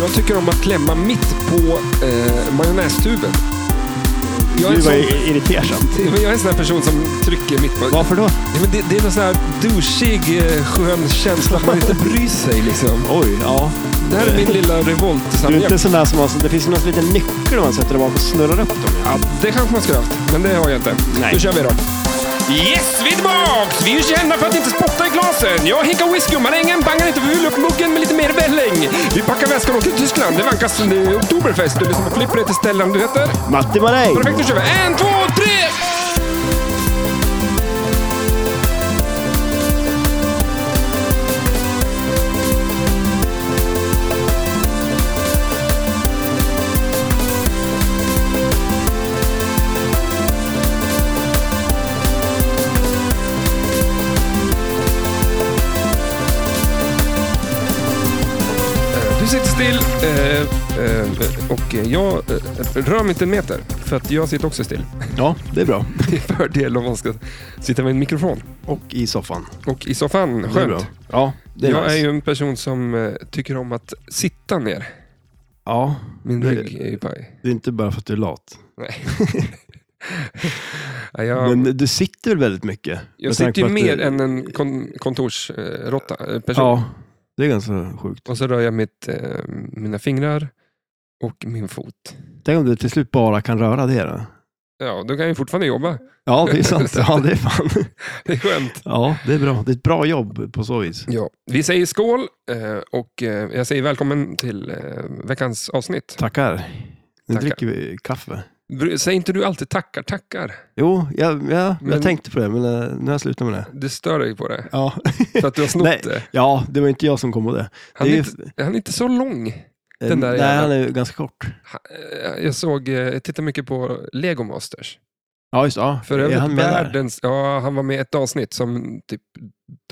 Jag tycker om att klämma mitt på eh, majonnästuben. Jag är, Gud en vad sån, irriterande. jag är en sån här person som trycker mitt på. Varför då? Ja, men det, det är någon sån här douchig, eh, skön känsla att man inte bryr sig liksom. Oj, ja. Det här är min lilla revolt. Du är inte sån där som har, det finns någon liten nyckel man sätter där bak och snurrar upp dem. Ja, det kanske man skulle ha haft, men det har jag inte. Nej. Nu kör vi då. Yes, vi är tillbaks! Vi är ju kända för att inte spotta i glasen. Jag hinkar whisky och marängen, bangar inte för upp muggen med lite mer välling. Vi packar väskan och åker till Tyskland. Det vankas det är oktoberfest. Du lyssnar på Flipper, heter Stellan, du heter? Matti Maräng! Perfekt, nu kör vi. En, två, tre! Du sitter still eh, eh, och jag eh, rör mig inte en meter. För att jag sitter också still. Ja, det är bra. Det är fördel om man ska sitta med en mikrofon. Och i soffan. Och i soffan, Det är bra. skönt. Ja, det är Jag nice. är ju en person som eh, tycker om att sitta ner. Ja, Min Det- rygg är ju paj. det är inte bara för att du är lat. Nej. Ja, jag Men du sitter väl väldigt mycket? jag Med tanke sitter ju på att mer du- än en kon, kontorsrotta eh, person. Ja, det är ganska sjukt. Och så rör jag mitt, eh, mina fingrar och min fot. Tänk om du till slut bara kan röra det då? Ja, då kan jag ju fortfarande jobba. Ja, det är sant. Ja, det är fan. Det är skönt. Ja, det är bra. Det är ett bra jobb på så vis. Ja. Vi säger skål eh, och eh, jag säger välkommen till eh, veckans avsnitt. Tackar. Nu Tackar. dricker vi kaffe. Br- Säger inte du alltid tackar, tackar? Jo, jag, jag, Men- jag tänkte på det, men eh, nu har jag slutat med det. Du stör dig på det. Ja. För att du har Nej. snott det. ja, det var inte jag som kom på det. Han det är, ju- eh, inte, han är inte så lång. den där Nej, jäveln. han är ju ganska kort. Ha- eh, Jag såg, eh, jag tittar mycket på Lego Masters. Ja, just det. Ja. För är övrigt han med där? världens, ja, han var med i ett avsnitt som typ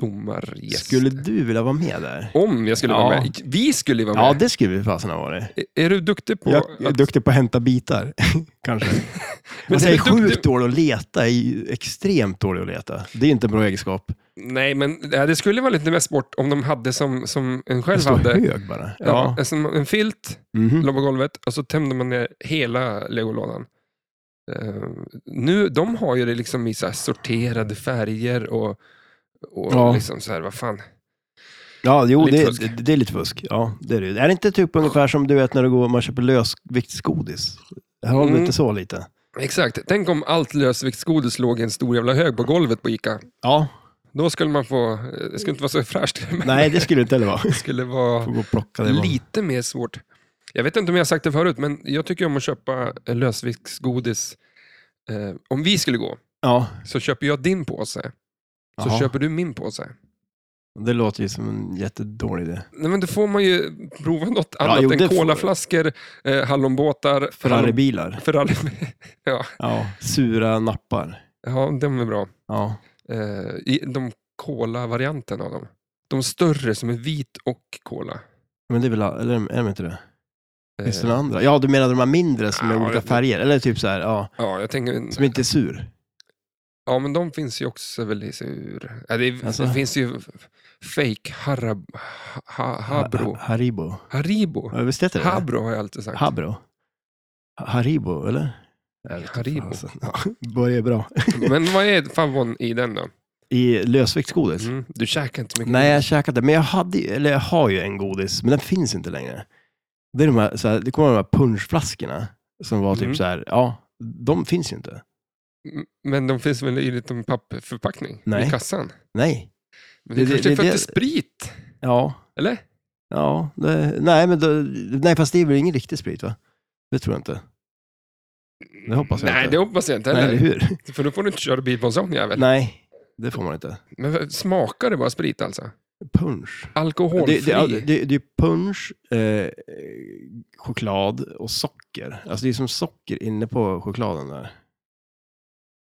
domargäst. Skulle du vilja vara med där? Om jag skulle vara Ja. med. Vi skulle vara med. Ja, det skulle vi fasen ha varit. Är- Är du duktig på... Jag är att- duktig på att hämta bitar, kanske. Men alltså, är jag är du duktig- sjukt dålig att leta. Jag är ju extremt dålig att leta. Det är inte en bra egenskap. Nej, men eh, det skulle vara lite mer sport om de hade som, som en själv Jag står hade. hög bara. Ja. Ja. Som en filt, Mhm. låg på golvet och så tömde man ner hela legolådan. Eh, nu, de har ju det liksom i så här sorterade färger och, och Ja. liksom så här, vad fan. Ja, jo, Lite det, fusk. det, det är lite fusk. Ja, det är, det. är det inte typ ungefär som du vet när du går och man köper lösviktsgodis? Har Mm. mm. inte så lite? Exakt. Tänk om allt lösviktsgodis låg i en stor jävla hög på golvet på Ica. Ja. Då skulle man få, eh, det skulle inte vara så fräscht. men Nej, det skulle det inte heller vara. Det skulle vara Får gå och plocka det. bara. lite mer svårt. Jag vet inte om jag har sagt det förut, men jag tycker om att köpa eh, lösviktsgodis. Eh, om vi skulle gå, Ja. så köper jag din påse. Så Jaha. köper du min påse. Det låter ju som en jättedålig idé. Nej, men då får man ju prova något annat jo, än det får- kolaflaskor, eh, hallonbåtar. hallon- Ferraribilar. Ferrari. Ja. Sura nappar. Ja, de är bra. Ja. Eh, i- de kola-varianten av dem. De större som är vit och kola. Men det är väl, eller är de inte det? Eh, Finns det några andra? Ja, du menar de här mindre som är Ja, olika det- färger? Eller typ så här, ja, Ja, jag tänker... som inte är sur? Ja, men de finns ju också väl i sur... Ja, det, är- Alltså- det finns ju fake harab, ha, Habro. Ha- Haribo. Haribo. Ja, visst heter det det? Habro har jag alltid sagt. Habro? Ha- Haribo, eller? Jag vet inte Haribo. fan, alltså. Ja, Börjar bra. Men vad är favon i den då? I lösviktsgodis? Mm, du käkar inte så mycket. Nej, jag käkade, men jag, hade, ju- eller jag har ju en godis, men den finns inte längre. Det, är de här, så här, det kommer de här punschflaskorna som var typ Mm. så här, ja, de finns ju inte. M- Men de finns väl i en liten pappförpackning i Nej. kassan? Nej. Men det, Det- kanske är det- för att det är det- sprit? Ja, Eller? ja det, nej, men då, nej, fast det är väl ingen riktig sprit, va? Det tror jag inte. Det hoppas jag Nej, inte. det hoppas jag inte nej, heller. eller hur? För då får du inte köra bil på en sån jävel. nej, det får man inte. Men smakar det bara sprit alltså? Punsch. Alkoholfri? Det, det, ja, det, det är punsch, eh, eh, choklad och socker. Alltså det är som socker inne på chokladen där.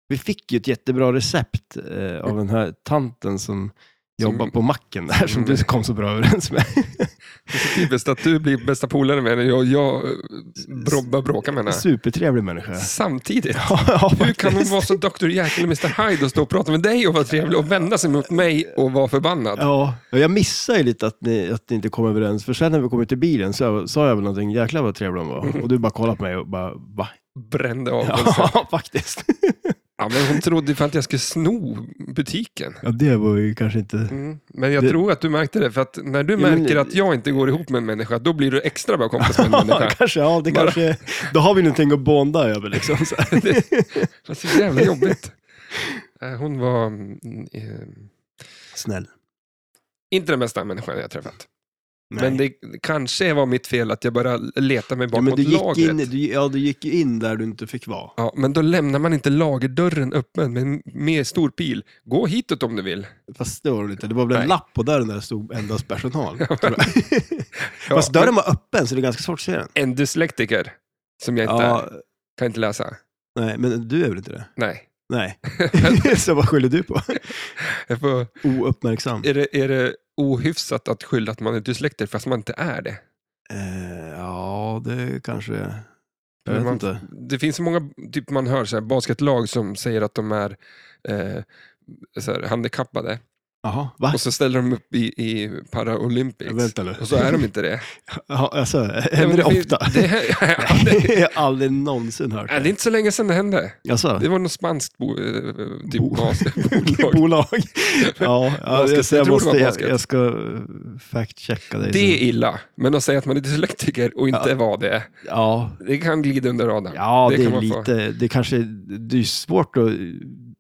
Vi fick ju ett jättebra recept eh, av den här tanten som jobba på macken där som Mm. du kom så bra överens med. Typiskt att du blir bästa polare med henne och jag eh, bro- börjar bråka med henne. Supertrevlig människa. Samtidigt. Ja, Hur kan hon faktiskt. vara så Dr. Jekyll och Mr. Hyde och stå och prata med dig och vara trevlig och vända sig mot mig och vara förbannad? Ja, och jag missade ju lite att ni, att ni inte kom överens, för sen när vi kom ut i bilen så jag- sa jag väl någonting, jäklar vad trevlig hon var. Och du bara kollade på mig och bara, va? Brände av ja. Ja, faktiskt. ja, men Hon trodde för att jag skulle sno butiken. Ja, det var ju kanske inte... Mm. Men jag Det- tror att du märkte det, för att när du men- märker att jag inte går ihop med en människa, då blir du extra bra kompis med en Ja, människa. kanske, ja, det Bara- kanske... Då har vi någonting att bonda över liksom. Så här. Det var så jävla jobbigt. Eh, Hon var mm, eh, Snäll. inte den bästa människan jag träffat. Nej. Men det kanske var mitt fel att jag bara letade mig ja, men bakåt du gick lagret. in, du, ja, du gick ju in där du inte fick vara. Ja, men då lämnar man inte lagerdörren öppen med, med stor pil. Gå hitåt om du vill. Fast det var det inte. Det var väl en Nej. lapp på dörren där det stod endast personal. tror jag. Fast dörren var öppen så det är ganska svårt att se den. En dyslektiker som jag inte är, Ja, kan inte läsa. nej, men du är väl inte det? Nej. Nej. så vad skyller du på? Jag får, Ouppmärksam. är, det, är det ohyfsat att skylla att man är dyslektiker fast man inte är det? Eh, ja, det kanske... Jag vet Man- inte. Det finns så många, typ man hör så här, basketlag som säger att de är eh, så här, handikappade Jaha, va? och så ställer de upp i, i Paralympics. Ah. Vänta nu. Och så är de inte det. Ja, alltså, Ja, men händer det finns- ofta? Det, ja, det, jag har aldrig någonsin hört. Nej, det är inte så länge sedan det hände. Alltså, Det var något spanskt bo, eh, typ Bo- bas, bolag. bolag. ja, ja, Basket. jag, så Jag tror jag, det måste, var jag, basket. jag ska eh, fact-checka dig. Det är illa, men att säga att man är dyslektiker och inte Ja. var det, ja, det kan glida under radarn. ja, det, kan är man få. lite... Det kanske... Det är svårt att...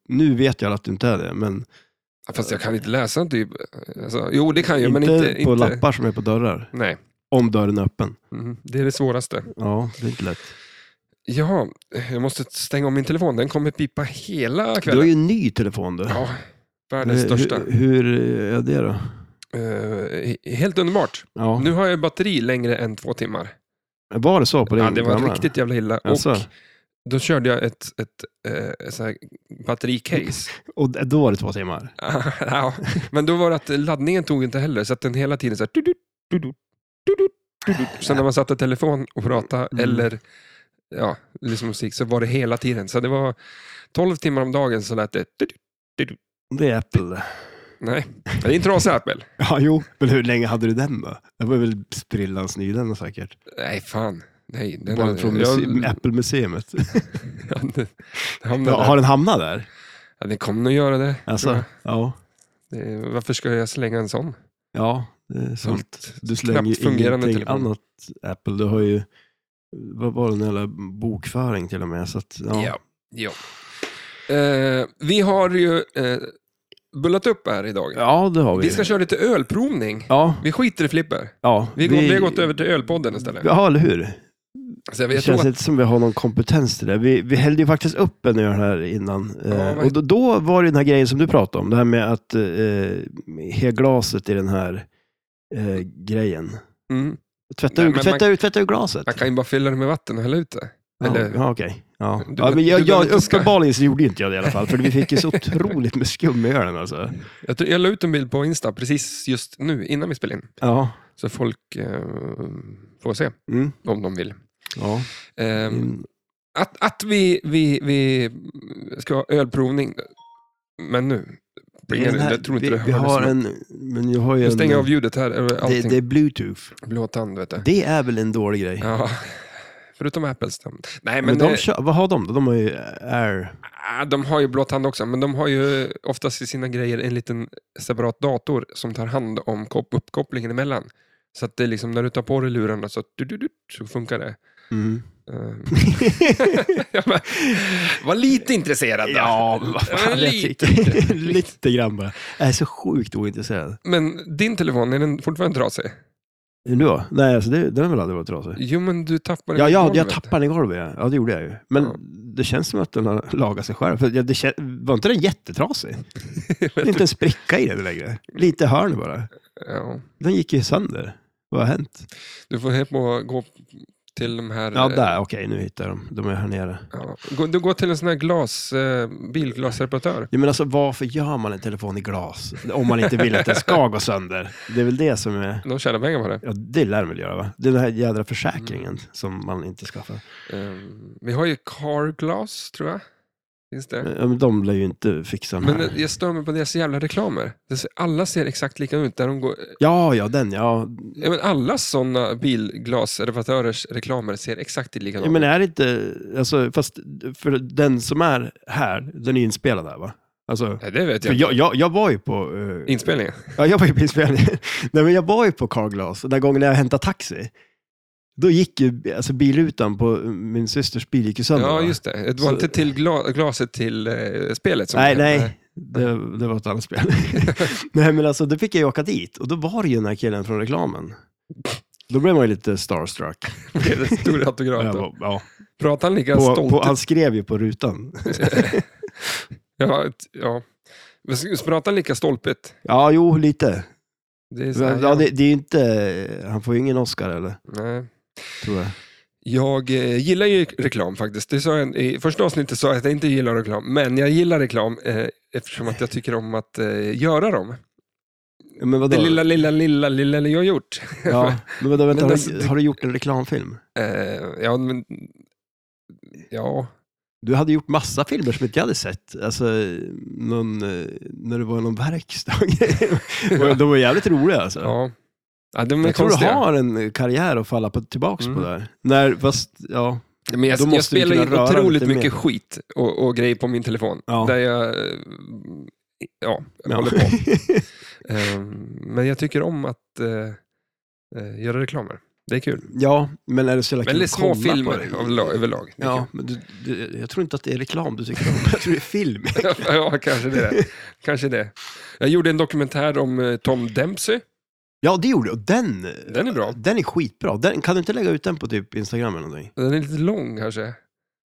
Nu vet jag att du inte är det, men Fast jag kan inte läsa typ. Alltså, jo, det kan jag, inte, men inte... på inte lappar som är på dörrar. Nej, Om dörren är öppen. mm, det är det svåraste. Ja, det är inte lätt. Ja, jag måste stänga om min telefon. Den kommer pipa hela Du kvällen. har ju en ny telefon du. Ja, världens Eh, största. Hur, hur är det då? Eh, helt underbart. Ja. Nu har jag batteri längre än två timmar. Var det så på din Ja, det var gamla? riktigt jävla illa. Alltså. Och då körde jag ett, ett, eh, så här battericase. Och d- då var det två timmar? ja, men då var det att laddningen tog inte heller, så att den hela tiden så här... tudut, tudut, tudut, tudut. Så när man satte telefon och pratade Mm. eller ja, liksom musik så var det hela tiden. Så det var 12 timmar om dagen så lät det... tudut. Det är Apple det. Nej, det är en trasig Apple. Ja, jo. Men hur länge hade du den då? Det var väl sprillans ny den säkert. Nej, fan. Nej, den Bara från muse- jag, Mm. Apple-museet. den, hamnade Ja, där. har den hamnat där? ja, den kommer nog göra det. Alltså, ja. det. Varför ska jag slänga en sån? Ja, det är sant. Du slänger knappt ju fungerande ingenting telefon. annat Apple. Du har ju, vad var det, en jävla bokföring till och med. Så att, ja. Ja. ja. Eh, vi har ju eh, bullat upp här idag. ja, det har vi. Vi ska köra lite ölprovning. Ja, Vi skiter i flipper. ja. Vi, går, vi har gått över till ölpodden istället. Ja, eller hur? Så jag Det vet känns att, inte som vi har någon kompetens till det. Vi, vi hällde ju faktiskt upp en öl här innan. eh, vad- och då, då var det den här grejen som du pratade om. Det här med att eh, he glaset i den här eh, grejen. mm, Tvätta, Nej, ur, men tvätta, ur, tvätta ur glaset. man kan ju bara fylla det med vatten och hälla ut det. ja, Eller, ja, okej. Ja. Du- Ja, men du jag, behöver jag, inte ska- uppenbarligen så gjorde inte jag det i alla fall. För vi fick ju så otroligt med skum i ölen alltså. jag, tror- jag la ut en bild på Insta precis just nu, innan vi spelade in. Ja. Så folk eh, får se Mm. om de vill. ja. Eh, Mm. att att vi, vi, vi ska ha ölprovning. Men nu, bringar Den det, här- jag tror inte vi, du hör vi har det. så mycket. en, men jag har ju Jag stänger en, av ljudet här över allting. det, det är bluetooth. Blå tand, vet du. Det är väl en dålig grej. Ja. Förutom Apples tand. Nej, men men, de, eh, kö- vad har de då? De har ju air. Ah, De har ju blå tand också, men de har ju oftast i sina grejer en liten separat dator som tar hand om kop- uppkopplingen emellan. Så att det är liksom när du tar på dig lurarna så, du, du, du, så funkar det. Mm. Eh, ja, men, var lite intresserad då. Ja, vad Men fan, jag lite. tycker. Lite grann bara. Jag är så sjukt ointresserad. Men din telefon, är den fortfarande trasig? Nu då? Nej, alltså det, den har väl aldrig varit trasig? Jo, men du tappar den Ja, i ja jag golvet. tappade den i golvet. ja. Ja, det gjorde jag ju. Men Ja. det känns som att den har lagat sig själv. För jag- det kän- var inte den jättetrasig? Det är inte en spricka i den längre. Lite hörn bara. Ja. Den gick ju sönder. Vad har hänt? Du får helt på gå till de här... eh, Ja, där. Okej, nu hittar jag dem. De är här nere. Ja. Gå- Du går till en sån här glas, eh, bilglasreparatör. Ja, men alltså, varför gör man en telefon i glas? Om man inte vill att den ska gå sönder. Det är väl det som är... De tjänar pengar på det. Ja, det lär de väl göra, va? Det är den här jädra försäkringen Mm. som man inte skaffar. Eh, vi har ju Carglass, tror jag. Finns det? Ja, men de lär ju inte fixa den Men här. eh, jag stör mig på deras jävla reklamer. Det ser- Alla ser exakt likadana ut. Där de går, Ja, ja, den ja. ja, men alla sådana bilglasreparatörers reklamer ser exakt likadana ja. ut. Men är det inte... Alltså, fast för den som är här, den är inspelad där, va? Alltså, Nej, det vet för jag. jag, jag, jag var ju på... eh, Inspelningen. Ja, jag var ju på inspelning. Nej, men jag var ju på Carglass, den där gången när jag hämtade taxi. Då gick ju alltså, bilrutan på min systers bil gick ju sönder. Ja, va? just det. Det var Så- inte till gla- glaset till eh, spelet. Som nej, det heter. nej. Det, det var ett annat spel. nej, men alltså då fick jag ju åka dit och då var det ju den här killen från reklamen. Då blev man ju lite starstruck. Blev det stor autograf Jag då? var- Ja, Pratar han lika på, stolt? på, han skrev ju på rutan. ja, ett- ja. Men s- Pratar han lika stolpigt? Ja, jo, lite. Det är så här, Ja, det, det är ju inte, han får ju ingen Oscar eller, nej. tror jag. Jag eh, gillar ju reklam faktiskt. Det sa jag, I första avsnittet sa jag att jag inte gillar reklam, men jag gillar reklam eh, eftersom att jag tycker om att eh, göra dem. Ja, Men vadå? Det lilla, lilla, lilla, lilla jag har gjort. Ja, men vadå, vänta, Men har, alltså, du, det- har du gjort en reklamfilm? Eh, ja, men, ja, Du hade gjort massa filmer som inte jag hade sett. Alltså, någon, eh, när du var i någon verkstad. Och de var jävligt roliga alltså. ja. ja de är jag tror du konstiga. har en karriär att falla på, tillbaka Mm. på där. När, fast, ja. Men jag, Då måste jag vi spelar kunna in röra otroligt lite mer. mycket skit och, och grejer på min telefon. Ja. Där jag, eh, ja, jag ja. håller på. Eh, men jag tycker om att eh, eh, göra reklamer. Det är kul. ja, men är det så jävla Eller kul att små kolla på filmer det? överlag- överlag. Det är Ja, men du, du, jag tror inte att det är reklam du tycker om. Jag tror det är film. Ja, ja, kanske det. kanske det. Jag gjorde en dokumentär om eh, Tom Dempsey. Ja, det gjorde du. Och den, Den är bra. den är skitbra. Den, kan du inte lägga ut den på typ Instagram eller någonting? Den är lite lång kanske.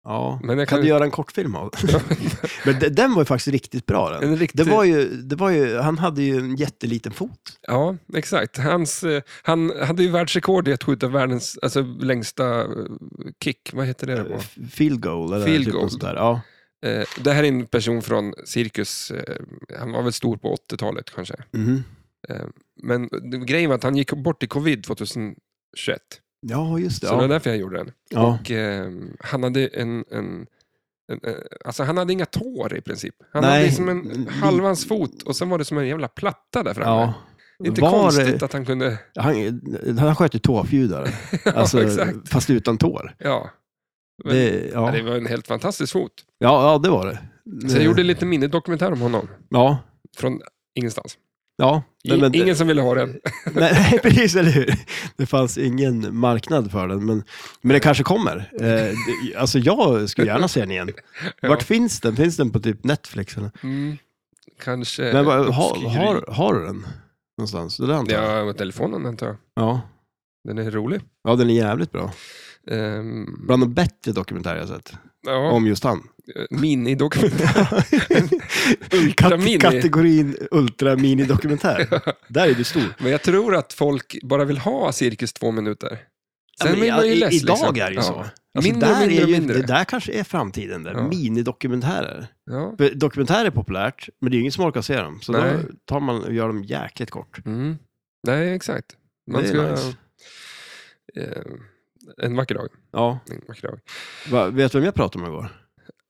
Ja. Men jag Kan kan, du göra en kortfilm av den? Men de- den var ju faktiskt riktigt bra den. en riktig... Det var, ju, det var ju, han hade ju en jätteliten fot. Ja, exakt. Hans, eh, han hade ju världsrekord i att skjuta världens alltså, längsta eh, kick. Vad heter det? På? F- Field goal eller Field typ goal. något sånt där. Ja. Eh, Det här är en person från cirkus. eh, Han var väl stor på 80-talet kanske. Mhm. Men eh, grejen var att han gick bort i covid 2021. ja, just det. Så det var Ja. därför jag gjorde den. Ja. Och, eh, han hade en, en, en eh, Alltså han hade inga tår i princip. Han Nej. hade liksom en Mm. halva hans fot och sen var det som en jävla platta där framme. Ja. Inte Var- konstigt att han kunde... Han, han sköt ju tåfjudare, alltså, ja, exakt. fast utan tår. Ja. Men, det, Det, ja. ja. det var en helt fantastisk fot. Ja, ja, det var det. Så jag gjorde lite minidokumentär om honom. Ja, Från ingenstans. ja. I, men- ingen som ville ha den. Nej, nej, precis, eller hur? Det fanns ingen marknad för den, men, men det kanske kommer. Eh, det, alltså jag skulle gärna se den igen. Ja. Vart finns den? Finns den på typ Netflix? Eller? Mm, kanske... Men vad- har, obskyr. har, har du den någonstans? Det där antar jag. Eh, Ja, med telefonen antar jag. Ja. Den är rolig. ja, den är jävligt bra. Ehm, Bland de bättre dokumentärer jag sett ja, om just han. eh, minidokumentär. Kat- Ultramini. kategorin ultramini-dokumentär. Där är du stor. Men jag tror att folk bara vill ha cirkus två minuter. Ja, men vill i- man ju i- less, idag liksom. är det ju Ja. så. Alltså, mindre, där mindre, är ju, mindre. Det där kanske är framtiden, där. Ja. minidokumentärer. Ja. För dokumentärer är populärt, men det är ju ingen som orkar se dem. Så Nej. då tar man och gör dem jäkligt kort. Mm. Nej, exakt. Man det är ska, nice. eh, en vacker dag. Ja. En vacker dag. Va, vet du vem jag pratade med igår?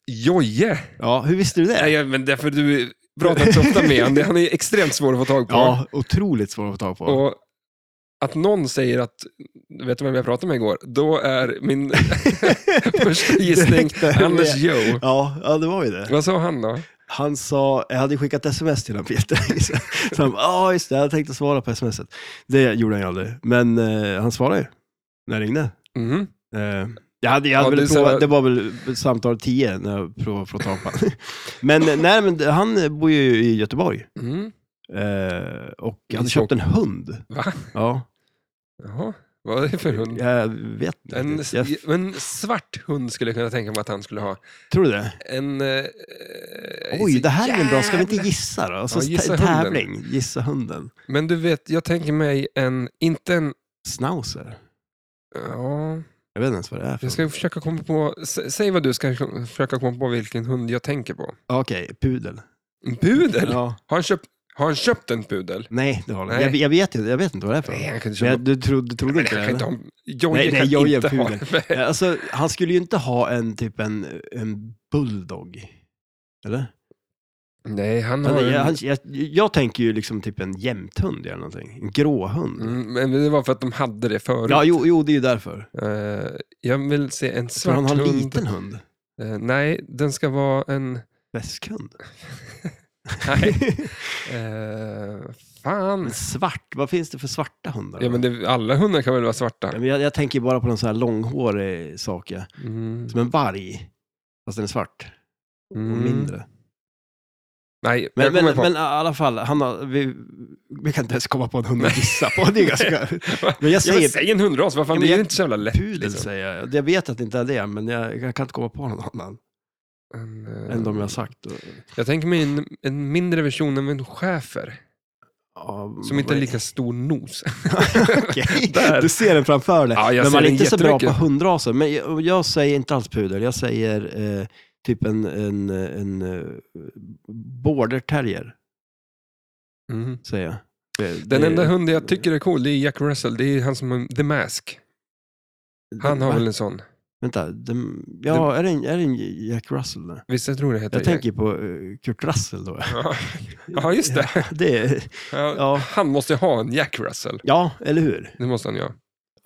Joje! Ja, hur visste du det? Nej, jag- men därför du pratar inte så ofta med honom. Han är extremt svår att få tag på. Ja, otroligt svår att få tag på. Och att någon säger att, vet du vem jag pratade med igår? Då är min första gissning Direkt där Anders Jo. Ja, ja, det var ju det. Vad sa han då? Han sa, jag hade skickat sms till honom för jättelänge sedan. Så han bara, ja just det, jag tänkte svara på smset. Det gjorde han ju aldrig, men eh, han svarade ju när jag ringde. Mhm. Eh, jag hade, jag hade Ja, det väl är så provat, här- det var väl samtal 10 när jag provade att få tag på honom. Men eh, nej, men han bor ju i Göteborg. Mm. Eh, och I jag hade Stock- köpt en hund. Va? Ja, Jaha, vad är det för hund? jag vet inte. En, riktigt. jag en svart hund skulle jag kunna tänka mig att han skulle ha. tror det. En... Eh, Oj, det här är en bra. Ska vi inte gissa då? Alltså, Ja, gissa en hunden. tävling. Gissa hunden. Men du vet, jag tänker mig en, inte en, Snauzer. ja, Jag vet inte ens vad det är för Jag ska försöka komma på, sä- säg vad du ska försöka komma på vilken hund jag tänker på. något. Okej, pudel. En pudel? Ja. Har, han köpt, har han köpt en pudel? Nej, det har den. Nej. Jag, jag, vet, inte- jag vet inte vad det är för Nej, något. han kan inte Men köpa jag, du trodde, du trodde Men inte han det? kan inte eller? ha en... Jojje Nej, nej, kan Jojje inte är ha pudel. Ja, Alltså, han skulle ju inte ha en typ en, en bulldog. Eller? Nej, han har... Han, jag, en- han, jag, jag tänker ju liksom typ en jämthund eller någonting. En gråhund. Mm, Men det var för att de hade det förut. Ja, jo, jo, det är ju därför. Eh, jag vill se en För svart han har en hund. liten hund. Eh, nej, den ska vara en... Väskhund. Nej. Eh, fan. Men svart, vad finns det för svarta hundar? Ja, men det, alla hundar kan väl vara svarta? Ja, men jag, jag tänker bara på någon sån här långhårig sak. ja. Mm. Som en varg. Fast den är svart och Mm. mindre. Nej, jag Men, men, kommer på. men i alla fall, han har, vi, vi kan inte ens komma på en hund att gissa på. Det är ganska... Men jag Ja, men säger säg en hundras, vad fan, det Ja, men är ju jag- inte så jävla lätt. pudel, liksom. säger jag. Jag vet att det inte är det, men jag, jag kan inte komma på någon annan En, eh, än de jag har sagt. Och, Jag tänker mig en, en mindre version av en schäfer, ja, som inte har Mm, vad- lika stor nos. Okej, Där. du ser den framför dig. Ja, jag men ser man är den inte så bra på jättemycket. hundraser. Men jag, jag säger inte alls pudel, jag säger eh, typ en, en, en, eh, border terrier. Mm. Säger jag. Det- Den det- enda hunden jag tycker är cool, det är Jack Russell. Det är han som har The Mask. Han har Va? väl en sån? Vänta, dem- ja, Är, det en, är det en Jack Russell där? Visst, jag tror det heter Jag tänker på eh, Kurt Russell då. Ja, Ja, just det. Ja, det är, Ja. Ja. Han måste ha en Jack Russell. ja, eller hur? Det måste han ju ha.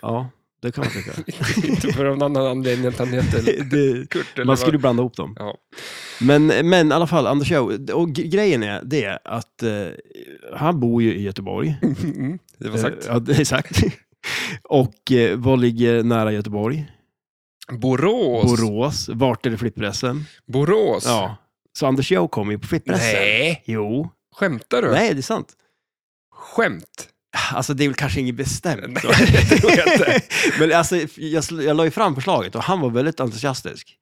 Ja, det kan man tycka. Inte för någon annan anledning än att han heter det, Kurt. Eller man vad. skulle blanda ihop dem. Ja. Men, men i alla fall, Anders Joe, och g- grejen är det att eh, han bor ju i Göteborg. Mm, det var sagt. Eh, ja, det är sagt. och eh, vad ligger nära Göteborg? Eh, Borås. Borås. Vart är det flippressen? Borås. Ja. Så Anders Joe kommer ju på flippressen. Nej, Jo. skämtar du? Nej, det är sant. Skämt? Alltså det är väl kanske inget bestämt. Nej, det tror jag inte. Men alltså, jag, sl- jag la ju fram förslaget och han var väldigt entusiastisk.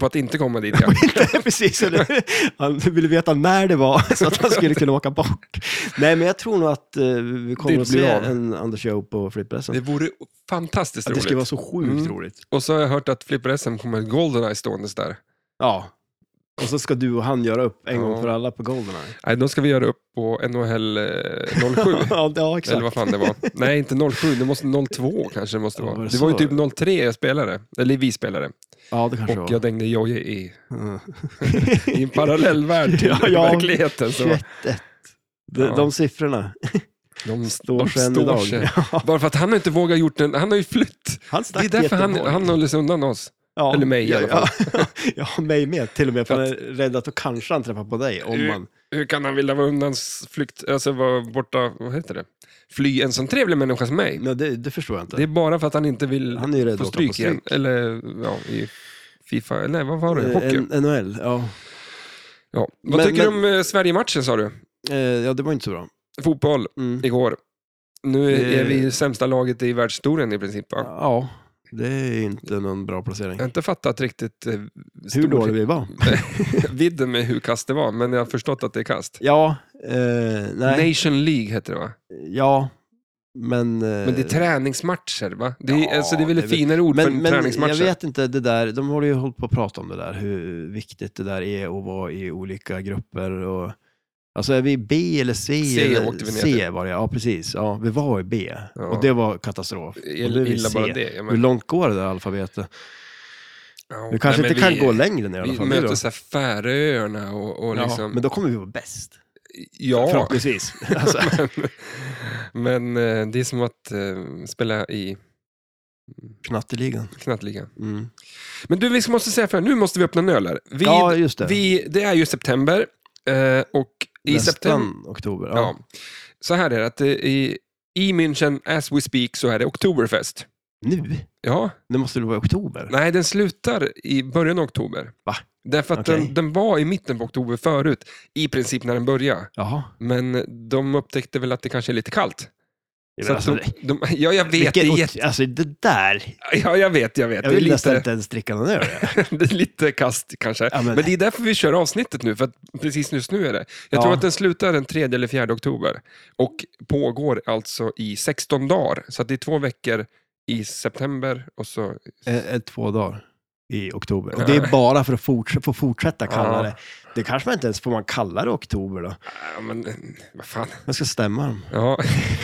På att inte komma dit, ja. Nej, Precis, eller? han ville veta när det var så att han skulle kunna åka bort. Nej, men jag tror nog att eh, vi kommer Det att blir se av. en Anders Show på flippressen. Det vore fantastiskt Att roligt. det skulle vara så sjukt Mm. roligt. Och så har jag hört att Flipper-SM kommer ett Goldeneye ståendes där. Ja. Och så ska du och han göra upp en Ja. gång för alla på Goldeneye. Nej, då ska vi göra upp på NHL eh, 07. ja, ja, Eller exakt. vad fan det var. Nej, inte 07, det måste 02 kanske det måste Ja, vara. var det Det var ju så? typ 03 jag spelade, eller vi spelade. Ja, det kanske Och var. jag dängde Jojje i, Mm. i en parallellvärld till Ja, ja. verkligheten. Så 21. De, Ja. de siffrorna de står de sig än idag. sig. Ja, Bara för att han inte vågar gjort den, han har ju flytt. han Det är stack därför han, Göteborg. han håller sig undan oss. Ja, Eller mig i ja, alla fall. Ja, ja, mig med till och med. För För Eh, jag är rädd att då kanske han träffar på dig. Om Hur- man... Hur kan han vilja vara undansflykt, alltså vara borta, vad heter det? Fly en sån trevlig människa som mig. Nej, det, det förstår jag inte. Det är bara för att han inte vill han är ju rädd få att åka på stryk igen. stryk. Eller ja, i Fifa, eller nej, vad var det? Hockey. Eh, N- NHL, ja. Ja. Vad Men- tycker men- du om eh, Sverige-matchen sa du? Eh, ja, det var inte så bra. Fotboll Mm. igår. Nu är Eh. vi ju sämsta laget i världshistorien i princip. Va? Ja, det är inte någon bra placering. Jag har inte fattat riktigt eh, Hur stor- dålig vi var. vidden med hur kast det var, men jag har förstått att det är kast. Ja, eh, nej, Nation League heter det va? ja, men... eh, Men det är träningsmatcher va? Det är, ja, alltså, det är väl det ett är väl- finare ord för men, men träningsmatcher? jag vet inte, det där, de håller ju hållit på att prata om det där, hur viktigt det där är att vara i olika grupper. Och, alltså är vi i B eller C? C eller, åkte vi ner C var det, ja precis. Ja, vi var i B Ja. och det var katastrof. Och nu är vi Illa bara C. det. Ja, men- Hur långt går det där alfabetet? Ja, Du kanske nej, inte men kan vi- gå längre ner i alla Vi fall. det då. möter så här Färöarna och, och ja, liksom... men då kommer vi vara bäst. Ja, Förhoppningsvis. Alltså, men, men eh, det är som att eh, spela i knatteligan. knattligan. Mm. Men du, vi måste säga för nu måste vi öppna en öl här. Vi, Ja, just det. Vi, det är ju september eh, och i Nästan september... oktober. Ja. Ja. Så här är det, att eh, i, i München, as we speak, så är det Oktoberfest. Nu? Ja, Det måste väl vara i oktober? nej, den slutar i början av oktober. Va? Därför att Okej. den, den var i mitten på oktober förut, i princip när den började. Jaha. Men de upptäckte väl att det kanske är lite kallt. Jag Så menar, att alltså, de, de, ja, jag vet. Det vilken är ot- jätte, alltså det där. ja, jag vet, jag vet. Jag det är vill nästan lite, inte ens dricka någon öl. det är lite kast kanske. Ja, men... men- det är därför vi kör avsnittet nu, för att precis just nu är det. Jag Ja. tror att den slutar den 3 eller 4 oktober och pågår alltså i 16 dagar. Så att det är två veckor i september och så... Ett, ett, eh, två dagar i oktober. Och det är bara för att forts- få fortsätta kalla Ja. det. Det kanske man inte ens får man kalla det oktober då. Ja, men eh, vad fan. Jag ska stämma dem. Ja.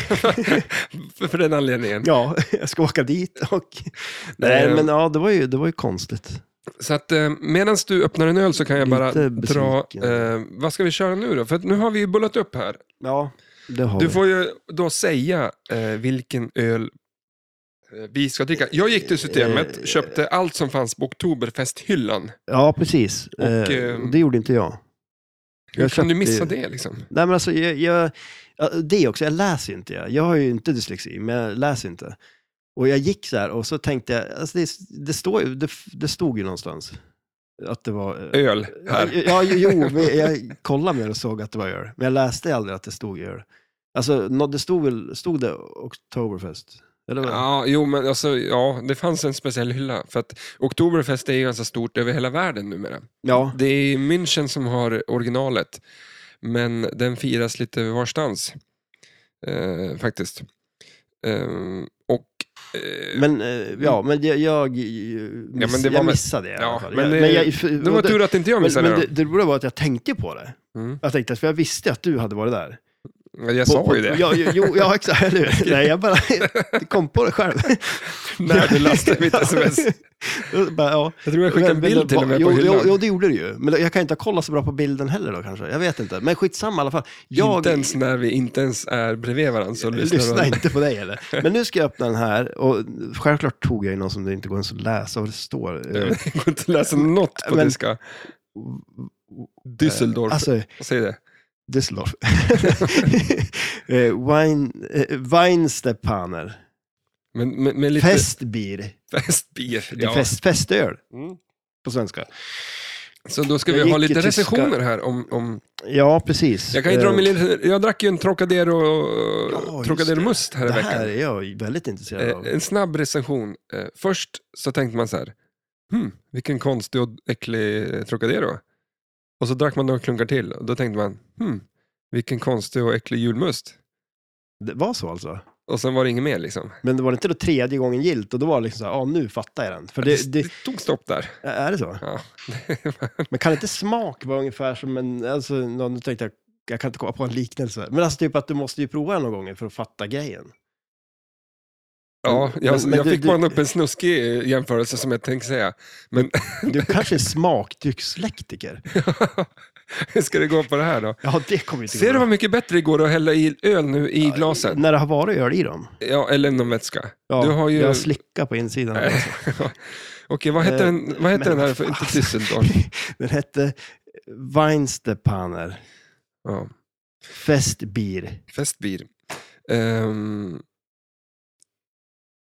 för, för den anledningen. Ja, jag ska åka dit och... Nej, Eh. men ja, det var ju, det var ju konstigt. Så att eh, medan du öppnar en öl så kan jag bara Lite dra... besviken. Eh, vad ska vi köra nu då? För att nu har vi ju bullat upp här. Ja, det har Du vi. får ju då säga eh, vilken öl eh, vi ska dricka. Jag gick till Eh, Systemet, köpte allt som fanns på Oktoberfesthyllan. Ja, precis. Och, eh, eh, det gjorde inte jag. Hur Jag kan du köpte missa ju- det liksom? Nej, men alltså, jag, jag, ja, det också, jag läser inte. Jag. jag har ju inte dyslexi, men jag läser inte. Och jag gick så här och så tänkte jag, alltså det, det, står, ju- det, det stod ju någonstans att det var... eh, Öl här. Ja, jo, jo, men jag kollade mer och såg att det var öl. Men jag läste aldrig att det stod öl. Alltså, nå- det stod väl, stod det Oktoberfest? Eller vad? Ja, jo, men alltså, ja, det fanns en speciell hylla. För att Oktoberfest är ju ganska stort över hela världen numera. ja. Det är München som har originalet, men den firas lite varstans. Eh, faktiskt. Ehm, och... Eh, Men, eh, ja, men jag, jag, eh, miss, men det var jag väl- missade det i alla ja, fall. men jag, det, jag, det var och det- tur att inte jag men, missade men det, det. det roliga var att jag tänkte på det. Mm. Jag tänkte, för jag visste att du hade varit där. Ja, Jag på, sa på, ju det. Ja, jo, jo, ja exakt. Eller hur? Nej, jag bara kom på det själv. När du lastade mitt sms. Jag bara, ja. Jag tror jag skickade en Men- bild till och med jo, på jo, hyllan. jo, det gjorde du ju. Men jag kan inte ha kollat så bra på bilden heller då kanske. Jag vet inte. Men skitsamma i alla fall. Jag Inte ens när vi inte ens är bredvid varandra så lyssnar lyssnar de. inte på dig heller. Men nu ska jag öppna den här. Och självklart tog jag ju någon som det inte går ens att läsa vad det står. Eh, Det går inte att läsa något på Men- tyska. Düsseldorf, Alltså, säg det. Düsseldorf. eh, Wein, eh, Weinstepaner. Men, men, men lite Festbier. festbier. Det är Ja. fest, festöl Mm. på svenska. Så då ska Jag vi ha gick i lite tyska. recensioner här om, om Ja, precis. Jag kan ju dra Eh, min lilla... Jag drack ju en Trocadero, Ja, just Trocadero det. Must här i Det här veckan. är jag väldigt intresserad av. Eh, En snabb recension. Eh, Först så tänkte man så här, hmm, vilken konstig och äcklig eh, Trocadero. Och så drack man några klunkar till och då tänkte man, hmm, vilken konstig och äcklig julmust. Det var så alltså? Och sen var det inget mer liksom. Men det var inte då tredje gången gilt och då var det liksom så här, ja nu fattar jag den. För Det, det, det, det, tog stopp där. är det så? Ja. Men kan inte smak vara ungefär som en, alltså, nå- nu tänkte jag, jag kan inte komma på en liknelse. Men alltså typ att du måste ju prova den någon gång för att fatta grejen. Ja, jag, Men- men jag du- fick du- bara upp en snuskig eh, jämförelse som jag tänkte säga. Men Du kanske är smakdyslektiker. hur ska det gå på det här då? Ja, det kommer inte gå Ser du bra. vad mycket bättre det går att hälla i öl nu i glasen? När det har varit öl i dem. Ja, eller någon vätska. Ja, Du har ju- Jag slickar på insidan. Nej. Okej, vad heter, Eh, den, vad heter den men här? vad För, inte fan. Düsseldorf. Den hette Weinstepaner Ja, Festbier. festbier. Ehm,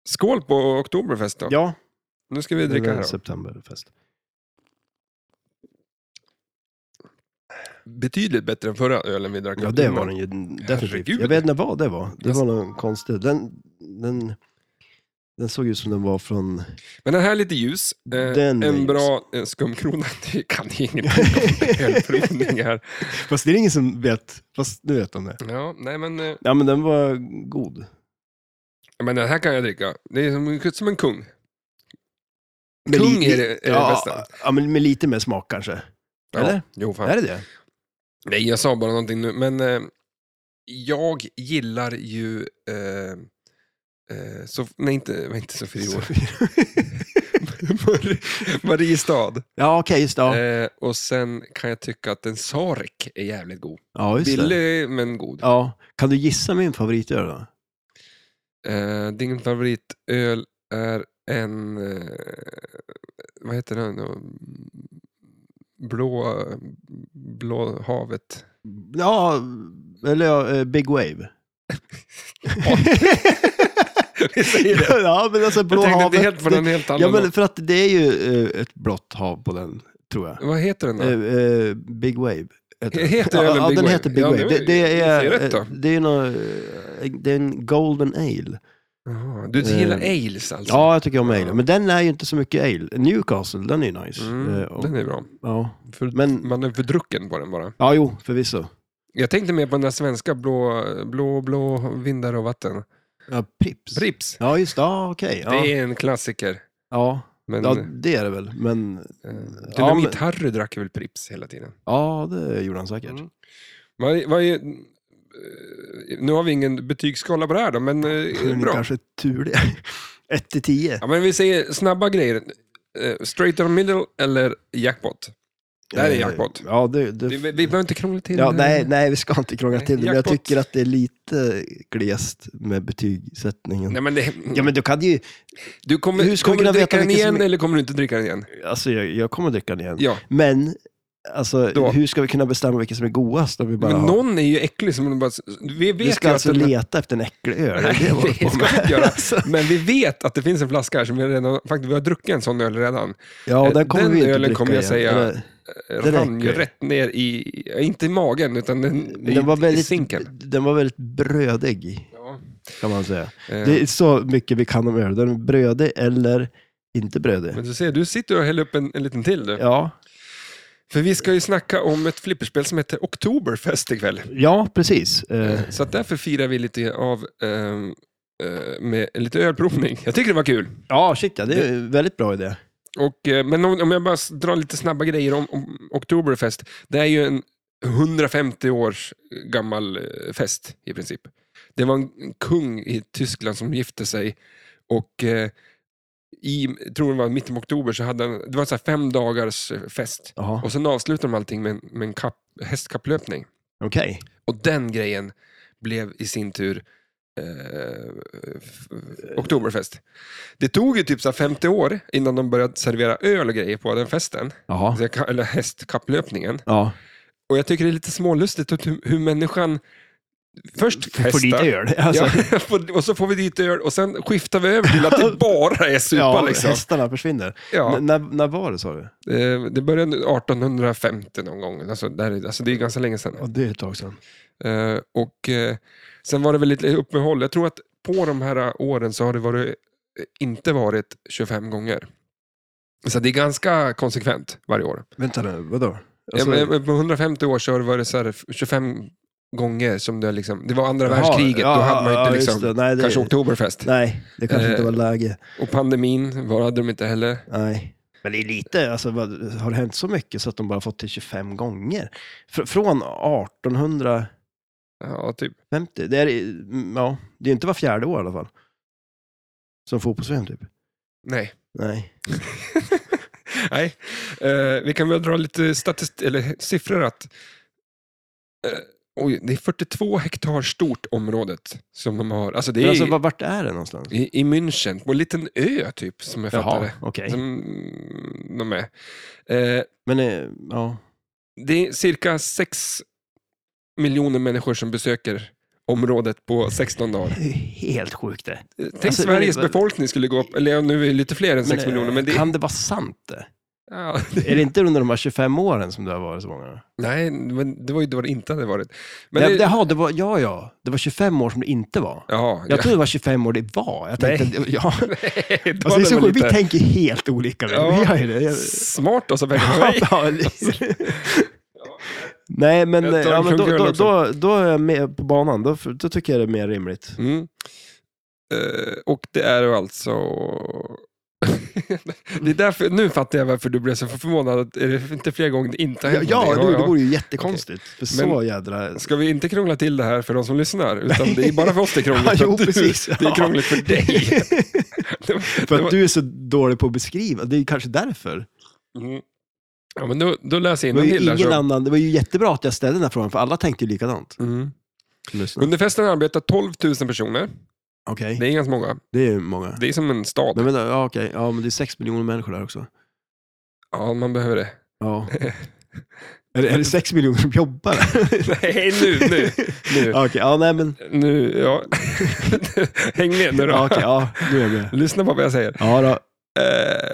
skål på Oktoberfest då. Ja, Nu ska vi dricka här. Då. Septemberfest. Betydligt bättre än förra ölen vi drack. Ja, det var den ju definitivt. Herregud. Jag vet inte vad det var. Det Jag- var någon konstig. Den, den, den såg ut som den var från... Men den här är lite ljus. Eh, Den är en ljus. bra eh, skumkrona. Det kan ju ingenting om ölprovning här. Fast det är ingen som vet. Fast nu vet de det. Ja, nej men, eh, Ja, men den var god. men den här kan jag dricka. Det är som, som en kung. Men Kung li- är det, är det ja, bästa. ja, men med lite mer smak kanske. Ja. Eller? Jo, fan. Är det det? Nej, jag sa bara någonting nu, men eh, jag gillar ju... Eh, eh, Sof- nej, inte, inte Sofiero. Mar- Mariestad. ja, okej, just det. Ja, Eh, och sen kan jag tycka att en Sarek är jävligt god. ja just det. Billig, men god. Ja. Kan du gissa min favoritöl då? Eh, din favoritöl är en... Eh, vad heter den? då? Blå, blå havet. Ja, eller ja, eh, Big Wave. Vi säger det. ja, men alltså Blå Jag tänkte inte havet. helt på någon helt annan. Ja, men för att det är ju eh, ett blått hav på den, tror jag. Vad heter den då? Eh, eh, Big Wave. Heter den. Heter ja, ölen ja, Big den Wave? heter Big Ja, Wave. det- Det, det är, det är rätt då. eh, det är, någon, eh, det är en Golden Ale. Jaha, du gillar Eh, ales alltså? Ja, jag tycker om ale. Ja. Men den är ju inte så mycket ale. Newcastle, den är ju nice. Mm, Eh, och- den är bra. Ja. För Men- Man är fördrucken på den bara. ja, jo, förvisso. Jag tänkte mer på den där svenska blå, blå, blå vindar och vatten. Ja, Prips. Prips. Ja, just det. Ja, okej. Det Ja. är Mm. en klassiker. Ja. Men, ja, ja, det är det väl. Men ja, men- Dynamit-Harry drack väl Prips hela tiden. ja, det gjorde han säkert. Mm. Vad, vad är, eh, nu har vi ingen betygsskala på det här då, men eh, är det Men bra. kanske tur det. 1 till 10. Ja, men vi säger snabba grejer. Eh, Straight or middle eller jackpot? Det här är jackpot. Ja, det, Eh, det, Vi, vi behöver inte krångla till ja, det. nej, nej, vi ska inte krångla Nej, till det. Men jag jackpot. tycker att det är lite glest med betygssättningen. Nej, men det, Ja, men du kan ju... du kommer, hur ska vi kommer du kunna dricka veta den vilken som igen är- eller kommer du inte dricka den igen? Alltså, jag, jag kommer dricka den igen. Ja, Men, alltså, Då. hur ska vi kunna bestämma vilken som är godast? Om vi bara men har- någon är ju äcklig som man bara... Vi vet vi ska ju alltså att den, leta efter en äcklig öl. Nej, är vad vi det håller på ska vi med? inte göra. Alltså, Men vi vet att det finns en flaska här som vi redan... Faktiskt, vi har druckit en sån öl redan. ja, den kommer Den vi inte ölen dricka kommer jag igen. säga- Eller- Den rann ju räcker. rätt ner i... ja, Inte i magen, utan den, i, Den var, i väldigt, sinken. den var väldigt brödig, Ja. kan man säga. eh, Det är så mycket vi kan om öl. Den är brödig eller inte brödig. Men du ser, du sitter och häller upp en, en liten till du. Ja, För vi ska ju snacka om ett flipperspel som heter Oktoberfest ikväll. ja precis. Eh, Så att därför firar vi lite av ehm, eh, med lite ölprovning. Jag tycker det var kul. ja, shit ja, det är en väldigt bra idé. Och, eh, men om, om jag bara s- drar lite snabba grejer om, om Oktoberfest. Det är ju en 150 års gammal eh, fest i princip. Det var en kung i Tyskland som gifte sig och eh, i, jag tror det var mitten av oktober, så hade han, det var så här fem dagars eh, fest. Jaha, Och sen avslutar de allting med, en- med en kapp, hästkapplöpning. okej. Och den grejen blev i sin tur eh, f- Oktoberfest. Det tog ju typ så här 50 år innan de började servera öl och grejer på den festen. Jaha. Så jag ka- Eller hästkapplöpningen. Ja, Och jag tycker det är lite smålustigt att hur, hur människan först får lite festar. öl. Alltså, Ja, och så får vi dit öl och sen skiftar vi över till att det bara är supa. ja, liksom. hästarna försvinner. ja. N- när, när var det sa du? eh, Det började 1850 någon gång. Alltså, där, är- alltså, det är ganska länge sedan. Ja, det är ett tag sedan. Eh, och eh, sen var det väl lite uppehåll. Jag tror att på de här eh, åren så har det varit, eh, inte varit 25 gånger. Så det är ganska konsekvent varje år. Vänta nu, vadå? Eh, Alltså, men På 150 år så har det varit så här 25 gånger som det liksom, det var andra jaha, världskriget, ja, då hade man ju inte ja, just liksom, det. Nej, det, kanske oktoberfest. Nej, det kanske inte Eh, var läge. Och pandemin var, hade de inte heller. Nej. Men det är lite, alltså, vad, har det hänt så mycket så att de bara fått till 25 gånger? Fr- från 1800... Ja, typ. 50, det är, mm, ja, det är inte var fjärde år i alla fall. Som fotbolls typ. Nej. Nej. Nej. Eh, vi kan väl dra lite statist- eller siffror att eh, oj, det är 42 hektar stort området som de har. Alltså det Men är alltså, i- var- vart är det någonstans? i, i München, på en liten ö typ som jag fattar det. Alltså, okej. Som de är. Eh, Men, eh, ja. det är cirka 6 miljoner människor som besöker området på 16 dagar. Det är ju helt sjukt det. Eh, Tänk Alltså, Sveriges men- befolkning skulle gå upp, eller ja, nu är det lite fler än 6 eh, miljoner, men det, Kan det vara sant det? ja, Är det inte under de här 25 åren som det har varit så många? Nej, men det var ju då det inte hade varit. Men Men ja, det- det, jaha, det var, ja, ja. Det var 25 år som det inte var. Ja, Jag trodde det var 25 år det var. Jag tänkte, Nej. ja. Nej, då Alltså, det är så var sjukt, vi lite tänker helt olika. vi. Ja. Vi gör ju det. Jag- Smart oss av Ja, mig. ja, li- Nej, men, eh, Jag tar en ja, men då, klunk öl då, också. då, då är jag med på banan. Då, då tycker jag det är mer rimligt. Mm. Eh, och det är ju alltså... det är därför, nu fattar jag varför du blev så förvånad. Att, är det inte flera gånger det inte har Ja, hänt någonting? det, det vore ju jättekonstigt. För Men- så jädra... Ska vi inte krångla till det här för de som lyssnar? Utan det är bara för oss det är krångligt. Ja, för jo, att du, precis. Det är krångligt för dig. Det var- För det var- att du är så dålig på att beskriva. Det är ju kanske därför. Mm. Ja, men då, då läser jag Det var ju, innantill där, ingen så- annan, det var ju jättebra att jag ställde den här frågan, för alla tänkte ju likadant. Mm. Lyssna. Under festen arbetar 12 000 personer. Okej, Det är ganska många. det är ju många. Det är som en stad. Men vänta, ja, okej. Ja, men det är sex miljoner människor där också. Ja, man behöver det. Ja. är, det, är det sex miljoner som jobbar där? Nej, nu, nu, nu. Ja, Okej, ja, nej men... nu ja. Häng med nu då. Ja, okej, ja, nu är jag med. Lyssna på vad jag säger. Ja, då. Eh,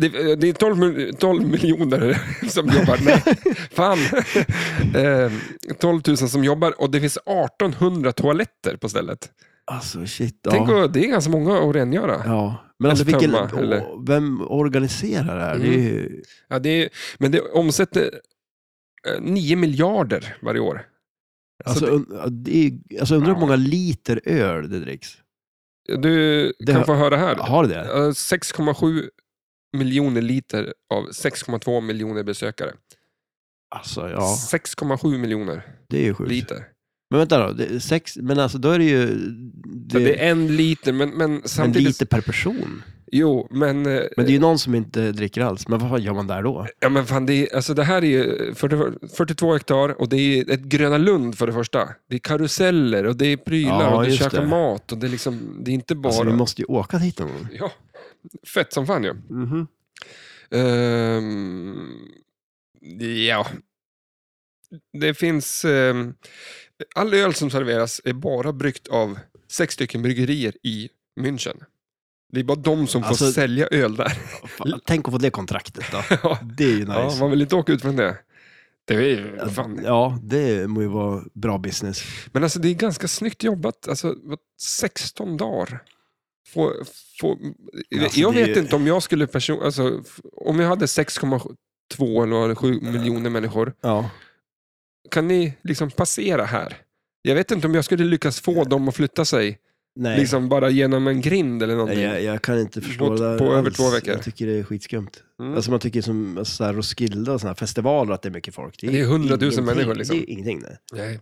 det, det är 12, mil- 12 miljoner som jobbar. Nej, fan. Eh, 12 000 som jobbar och det finns 1800 toaletter på stället. Alltså shit. Tänk ja. att, det är ganska många att rengöra. Ja. ja. Men alltså, Eller vilken, tömma, åh, eller? Mm. vem organiserar det här? Det är ju, det är, men det omsätter eh, 9 miljarder varje år. Så alltså, un, ja, det är, alltså undrar hur många liter öl det dricks. Du Det kan har- få höra här. Har du det? Eh, 6,7 miljoner liter av 6,2 miljoner besökare. Alltså, ja. 6,7 miljoner Det är ju sjukt. liter. Men vänta då, det är sex, men alltså då är det ju... Det, Det, det är en liter, men, men men samtidigt... lite per person. Jo, men... eh, Men det är ju någon som inte dricker alls. Men vad fan gör man där då? Ja, men fan, det, är, alltså, det här är ju 40, 42 hektar och det är ett Gröna Lund för det första. Det är karuseller och det är prylar Ja, och du just käkar det. mat. Och det, är liksom, det är inte bara... Alltså, vi måste ju åka dit någon gång. ja, fett som fan ju. Ehm, ja. Det finns... ehm, all öl som serveras är bara bryggt av sex stycken bryggerier i München. Det är bara de som får Alltså- sälja öl där. Fan, tänk att få det kontraktet då. ja, Det är ju ja, nice. man vill inte åka ut från det. Det är ju fan. Ja, det må ju vara bra business. Men alltså det är ganska snyggt jobbat. Alltså, vad- 16 dagar. Få, få, Alltså, jag det är vet ju- inte om jag skulle person, alltså, f- om jag hade 6,2 eller 7 miljoner människor. Ja. Kan ni liksom passera här? Jag vet inte om jag skulle lyckas få dem att flytta sig, Nej, liksom bara genom en grind eller Nej, någonting. jag, jag kan inte förstå På- det där på över alls. två veckor. Jag tycker det är skitskumt. Mm. Alltså man tycker som alltså, så här Roskilde och sådana här festivaler att det är mycket folk. Det är 100 000 ingenting. människor, liksom. Det är ingenting nej. Nej.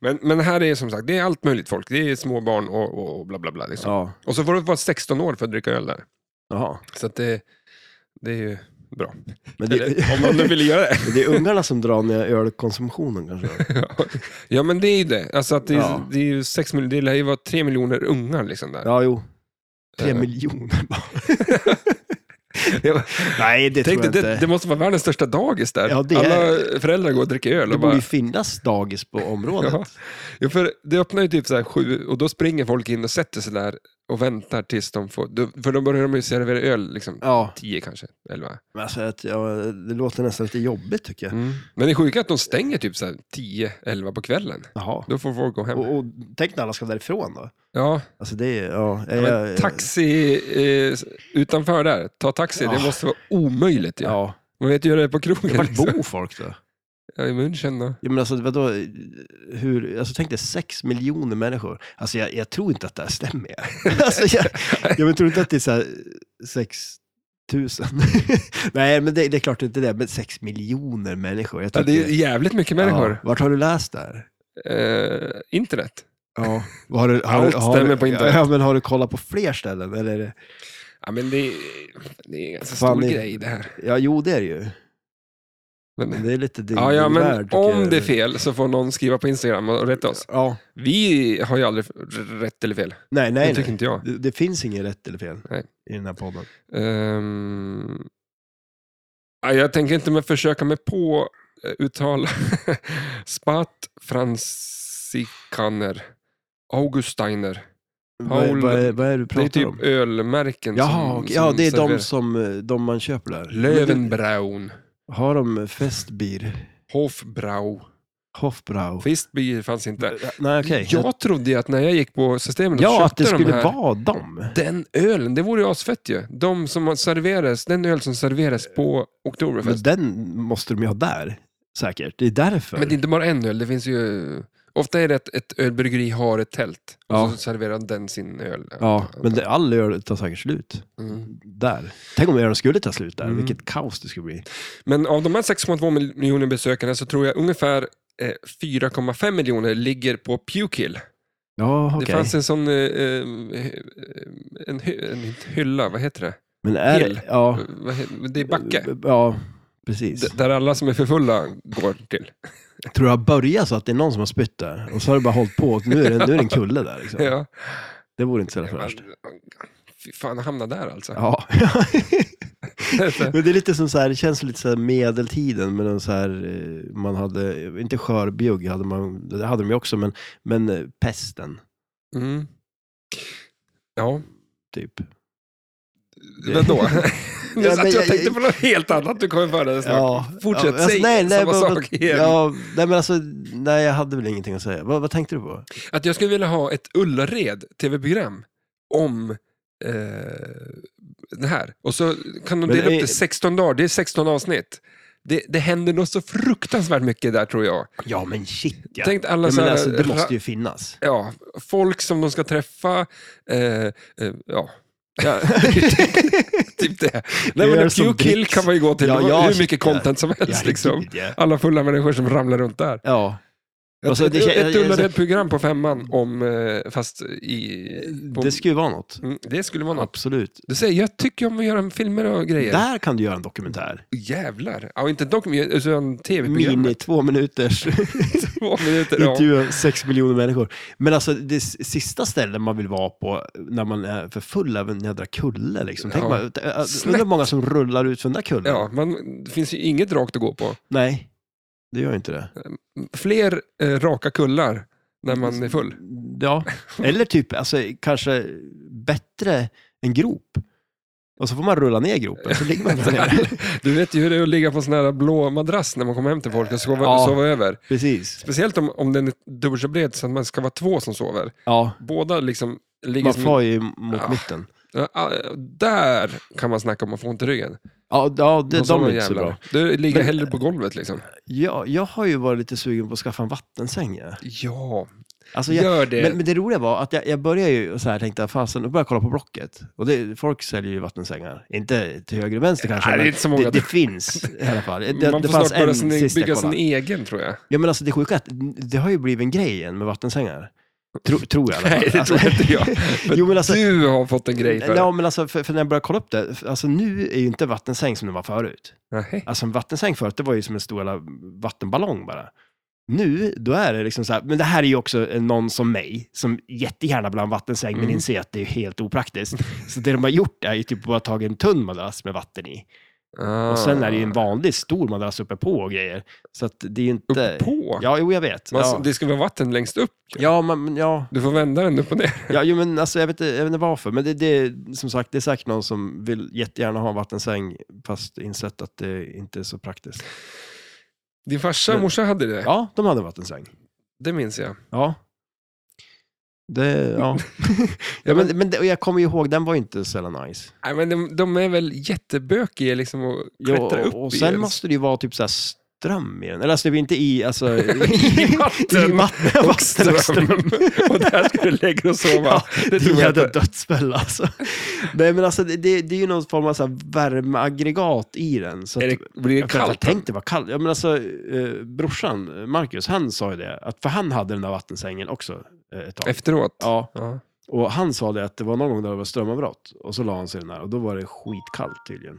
Men, men här är som sagt, det är allt möjligt folk. Det är små barn och, och, och bla bla bla. Liksom. Ja. Och så får du vara 16 år för att dricka öl där. Jaha. Så att det, det är ju bra. Men Eller, om man nu vill göra det. Men Det är ungarna som drar ner ölkonsumtionen kanske. ja, men det är ju det. Alltså att det, är, Ja. det är ju sex miljoner, det lär ju vara tre miljoner ungar liksom där. Ja, jo. Tre Eh. miljoner bara. Jag Nej, det tänkte, tror jag det, inte. det måste vara världens största dagis där. Ja, det Alla är- föräldrar går och dricker öl Det och borde bara... ju finnas dagis på området. Ja. Ja, för det öppnar ju typ så här sju och då springer folk in och sätter sig där och väntar tills de får... då- För då börjar de ju servera öl liksom Ja, tio kanske, elva. men alltså, att, ja, det låter nästan lite jobbigt tycker jag. Mm. Men det är sjuka att de stänger typ så här tio, elva på kvällen. Jaha. Då får folk gå hem. Och, och tänk när alla ska därifrån då. Ja, Alltså det är, ja. Ja, jag- men taxi eh, utanför där, ta taxi, det Ja. måste vara omöjligt. Ja. Ja. Man vet ju hur det är på krogen. Vart Liksom. bor folk då? Ja, I München då. Ja, men alltså, vadå, hur, alltså tänk dig sex miljoner människor. Alltså jag, jag tror inte att det här stämmer. alltså, jag, jag men, tror inte att det är så här sex tusen. Nej, men det, det är klart inte det. Men sex miljoner människor. Jag Ja, det är tycker- jävligt mycket människor. Ja, vart har du läst det här? Eh, internet. Ja. vad Har du, har, Allt du- har, stämmer du- på internet. Ja, men har du kollat på fler ställen? Eller? är det- Ja, men det, är- det är en ganska Fan, stor det- grej det här. Ja, jo det är det ju. Men Men, det är lite din ja, ja, värld, men tycker om jag. det är fel så får någon skriva på Instagram och rätta oss. Ja. Vi har ju aldrig r- rätt eller fel. Nej, det nej, tycker nej. inte jag. Det, det finns inget rätt eller fel Nej. i den här podden. Ehm, ja, jag tänker inte med försöka mig på eh, uttala Spat Fransikaner Augustiner. Paul- vad, vad, är, vad är det du Det är pratar typ om? ölmärken Jaha, som, okej. ja som det är serverar. de som eh, de man köper där. Men Löwenbraun, det- Har de eh, festbier? Hofbrau, Hofbrau? Fistbier fanns inte. Nej, okej. Jag trodde ju att när jag gick på systemet och ja, att köpte det skulle de här, vara dem. den ölen, det vore ju asfett ju. De som serveras, den öl som serveras på Men Oktoberfest. den måste de ju ha där, säkert. Det är därför. Men det är inte bara en öl, det finns ju... Ofta är det att ett ölbryggeri har ett tält och Ja. så serverar den sin öl. Ja, men det, all öl tar säkert slut Mm. där. Tänk om ölen skulle ta slut där, Mm. vilket kaos det skulle bli. Men av de här 6,2 miljoner besökarna så tror jag ungefär eh, 4,5 miljoner ligger på Pewkill. Ja, Det okej. fanns en sån eh, eh, en, hy- en hylla, vad heter det? Men är el. det... Ja. Vad he- Det är backe. Ja, precis. D- Där alla som är för fulla går till. Tror du det har börjat så att det är någon som har spytt där? Och så har det bara hållit på. Nu är det, nu är det en kulle där. Liksom. Ja. Det vore inte så jävla värst. Fy fan, hamna där alltså. Ja. Men det är lite som så här, det känns lite så här medeltiden med den så här, eh, man hade, inte skörbjugg hade man, det hade de ju också, men, men eh, pesten, Mm. Ja, typ. vadå? Nu Ja, satt men jag och jag- tänkte på något helt annat du kommer föra dig snart. Fortsätt, alltså, säg samma men- sak igen. Ja, nej, men alltså, nej, jag hade väl ingenting att säga. Vad, vad tänkte du på? Att jag skulle vilja ha ett Ullared tv-program om eh, det här. Och så kan de Men dela upp är- det 16 dagar, det är 16 avsnitt. det, det händer något så fruktansvärt mycket där tror jag. Ja, men shit ja. Tänk alla ja så men här, eh, alltså, det ra- måste ju finnas. ja, folk som de ska träffa. Eh, eh, ja. typ det. Nej, Gör men Q som Kill Brix. kan man ju gå till. Ja, Det var ja, hur shit, mycket ja. content som helst. liksom. riktigt, ja. Alla fulla människor som ramlar runt där. ja. Ett, Och så ett, det kän- ett alltså- ullared program på femman, om, eh, fast i... På, Eh, Det skulle ju vara något. Mm, det skulle vara något. Absolut. Du säger, jag tycker om att göra filmer och grejer. Där kan du göra en dokumentär. Jävlar. Ja, inte dokumentär, utan tv-program. Mini, två minuters Två minuter. Ja. intervju av sex miljoner människor. Men alltså det s- sista stället man vill vara på när man är för full är väl en jädra kulle. Liksom. Tänk Ja. man, t- äh, undrar Snett. hur många som rullar ut från den där kullen. Ja, man, det finns ju inget rakt att gå på. Nej, det gör inte det. Fler eh, raka kullar när man är full. Ja. Eller typ alltså, kanske bättre en grop. Och så får man rulla ner i gropen, så ligger man där nere. Du vet ju hur det är att ligga på en sån här blå madrass när man kommer hem till folk och sova, Ja. sova över. Precis. Speciellt om, om den är dubbelt så bred så att man ska vara två som sover. Ja, Båda liksom ligger man som... far ju mot Ja. mitten. Ja, ah, Där kan man snacka om att få ont i ryggen. Ja, ja det, De de såna är inte så jävlar. bra. Du ligger Men- hellre på golvet liksom. Jag, jag har ju varit lite sugen på att skaffa en vattensäng. ja. Ja, Alltså, jag, gör det. Men, men det roliga var att jag, jag började ju så här, tänkte fasen, nu börjar jag kolla på Blocket. Och det, folk säljer ju vattensängar. Inte till höger och vänster kanske, Nej, det är men inte så många. det, det finns i alla fall. Det, man det får fanns snart börja en sin, sist bygga jag sin kollade. egen tror jag. Ja, men alltså det sjuka är att det har ju blivit en grej igen med vattensängar. Tro, tror jag i alla fall. Nej, det Alltså, tror inte jag. Men Jo, men alltså- du har fått en grej för det. Ja, men alltså, för, för när jag började kolla upp det, för- alltså nu är ju inte vattensäng som det var förut. Nej. Alltså en vattensäng förut, det var ju som en stor jävla vattenballong bara. Nu, då är det liksom så här, men det här är ju också en- någon som mig, som jättegärna bland vattensäng, Mm. men inser att det är helt opraktiskt. Så det de har gjort är ju typ bara tagit en tunn madrass med vatten i. Ah. Och sen är det ju en vanlig stor madrass uppe på och grejer. Så att det är ju inte... Upp på? Ja, jo, jag vet. Man, Ja, Det ska vara vatten längst upp. ja, men, men ja, Du får vända den upp och ner. Ja, jo, men alltså, jag, vet, inte- jag vet inte varför, men det, det är som sagt, det är säkert någon som vill jättegärna ha en vattensäng, fast insett att det inte är så praktiskt. Din farsa och Men- morsa hade det. Ja, de hade en vattensäng. Det minns jag. Ja. Det, ja. Ja, ja, men- men, men det, och jag kommer ju ihåg, den var ju inte så jävla nice. Nej, men de, de är väl jättebökiga liksom att Jo, klättra upp och, och i sen en- måste det ju vara typ så här ström i den. Eller alltså, det är inte i, alltså... I vatten. I alltså. vatten, och vatten och ström. ström. och där ska du lägga och sova. Ja, det Det är tror en jag jävla inte. dödsfälla alltså. Nej men alltså det, det, det är ju någon form av så här värmeaggregat i den. Så Är att, det, blir det Jag kallt. kallt? tänkte vara kallt. Ja, men alltså, eh, brorsan, eh, Marcus, han sa ju det. Att, för han hade den där vattensängen också eh, ett tag. Efteråt? Ja, Ja. och han sa det att det var någon gång där det var strömavbrott. Och så la han sig i den där och då var det skitkallt tydligen.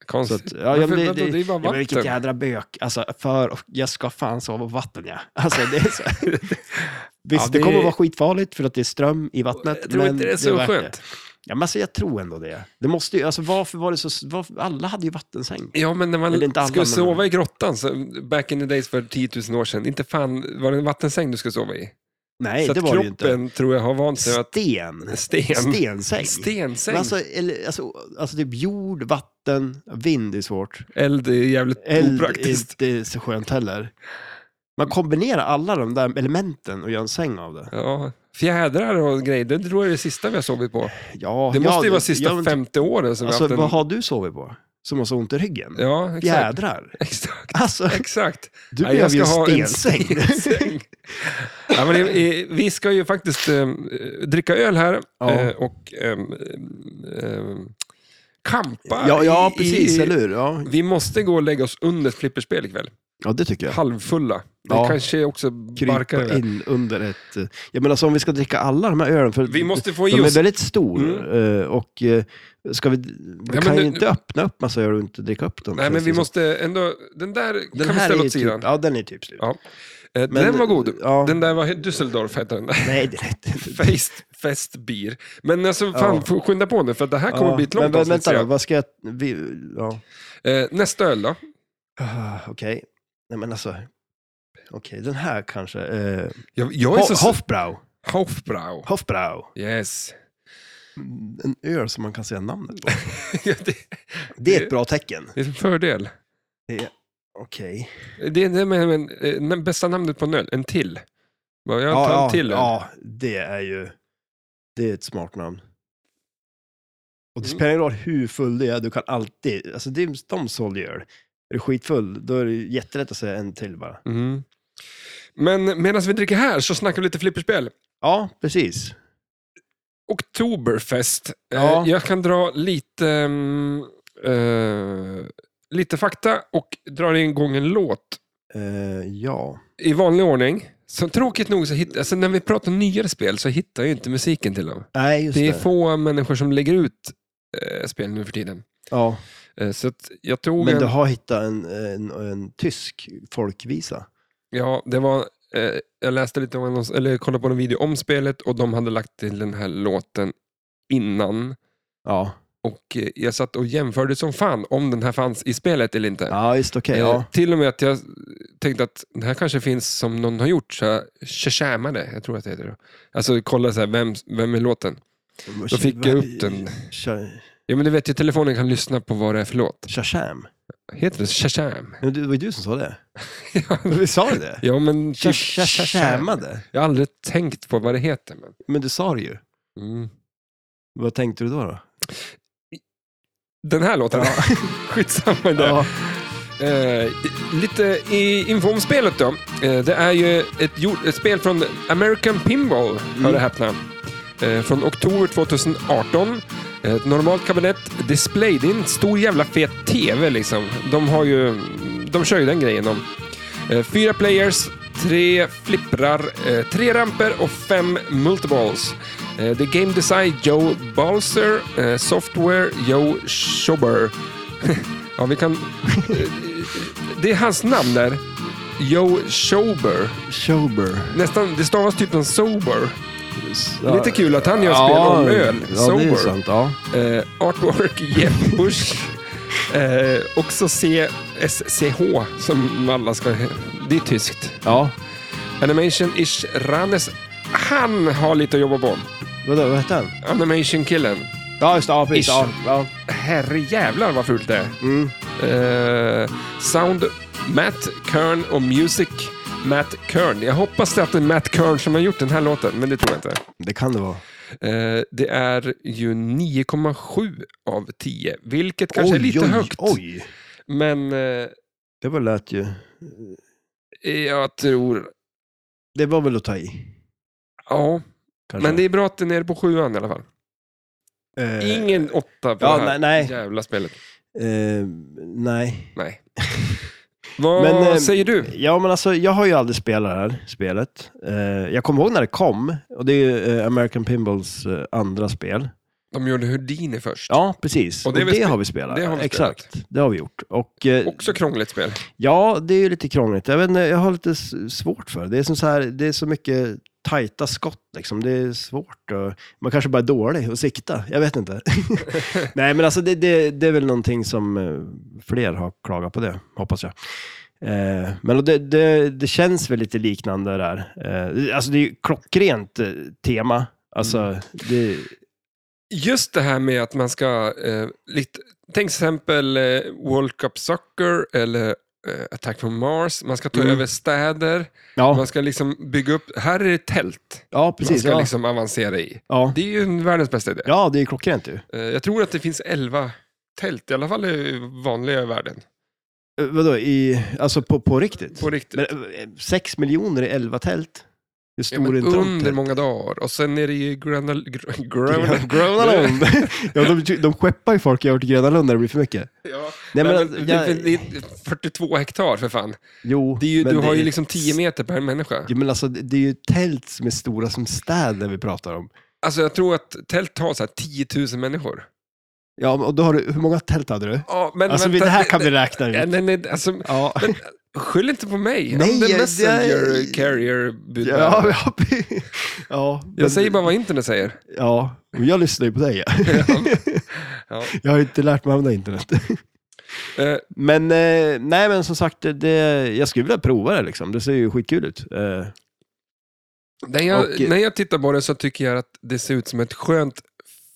Så Konstigt. att, ja, ja, Varför- men det, vadå? det, Det är bara ja, men vilket vatten. jädra bök. Alltså, för, jag ska fan sova på vatten ja. Alltså, det är så. Visst, Ja, det... det- kommer vara skitfarligt för att det är ström i vattnet. Jag tror men inte det är är så värt skönt. Ja, men alltså, jag tror ändå det. det måste ju, alltså, varför var det så... Varför, alla hade ju vattensäng. Ja, men när Eller man inte alla, skulle men- sova i grottan, så back in the days för 10 000 år sedan, inte fan var det en vattensäng du skulle sova i. Nej, så det att var det ju kroppen inte. tror jag har vant sig att Sten. sten, Stensäng. stensäng, Men alltså, eller, alltså, alltså typ jord, vatten, vind är svårt. eld är jävligt Eld är opraktiskt. inte så skönt heller. Man kombinerar alla de där elementen och gör en säng av det. Ja, fjädrar och grejer, det tror jag är det sista vi har sovit på. Ja, Det ja, måste ju vara sista men- typ- 50 åren som Alltså, vi vad haft en... har du sovit på? Som har så ont i ryggen? Ja, exakt. Jädrar. Exakt. Alltså, Exakt. du Nej, jag behöver ju ska ha en en stensäng. stensäng. ja, men, eh, eh, vi ska ju faktiskt eh, dricka öl här Ja. eh, och eh, eh, kampa. ja, ja, i- precis, i- eller hur? Ja. Vi måste gå och lägga oss under ett flipperspel ikväll. ja, det tycker jag. Halvfulla. Det Ja. kanske också barkar Krypa över. in under ett... eh, Jag menar, så om vi ska dricka alla de här ölen, för Vi måste få i de är oss... väldigt stor. Mm. eh, Och eh, ska vi... Vi men kan nu- ju inte öppna upp massa öl och inte dricka upp dem. Nej, känns men det vi som. måste ändå... Den där Den kan vi här ställa är åt typ- sidan. Ja, den är typ slut. Ja, Eh, Men- den var god. Ja. Den där var Düsseldorf, hette den. där. Nej, det är inte. Feist, fest, bier. Men alltså, fan, Ja. får skynda på nu, för det här kommer Ja, bli ett långt Men avsnitt. vänta ser då, jag. vad ska jag... Vi, ja. Eh, nästa öl då? Ah, Okej. Nej, men alltså... Okej, den här kanske. Eh, Jag, jag är Ho- så... Hofbrau. Hofbrau. Hofbrau. Yes. En öl som man kan säga namnet på. Ja, det, Det är ett bra tecken. det är en fördel. Okej. Det är det med, men, eh, men, bästa namnet på en öl, en till. Bara, Jag tar Ja, en ja, till öl. ja, det är ju... Det är ett smart namn. Och det Mm. spelar ingen roll hur full du är, du kan alltid... Alltså, det är, de sålde ju öl. Är du skitfull, då är det ju jättelätt att säga en till bara. Mm. Men medan vi dricker här så snackar vi lite flipperspel. Ja, precis. Oktoberfest. Ja. Eh, Jag kan dra lite, mm, eh, lite fakta och dra igång en låt Eh, ja. i vanlig ordning. Så tråkigt nog, så hitt, alltså när vi pratar nyare spel så hittar jag ju inte musiken till dem. Nej, just Det det. är få människor som lägger ut eh, spel nu för tiden. ja. Eh, så att jag tog Men en... du har hittat en, en, en tysk folkvisa. Ja, det var... Eh, jag läste lite om annons, eller kollade på en video om spelet och de hade lagt till den här låten innan. Ja, Och eh, jag satt och jämförde som fan om den här fanns i spelet eller inte. ja just okej. Eh, ja. till och med att jag tänkte att den här kanske finns som någon har gjort, så jag shazamade, jag tror att det heter det. Alltså kolla så här, vem, vem är låten? Då fick jag upp den. Sha- Ja men du vet ju, telefonen kan lyssna på vad det är för låt. Shazam? Heter det shazam? Men det var ju du som sa det. Ja. Men Vi sa ju det? Ja men... Du typ Shazamade? Jag har aldrig tänkt på vad det heter. Men... Men du sa det ju. Mm. Vad tänkte du då? då? Den här låten. Ja. Skitsamma där. Eh, lite i info om spelet då. Eh, det är ju ett, jord- ett spel från American Pinball, hör Mm. det häpna. Eh, från oktober 2018. Eh, Ett normalt kabinett, display, det är en stor jävla fet TV liksom. De har ju, de kör ju den grejen de. Eh, fyra players, tre flipprar, eh, tre ramper och fem multiballs. Eh, det är game design Joe Balser, eh, software Joe Schober. ja, vi kan... det är hans namn där. Joe Schober. Sober. Nästan, det stavas typ som sober. Ja. Lite kul att han gör spel om öl. Ja, det är Sober. ju sant. Ja. Eh, artwork Jeff Bush. Eh, också CSCH som alla ska... Det är tyskt. ja. Animation Ish Ranes. Han har lite att jobba på. Vadå, vad hette han? Animation-killen. Ja, just det. Ja, precis. Ish. Ja, ja. Herrejävlar vad fult det är. Mm. Eh, sound Matt Kern och Music Matt Kern. Jag hoppas att det är Matt Kern som har gjort den här låten, men det tror jag inte. Det kan det vara. Eh, det är ju 9,7 av 10, vilket kanske är lite oj, högt. Oj, Men eh, det var lät ju... jag tror... Det var väl att ta i. Ja, Kanske. men det är bra att den är nere på sjuan i alla fall. Eh, Ingen åtta på ja, det här nej, nej. jävla spelet. eh, nej. Nej. Vad Men, eh, säger du? Ja, men alltså jag har ju aldrig spelat det här spelet. Eh, jag kommer ihåg när det kom. Och det är ju eh, American Pinballs eh, andra spel. De gjorde Houdini först. Ja, precis. Och Och det det, är väl spe- har vi spelat. det har vi spelat. Exakt, det har vi gjort. Och, eh, Också krångligt spel. Ja, det är ju lite krångligt. Jag, vet inte, jag har lite s- svårt för det. Det är, som så här, det är så mycket tajta skott. Liksom. Det är svårt. Och, man kanske bara är dålig att sikta. Jag vet inte. Nej, men alltså det, det, det är väl någonting som eh, fler har klagat på det, hoppas jag. Eh, men det, det, det känns väl lite liknande där. Eh, alltså det är ju klockrent eh, tema. Alltså, Mm. det, Just det här med att man ska... Eh, lite, tänk till exempel eh, World Cup Soccer eller eh, Attack from Mars. Man ska ta Mm. över städer. ja, Man ska liksom bygga upp... Här är det tält ja, precis. man ska Ja, liksom avancera i. ja. Det är ju en världens bästa idé. ja, det är ju klockrent ju. Eh, jag tror att det finns 11 tält, i alla fall i vanliga världen. Eh, vadå, i, alltså på, på riktigt? På riktigt. Men, eh, sex miljoner i elva tält? Hur Ja, stor men är inte de? under tälten? många dagar. Och sen är det ju Gröna... Gr- Ja, Gröna Gröna Lund. ja, de, de skeppar ju folk över till Gröna Lund när det blir för mycket. ja. Nej, men, Nej, men, jag- det, det är 42 hektar för fan. Jo, Det är ju, men du har det ju är- liksom 10 meter per människa. Jo, men alltså, det det är ju tält som är stora som städer vi pratar om. Alltså jag tror att tält tar så här 10 000 människor. Ja, och då har du, hur många tält hade du? Ja, men alltså, vänta, det här det- kan vi räkna Nej, ut. nej, nej, alltså, Ja, men, skyll inte på mig. Nej, Nej, I'm the jag- messenger jag- carrier ja, budbärare. ja, ja men- Jag säger bara vad internet säger. Ja, men jag lyssnar ju på dig. ja. Ja. Jag har ju inte lärt mig använda internet. Eh, Men, eh, nej men som sagt, det, det, jag skulle vilja prova det liksom. Det ser ju skitkul ut. Eh, när, jag, Och- när jag tittar på det så tycker jag att det ser ut som ett skönt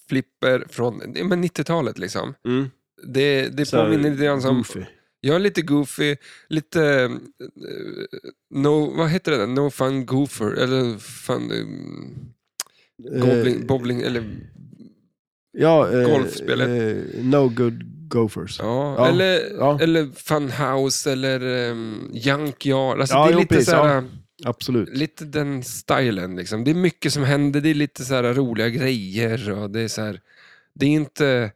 flipper från ja, men 90-talet. Liksom. mm. Det, det Så här, påminner lite grann som... goofy. Jag är lite goofy, lite... eh, no, vad heter det? där? No fun goofer, eller fun... Um, Eh, gobbling, bobbling, eller... ja, eh, golfspelet. eh, no good Gophers. Ja, Ja, eller, ja. eller Funhouse eller um, Junkyard. Alltså, Ja, det är jo, lite, precis, så här, Absolut. lite den stilen. Liksom. Det är mycket som händer, det är lite så här roliga grejer. Och det, är så här, det är inte...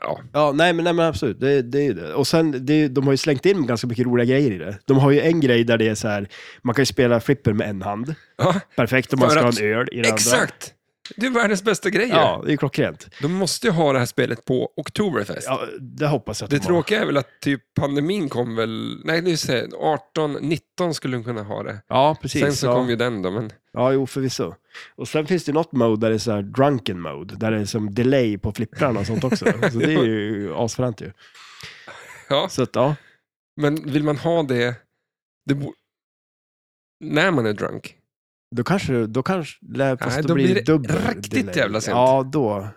Ja, Ja, nej men, nej, men absolut. Det, det är ju det. Och sen, det, är- de har ju slängt in ganska mycket roliga grejer i det. De har ju en grej där det är så här, man kan ju spela flipper med en hand. ja Perfekt om man För ska ha att- en öl i den andra. exakt! Det är världens bästa grejer. Ja, det är ju klockrent. De måste ju ha det här spelet på Oktoberfest. Ja, det hoppas jag att Det de har. tråkiga är väl att typ pandemin kom väl... Nej, nu säger jag 18, 19 skulle de kunna ha det. Ja, precis. Sen så ja. kom ju den då, men... ja, jo förvisso. Och sen finns det något mode där det är så här drunken mode, där det är som delay på flipprarna och sånt också. Så det är ju asfränt ju. Ja. Så att, ja. Men vill man ha det, det bo- när man är drunk? Då kanske, då kanske, lär- fast Nej, då, då blir blir det det dubbel riktigt delay. jävla sent. Ja, då.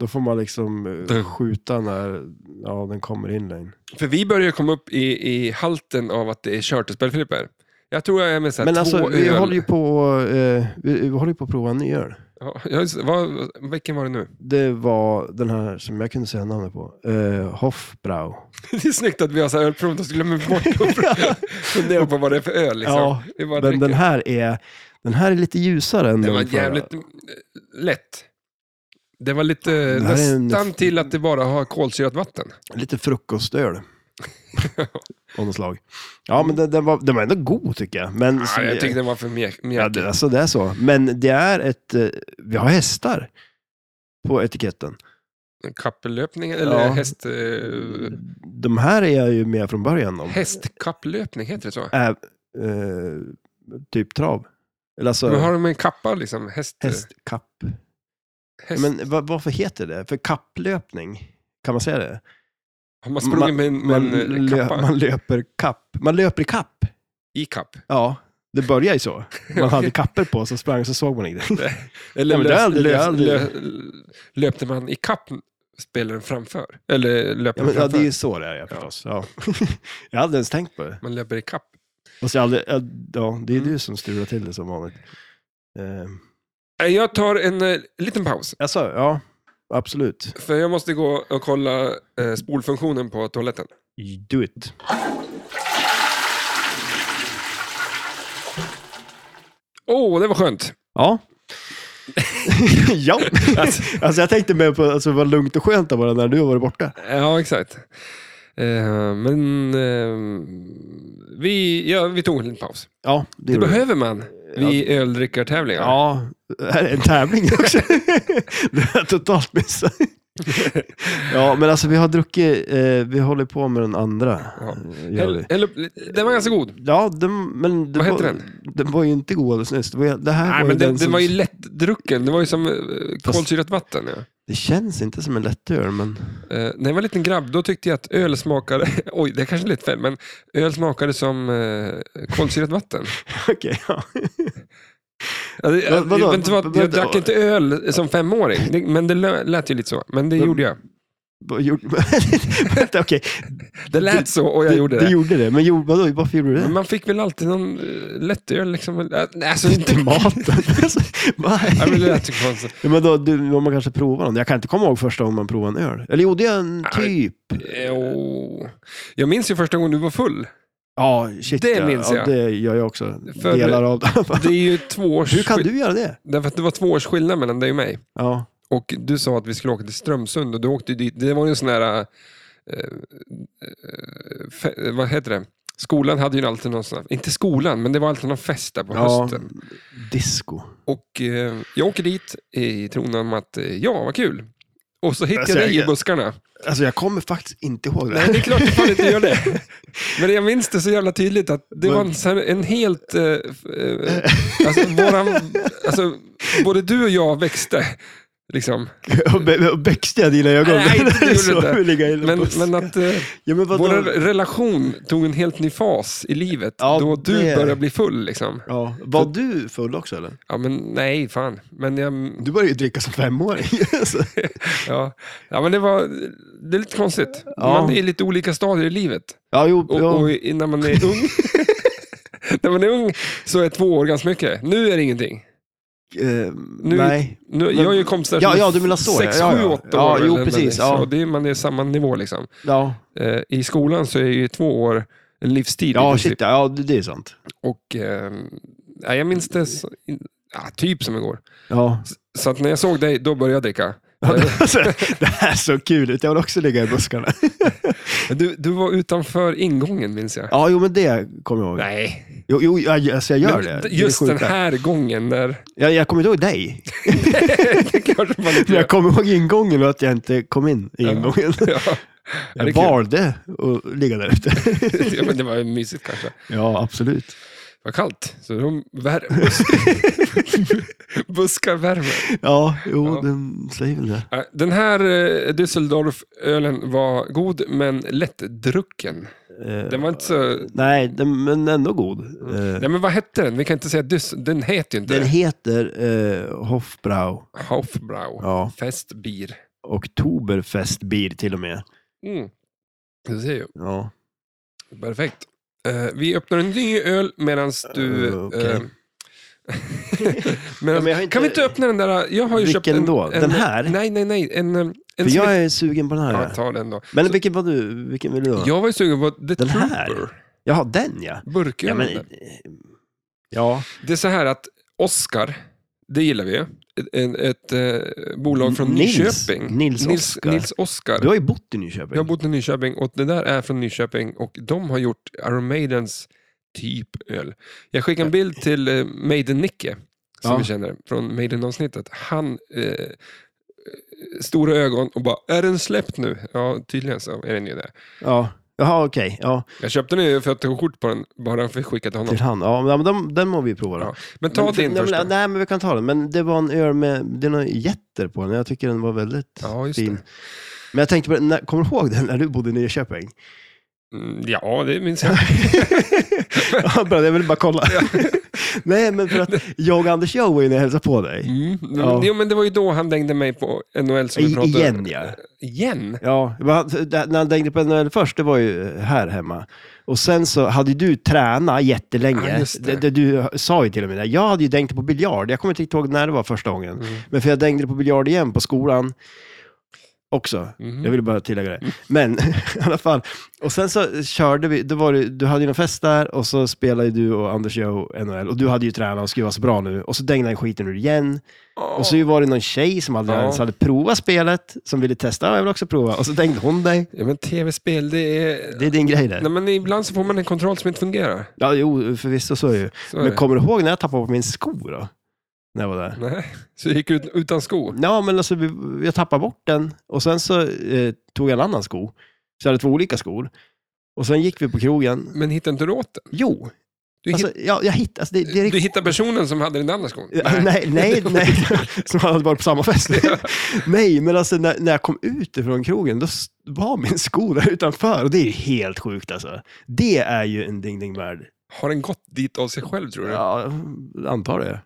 Då får man liksom eh, Dum. skjuta när ja, den kommer in lane. För vi börjar komma upp i, i halten av att det är kört och spelfilipper. Jag tror jag är med så här Men två alltså, vi öl. håller ju på, eh, vi, vi håller ju på att prova en ny öl. Ja, just, vad, vilken var det nu? Det var den här som jag kunde säga namnet på. Eh, Hofbrau. det är snyggt att vi har så här ölprovning och så glömmer vi bort att fundera på vad det är för öl. Liksom. Ja, det var Men den här, är, den här är lite ljusare än det den var förra. jävligt eh, lätt. Det var lite här är en- nästan till att det bara har kolsyrat vatten. Lite frukostöl. Av något slag. Ja, men den, den, var, den var ändå god tycker jag. Men, Ah, jag tyckte den var för mjäk- ja, mjäkig. det, alltså, det är så. Men det är ett... eh, Vi har hästar på etiketten. Kapplöpning eller Ja. häst... eh, De här är jag ju med från början om. Hästkapplöpning, heter det så? Äh, eh, typ trav. Eller alltså Men har de en kappa liksom? Häst, hästkapp. häst. Men vad, varför heter det? För kapplöpning, kan man säga det? har man sprungit med, en- med man, en lö- kappa? man löper kapp. Man löper i kapp. I kapp? Ja, det börjar ju så. Man hade kapper på så sprang så såg man ingenting. Eller Ja, men det har jag aldrig- det har jag aldrig- lö- löpte man i kapp spelaren framför? Eller löpte Ja, man men, ja, framför? det är ju så det är ja, förstås. Ja. jag hade ens tänkt på det. Man löper i kapp. Fast jag aldrig, ja, ja, det är Mm. du som strular till det som vanligt. Eh, Eh, Jag tar en eh, liten paus, alltså, ja, absolut. för jag måste gå och kolla eh, spolfunktionen på toaletten. Do it. Åh, oh, det var skönt! Ja. ja. Alltså jag tänkte mer på alltså, vad lugnt och skönt det var när du har varit borta. Ja, exakt. Eh, men eh, vi, ja, vi tog en liten paus. Ja, det, Det gjorde du. behöver man vid öldrickartävlingar. Ja, här är en tävling också. det har jag totalt missat. ja, men alltså vi har druckit, eh, vi håller på med den andra. Ja. eh, Gör vi. Häll- häll upp- Den var ganska god. Ja, den, men det Vad var, heter den? Den var ju inte god alldeles nyss. Det, var, ju- det här Nej, men var ju den, den, den som, var ju lättdrucken. Det var ju som eh, Fast- kolsyrat vatten. Ja. Det känns inte som en lättöl, men... Eh, när jag var liten grabb, då tyckte jag att öl smakade... Oj, det kanske är lite fel, men öl smakade som eh, kolsyrat vatten. Okej, ja. Ja, det- Va- vadå? jag, vet inte vad- jag Vänta, drack inte öl som femåring, det, men det lö- lät ju lite så. Men det Men- gjorde jag. Vad gjorde- Vänta, okej. Det lät så och jag Du- gjorde Du det. gjorde det, men gjorde, vadå, varför gjorde du det? Men man fick väl alltid någon eh, lättöl. Liksom. Eh, nej, Alltså, Inte maten. Alltså, va? Nej, men det lät ju konstigt. Ja, men då, du, om man kanske provar någon. Jag kan inte komma ihåg första gången man provade en öl. Eller gjorde jag en Nej. typ? Jo. Jag minns ju första gången du var full. Ja, shit. Det ja. minns Ja, jag. det gör jag också. För- Delar av det. Det är ju två års Hur kan du göra det? Därför att det var två års skillnad mellan dig och mig. Ja, Och du sa att vi skulle åka till Strömsund och du åkte dit. Det var ju en sån här... Eh, eh, fe- eh, vad heter det? Skolan hade ju alltid någon sån här, inte skolan, men det var alltid någon fest där på ja hösten. disco. Och eh, jag åker dit i tron om att, eh, ja vad kul. Och så hittar Alltså, jag dig i jag- buskarna. Alltså jag kommer faktiskt inte ihåg det. Nej, det är klart du fan inte gör det. Men jag minns det så jävla tydligt att det Men- var en, så här- en helt... Eh, f- eh, alltså, våran, alltså, både du och jag växte. Liksom. Och be- och Växte jag dina ögon? Nej, det gjorde Så du inte. vill jag illa Men, puss. men att eh, ja, men vadå? vår relation tog en helt ny fas i livet. Ja, då du det- började bli full. Liksom. Ja, var du full också eller? Ja, men nej, fan. Men, jag, Du började ju dricka som femåring. Alltså. ja, ja, men det var... Det är lite konstigt. Ja. Man är i lite olika stadier i livet. ja, jo. Och, ja. och i- när man är ung... När man är ung så är två år ganska mycket. Nu är det ingenting. eh, Nu- nej. Nu, jag har ju kompisar Ja, som ja, är du menar så, sex, ja, ja. sju, åtta Ja, år. jo, eller- precis, så ja. det, är- man är samma nivå liksom. Ja, Eh, I skolan så är ju två år en livstid. i ja princip. shit, ja, ja, det det är sant. Och, eh, nej, jag minns det så, ja, typ som igår. Ja. Så att när jag såg dig, då började jag dricka. Eh, Alltså, det här är så kul ut, jag vill också ligga i buskarna. Du, du var utanför ingången minns jag. Ja, jo men det kommer jag ihåg. Nej, Jo, jo jag- alltså jag gör Men det. d- det. är just sjukt den där. här gången när... Jag, jag kommer inte ihåg dig. det kanske man inte Men jag gör. kommer ihåg ingången och att jag inte kom in i Ja. ingången. Ja. Ja, det är Jag kul. valde att ligga där ute. Ja, men det var ju mysigt kanske. Det Ja, absolut. var kallt, så de vär... buskar värmer. Ja, jo, Ja. den säger väl det. Äh, Den här eh, Düsseldorf-ölen var god, men lättdrucken. Eh, Den var inte så... Nej, den, men ändå god. Eh, Nej, men vad hette den? Vi kan inte säga Düs... Den heter ju inte Den det. heter eh, Hofbrau Hofbrau. ja. Festbier. och Toberfestbier till och med. Mm. Du ser ju. Ja. Perfekt. Eh, vi öppnar en ny öl medan du... Eh, okej. eh, medans- Ja, men jag har inte- Kan vi inte öppna den där? Jag har ju Vilken köpt en, då? en... Den här? Nej, nej, nej. En, en För som jag är sugen på den Ja, här. ta den då. Men vilken var du? Vilken vill du ha? Jag var ju sugen på The Den Trooper. här? Jaha, den ja. Ja, Burkölen. men, där. ja. Det är så här att Oscar, det gillar vi ju. Ett, en- ett eh, bolag från Nils. Nyköping. Nils Oscar. Nils Oscar. Du har ju bott i Nyköping. Jag har bott i Nyköping och det där är från Nyköping och de har gjort Iron Maidens typ öl. Jag skickade en bild till eh, Maiden Nicke, som Ja. vi känner, från Maiden-avsnittet. Han, eh, eh, stora ögon och bara, är den släppt nu? Ja, tydligen så är den ju det. Ja. Jaha, okej. Ja, Jag köpte den ju för att jag tog kort på den, bara för att skicka till honom. till han. Ja, men den, den må vi prova då. Ja. Men ta men, din nej, första. Men, nej, men vi kan ta den. Men det var en öl med, det är några jätter på den. Jag tycker den var väldigt Ja, just fin. det. Men jag tänkte på, den- när, kommer du ihåg den när du bodde i Nyköping? Mm, ja, det minns jag. Ja, bra, jag ville bara kolla. Nej, men för att jag och Anders Joe var ju när jag hälsade på dig. Mm. Men- Ja. Jo, men det var ju då han dängde mig på NHL som vi I, pratade igen ja. Igen? ja men han- det- när han dängde på NHL först, det var ju här hemma. Och sen så hade ju du tränat Ja, jättelänge. just det. det. Det, du sa ju till och med det. Jag hade ju dängt på biljard. Jag kommer inte riktigt ihåg när det var första gången. Mm. Men för jag dängde på biljard igen på skolan också. Mm. Jag ville bara tillägga det. Men i alla fall. Och sen så körde vi, då var det, du hade ju en fest där och så spelade ju du och Anders Joe NHL och du hade ju tränat och skulle vara så bra nu. Och så dängde han skiten ur igen. Och så var det någon tjej som aldrig Ja. ens hade provat spelet, som ville testa, ja, jag vill också prova. Och så dängde hon dig. Ja, men tv-spel, det är... Det är din grej där. Nej, men ibland så får man en kontroll som inte fungerar. Ja, jo, förvisso så är det ju. Så är Men det. kommer du ihåg när jag tappade på min sko då? När jag var där? Nej, så jag gick ut utan sko. Ja, men alltså vi, jag tappade bort den och sen så eh, tog jag en annan sko. Så jag hade två olika skor. Och sen gick vi på krogen. Men hittade inte du åt den? Jo, Du, alltså, ja, jag hittade... Alltså, det, det hitt- är du riktigt... hittade personen som hade den andra skon? Nej, nej, nej. nej. Som hade varit på samma fest. nej, men alltså när, när jag kom ut ifrån krogen, då s- var min sko där utanför. Och det är ju helt sjukt alltså. Det är ju en ding ding värld. Har den gått dit av sig själv, tror du? Ja, jag antar det.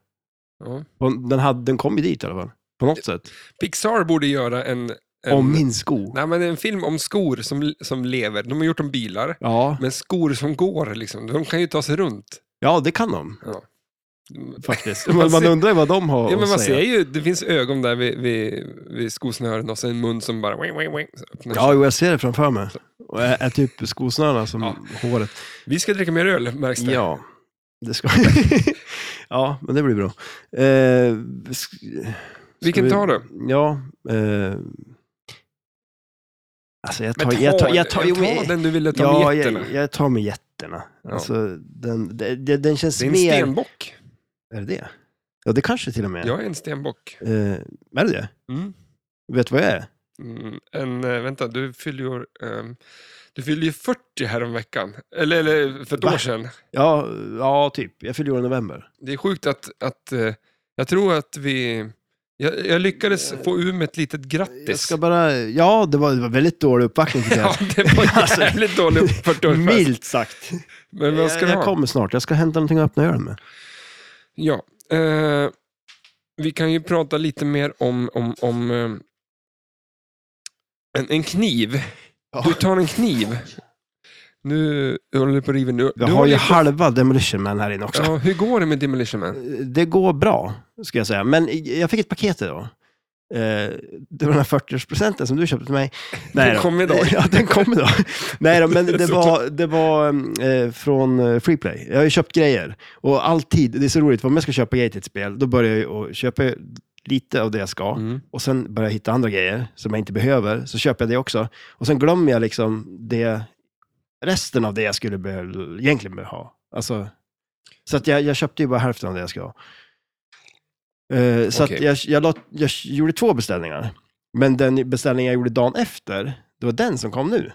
Ja. Och Den, hade, den kom ju dit i alla fall. På något sätt. Pixar borde göra en... en Om min sko. Ehm, Nej, men en film om skor som, som lever. De har gjort om bilar, Ja, men skor som går, liksom. de kan ju ta sig runt. ja, det kan de. Mm. faktiskt. Man Man, man ser- undrar ju vad de har Ja, men att man ser säga. ju, det finns ögon där vid, vid, vid skosnören och sen en mun som bara... Wing, wing, wing, så öppnar sig. Ja, jo, jag ser det framför mig. Och är, är typ skosnörena som Ja. håret. Vi ska dricka mer öl, märks det. Ja, det ska Ja, men det blir bra. Eh, sk- ska Vilken tar du? Ja. Eh, alltså jag Men tar... Jag tar, jag tar, jo, men- ta den du ville ta ja, med jätterna. jag, jag tar med jätterna. Ja. Alltså, den, det- det- den känns det är en mer... stenbock. Är det det? Ja, det kanske till och med. Jag är en stenbock. Eh, är det det? Mm. Vet du vad jag är? Mm. En, eh, vänta, du fyller ju... ehm, du fyller ju 40 häromveckan. Eller, eller för ett Va? år sedan. Ja, ja typ. Jag fyller år i november. Det är sjukt att... att eh, jag tror att vi... Jag, jag lyckades få ur mig ett litet grattis. Eh, Jag ska bara... Ja, det var, det var väldigt dålig uppvaktning tycker jag. Ja, det var Alltså, jävligt dåligt 40-årsfest. Milt sagt. Men vad ska jag du jag ha? kommer snart. Jag ska hämta någonting att öppna ölen med. Ja, eh, vi kan ju prata lite mer om, om, om eh, en, en kniv. Ja. Du tar en kniv. Nu håller du på att riva nu. Vi du har ju håller på- halva Demolition Man här inne också. Ja, hur går det med Demolition Man? Det går bra, ska jag säga. Men jag fick ett paket idag. Eh, Det var den här 40-årspresenten som du köpte till mig. då. kom idag. ja, den kom idag. Nej då, men det Så var, det var eh, från eh, Freeplay. Jag har ju köpt grejer. Och alltid, det är så roligt, om jag ska köpa grejer till ett spel, då börjar jag ju och köpa lite av det jag ska. Mm. Och sen börjar jag hitta andra grejer som jag inte behöver, så köper jag det också. Och sen glömmer jag liksom det, resten av det jag skulle behö- egentligen behöva ha. Alltså, så att jag, jag köpte ju bara hälften av det jag ska ha. Eh, så att Okej. jag, jag, la, jag gjorde två beställningar. Men den beställning jag gjorde dagen efter, det var den som kom nu.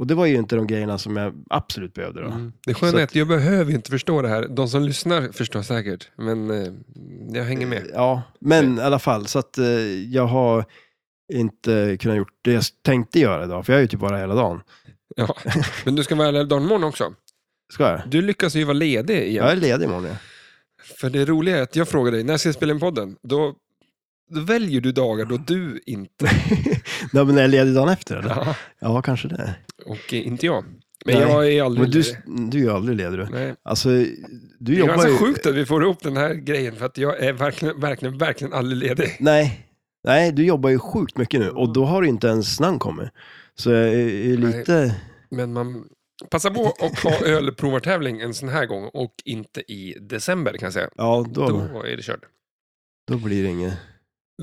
Och det var ju inte de grejerna som jag absolut behövde då. Mm. Det sköna Så är att- att jag behöver ju inte förstå det här. De som lyssnar förstår säkert, men eh, jag hänger med. Ja, men i alla fall, så att eh, jag har inte kunnat gjort det jag tänkte göra idag, för jag är ju typ bara hela dagen. Ja. Men du ska vara ledig dagen imorgon också. Ska jag? Du lyckas ju vara ledig igen. Jag är ledig imorgon. Ja. För det roliga är att jag frågar dig, när ska jag spela in podden? Då, då väljer du dagar då du inte... Nej, men är jag ledig dagen efter eller? Ja, Ja. kanske det. Och eh, inte jag. Men Nej. jag är aldrig Men du, ledig. du är ju aldrig ledig du. Nej. Alltså, du Det är jobbar ganska ju... sjukt att vi får ihop den här grejen för att jag är verkligen, verkligen, verkligen aldrig ledig. Nej. Nej, du jobbar ju sjukt mycket nu och då har du inte ens namn kommit. Så jag är är Nej. lite... Men man passar på och ha ölprovartävling en sån här gång och inte i december kan jag säga. Ja, då, Då är det kört. då blir det inget.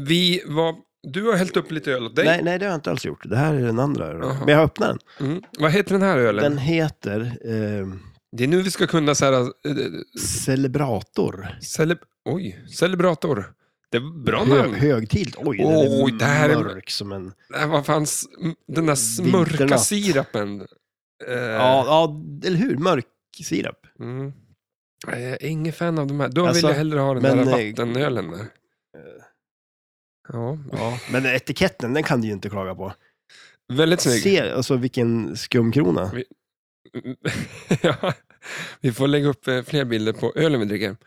Vi var, du har hällt upp lite öl åt dig. Nej, nej, det har jag inte alls gjort. Det här är den andra. då. Jaha. Men jag öppnar den. Mm. Vad heter den här ölen? Den heter ehm, Det är nu vi ska kunna så här, eh, Celebrator. celeb... Oj, celebrator. Det var bra Hö, namn. högtilt. Oj, Oj, den det här är är- mörk som en... Det här var fanns den där smörka Vinternatt. sirapen. Eh, Ja, ja, eller hur? Mörk sirap. Mm. Nej, Jag är ingen fan av de här. Då Alltså, vill jag hellre ha den men, där eh, vattenölen. Där. Ja, Ja, men etiketten, den kan du ju inte klaga på. väldigt snygg. Se, alltså vilken skumkrona. ja. Vi får lägga upp eh, fler bilder på ölen vi dricker.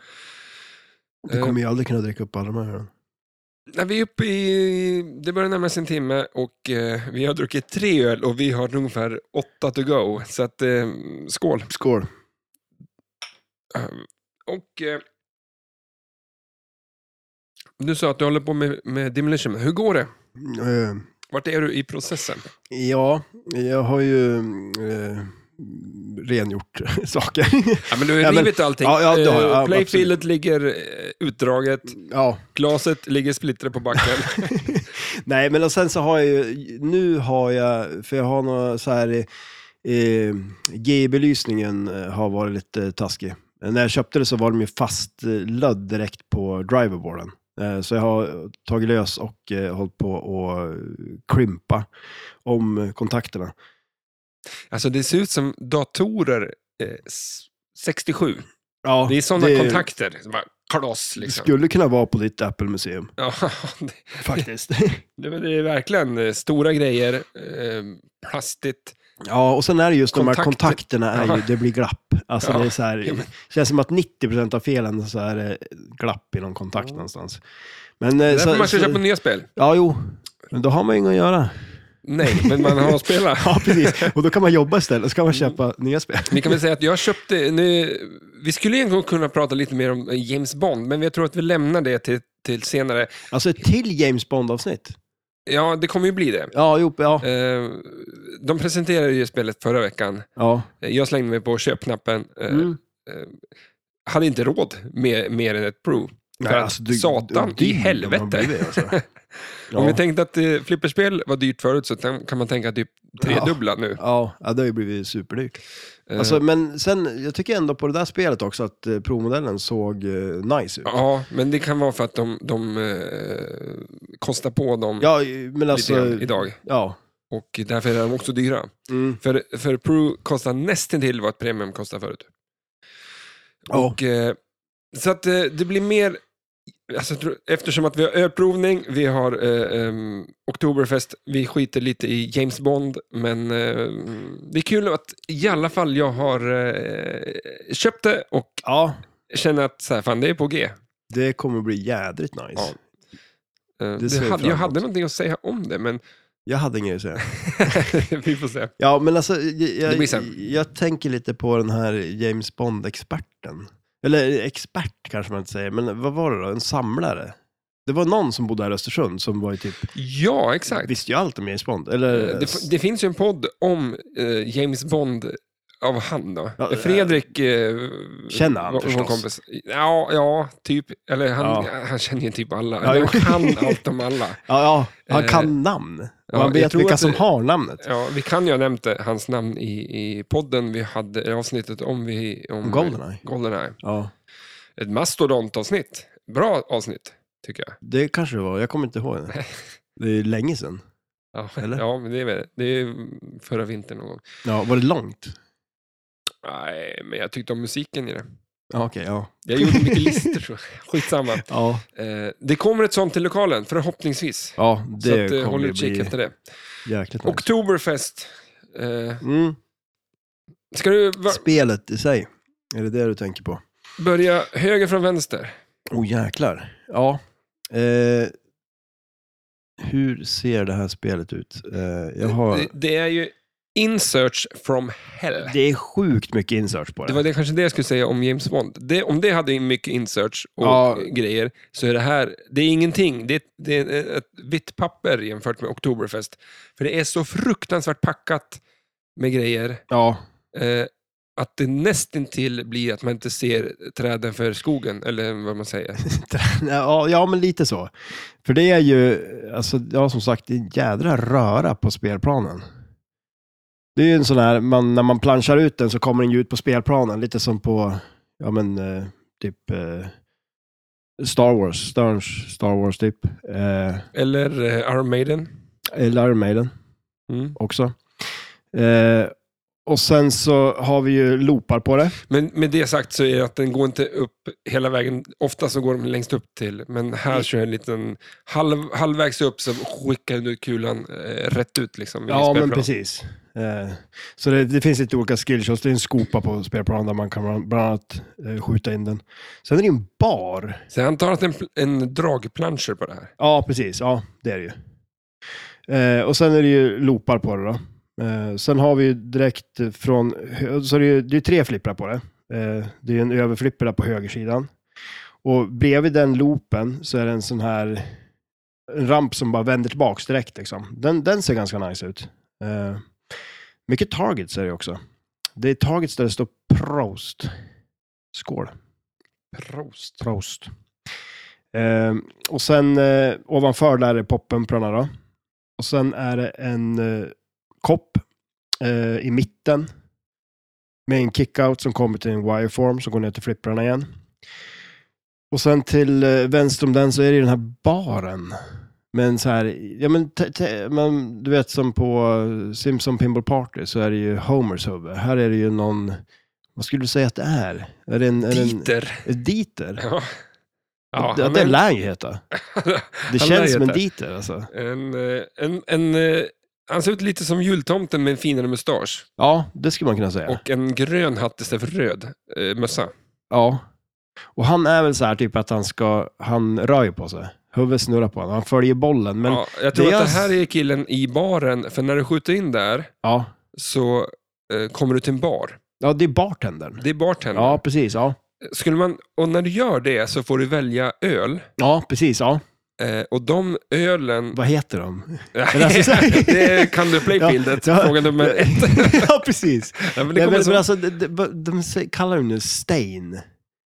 Du kommer Eh. ju aldrig kunna dricka upp alla de här. När Eh, vi är uppe i, det börjar närma sig en timme och eh, vi har druckit tre öl och vi har ungefär åtta to go. Så att, eh, skål. Skål. Eh, Och eh, du sa att du håller på med, med demolition. Hur går det? Eh, Vart är du i processen? ja, jag har ju eh, rengjort saker. Ja, men du har ju Ja, men- rivit allting. Ja, ja, det har jag. Eh, Ja, Playfieldet ligger eh, utdraget, ja. glaset ligger splittrat på backen. Nej, men och sen så har jag ju, nu har jag, för jag har några så här, eh, G-belysningen eh, har varit lite taskig. Eh, När jag köpte det så var de ju fastlödd direkt på driverboarden. Eh, Så jag har tagit lös och eh, hållit på och krympa om kontakterna. alltså det ser ut som datorer eh, s- 67. Ja, Det är sådana kontakter. som Bara, kloss Det liksom. skulle kunna vara på ditt Apple-museum, Ja, det, faktiskt. det, men det är verkligen eh, stora grejer. Eh, plastigt. ja, och sen är det just de här Kontakter. kontakterna, är ju, Jaha. det blir glapp. Alltså Ja, det är så här, ja, men- känns som att 90% av felen så är det glapp i någon kontakt Mm. någonstans. Men, eh, Det är därför så, man ska så, köpa nya spel. Ja, jo. Men då har man ju inget att göra. Nej, men man har att spela. Ja, precis. Och då kan man jobba istället, så kan Mm. man köpa nya spel. Vi kan väl säga att jag köpte, nu, vi skulle egentligen kunna prata lite mer om eh, James Bond, men jag tror att vi lämnar det till, till senare. Alltså ett till James Bond-avsnitt. Ja, det kommer ju bli det. Ja, jo, ja. Eh, De presenterade ju spelet förra veckan. ja. Jag slängde mig på köpknappen. Eh, Mm. Hade inte råd med mer än ett prov. Nej, för att alltså, du- satan du- i du- helvete. man blir det, alltså. Om vi Ja. tänkte att eh, flipperspel var dyrt förut så tan- kan man tänka typ tredubbla nu. Ja, ja, det har ju blivit superdyrt. Eh, Alltså, men sen, jag tycker ändå på det där spelet också att eh, provmodellen såg eh, nice ut. ja, men det kan vara för att de, de eh, kostar på dem Ja, men alltså... Mm. lite grann idag. Ja. Och därför är de också dyra. Mm. För, för Pro kostar nästintill vad ett premium kostar förut. Ja. Och, eh, så att eh, det blir mer, alltså, jag tror- eftersom att vi har ölprovning, vi har eh, em, Oktoberfest, vi skiter lite i James Bond, men eh, det är kul att i alla fall jag har eh, köpt det och ja, känner att så här, fan, det är på G. Eh, det kommer bli jädrigt nice. Ja. Eh, ser det jag hade, fram jag emot. hade någonting att säga om det, men Jag hade inget att säga. Vi får se. Ja, men alltså, jag, Det blir jag, sen. jag tänker lite på den här James Bond-experten. Eller expert kanske man inte säger, men vad var det då? En samlare? Det var någon som bodde här i Östersund som var ju typ, Ja, exakt. visste ju allt om James Bond. Eh, Eller, Det, f- det finns ju en podd om eh, James Bond av han då. Ja, Eh, Fredrik... eh, Känner han vår- förstås? vår kompis. Ja, ja, typ. Eller han, Ja. han känner ju typ alla. Ja, Eller jo. han kan allt om alla. ja, ja, han eh, kan namn. ja, Och han jag vet tror vilka att som det- har namnet. Ja, vi kan ju ha nämnt eh, hans namn i, i podden vi hade, i avsnittet om vi... Om, Goldeneye. Goldeneye. Ja, Ett mastodontavsnitt. Bra avsnitt, tycker jag. det kanske det var. Jag kommer inte ihåg det. Det är länge sedan. Ja, Eller? ja men det är, väl- det är förra vintern någon gång. Ja, var det långt? Nej, men jag tyckte om musiken i det. Ja, okej, ja. Jag gjorde mycket listor. så- Skitsamma. Ja, Eh, det kommer ett sånt till lokalen, förhoppningsvis. ja det så att, eh, kommer håll ju utkik bli efter det. jäkligt nice. Oktoberfest. Eh, Mm. ska du va- Spelet i sig, är det det du tänker på? börja höger från vänster? Oh jäklar. Ja. Eh, hur ser det här spelet ut? Eh, jag har... Det, det är ju In Search from Hell. Det är sjukt mycket insearch på det. Det var det, kanske det jag skulle säga om James Bond. Det, om det hade mycket insearch och Ja. grejer, så är det här, det är ingenting. Det, det är ett vitt papper jämfört med Oktoberfest. För det är så fruktansvärt packat med grejer. Ja, eh, att det nästintill blir att man inte ser träden för skogen, eller vad man säger. ja, ja, men lite så. För det är ju, alltså, ja, som sagt, det är en jädra röra på spelplanen. Det är ju en sån här, man, när man planchar ut den så kommer den ju ut på spelplanen, lite som på, ja men, eh, typ eh, Star Wars, Sterns Star Wars typ. Eh, Eller eh, Iron Maiden. eller Iron Maiden. Mm. också. Eh, och sen så har vi ju loopar på det. Men med det sagt så är det att den går inte upp hela vägen. Ofta så går de längst upp till, men Mm. här kör jag en liten halv, halvvägs upp så skickar du kulan eh, rätt ut. Liksom, i Ja, men spelplanen. precis. Eh, så det, det finns lite olika skillshots. Det är en skopa på spelplanen där man kan bland- bland annat eh, skjuta in den. Sen är det ju en bar. Så jag antar att det är en, pl- en dragplanscher på det här. Ja, precis. Ja, det är det ju. Eh, och sen är det ju loopar på det då. Eh, sen har vi ju direkt från, hö- så det är, ju- det är tre flipprar på det. Eh, det är en överflipper där på högersidan. Och bredvid den loopen så är det en sån här en ramp som bara vänder tillbaks direkt. Liksom. Den, den ser ganska nice ut. Eh, mycket targets är det också. Det är targets där det står Prost. Skål. Prost. Prost. Eh, och sen eh, ovanför där är poppumprarna då. Och sen är det en eh, kopp eh, i mitten. Med en kickout som kommer till en wireform som går ner till flipprarna igen. Och sen till eh, vänster om den så är det den här baren. Men så här, ja men, te, te, men du vet som på eh, Simpson Pinball Party så är det ju Homers huvud. Här är det ju någon, vad skulle du säga att det är? Är det en... Är det en Dieter. ett Dieter? Ja. Ja, Ja, det han det är lär han ju heta. Det Han lär känns som en heta. dieter alltså. en, eh, en, en, eh, han ser ut lite som jultomten med en finare mustasch. Ja, det skulle man kunna säga. Och en grön hatt istället för röd eh, mössa. ja. och han är väl så här typ att han ska, han rör ju på sig. Huvudet snurrar på honom, han följer bollen. Men ja, ja, jag tror det att jag- det här är killen i baren, för när du skjuter in där ja. så eh, kommer du till en bar. det är bartendern. Det är bartender. Ja, precis. Ja, Skulle man, och när du gör det så får du välja öl. ja precis. Ja. Eh, och de ölen... Vad heter de? det kan du playfieldet, alltså- Ja, ja. fråga nummer ett. ja, precis. ja, men det Nej, kommer men, som, men alltså, de, de, de kallar dem nu stain.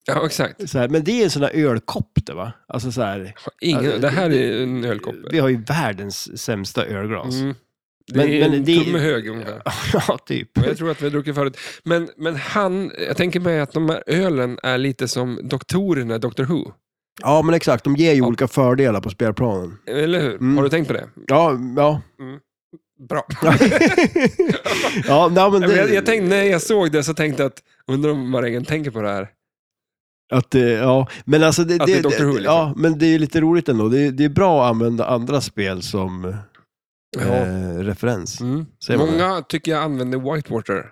ja, exakt. Så här, men det är en sån där ölkopp det va? Alltså så här, Ingen, Alltså, det här det- är en ölkoppe. vi har ju världens sämsta ölglas. Mm. Det Men- är men en det- tumme hög ungefär. ja, typ. Och Jag tror att vi har druckit förut. Men, men han, jag tänker mig att de här ölen är lite som doktorerna i Doctor Who. Ja, men exakt. De ger ju olika fördelar på spelplanen. Eller hur? Mm. Har du tänkt på det? Ja, ja. Bra. ja, Nej, nej, men men det, jag, jag tänkte, när jag såg det så tänkte jag att, undrar om marängen tänker på det här. att, eh, ja, men alltså det, Att det är Dr. Who, liksom. ja, men det är ju lite roligt ändå. Det är, det är bra att använda andra spel som eh, referens. Mm. Ser man Många tycker jag använder whitewater.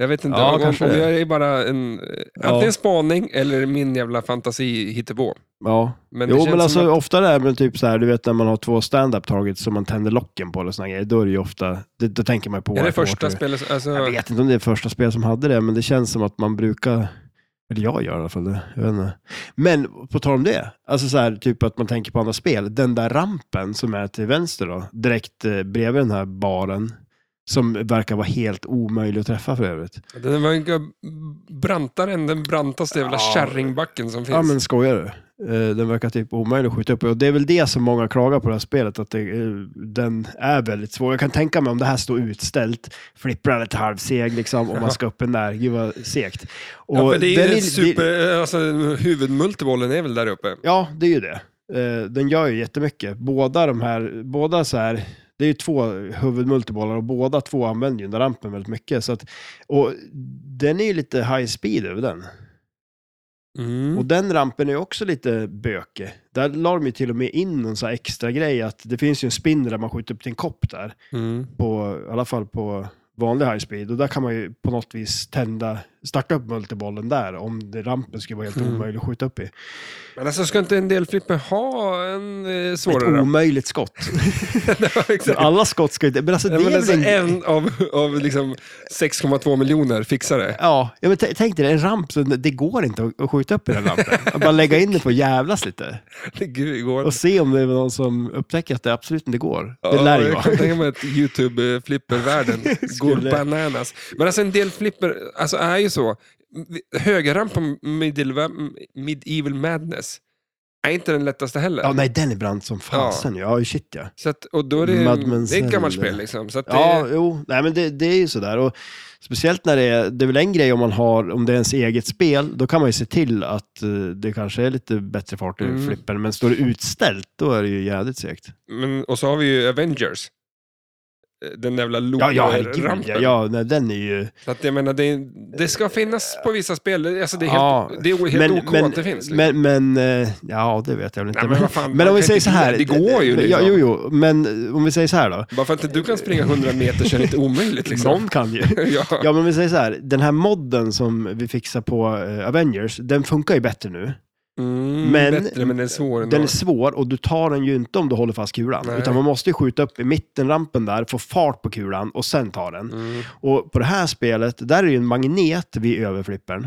Jag vet inte, Ja, om, om kanske det. jag är bara en, Ja. antingen spaning eller min jävla fantasi hittepå. Ja. Men det jo, känns men som alltså att- ofta det här med typ så här, du vet när man har två stand-up targets som man tänder locken på eller såna grejer, då är det ju ofta, det, då tänker man ju på Är det White första Water. spelet? Alltså, Jag vet inte om det är första spel som hade det, men det känns som att man brukar, eller jag gör i alla fall det, jag vet inte. Men på tal om det, alltså så här, typ att man tänker på andra spel, den där rampen som är till vänster då, direkt eh, bredvid den här baren, som verkar vara helt omöjlig att träffa för övrigt. Den var ju brantare än den brantaste jävla Ja. kärringbacken som finns. Ja men skojar du? Eh, Den verkar typ omöjlig att skjuta upp. Och det är väl det som många klagar på det här spelet, att det, eh, den är väldigt svår. Jag kan tänka mig om det här står utställt, flipprar lite halvseg liksom, och man ska upp en där. Gud vad segt. Och ja, men det är den ju det- en super... Alltså, huvudmultibollen är väl där uppe? Ja, det är ju det. Eh, Den gör ju jättemycket. Båda de här, båda så här, det är ju två huvudmultibollar och båda två använder ju den där rampen väldigt mycket. Så att, och den är ju lite high speed över den. Mm. Och den rampen är ju också lite böke. Där la de ju till och med in någon så här extra grej att det finns ju en spinn där man skjuter upp till en kopp där. Mm. På, I alla fall på vanlig high speed. Och där kan man ju på något vis tända, starta upp multibollen där om det, rampen skulle vara helt Mm. omöjlig att skjuta upp i. Men alltså, ska inte en del flipper ha en eh, Ett svårare? omöjligt skott. Ja, exakt. Alla skott ska ju inte... Men alltså det Ja, är men alltså, väl en... en av, av liksom 6,2 miljoner fixare. Ja, ja, men t- tänk dig en ramp, så det går inte att- att skjuta upp i den rampen. Bara lägga in den på och jävlas lite. Gud, igår. Och se om det är någon som upptäcker att det absolut inte går. Det lär ju jag kan vara. tänka mig att YouTube-flippervärlden går Skulle- bananas. Men alltså en del flipper alltså, är ju så. Högerrampen på medieval, medieval Madness är inte den lättaste heller. Ja, nej, den är brant som fasen. Ja, shit ja. Så att, och då är det, Madman det är ett gammalt Cell. spel liksom. Så att det, Ja, jo, nej men det, det är ju sådär. Och speciellt när det är, det är väl en grej om man har, om det är ens eget spel, då kan man ju se till att eh, det kanske är lite bättre fart i Mm. flippen, men står det utställt, då är det ju jävligt segt. men, och så har vi ju Avengers. Eh, Den där jävla Ja, ja, herregud. Ja, loop-rampen. ja nej, den är ju... Så att jag menar, det, det ska finnas på vissa spel. Alltså, det är helt, Ja, det är helt ok men, att det finns. Liksom. Men, men, eh, ja, det vet jag väl inte. Nej, men vad fan, men man om vi kan säger inte så här. eh, gilla- det går ju Ja, liksom. jo, jo, men eh, om vi säger så här då. Bara för att inte du kan springa 100 meter så är det inte omöjligt. Liksom. Någon kan ju. ja. Ja, men vi säger så här. Den här modden som vi fixar på eh, Avengers, den funkar ju bättre nu. Mm, men- bättre, men den är svår ändå. Den är svår och du tar den ju inte om du håller fast kulan. Nej. Utan man måste ju skjuta upp i mittenrampen där, få fart på kulan och sen ta den. Mm. Och på det här spelet, där är det ju en magnet vid överflippern.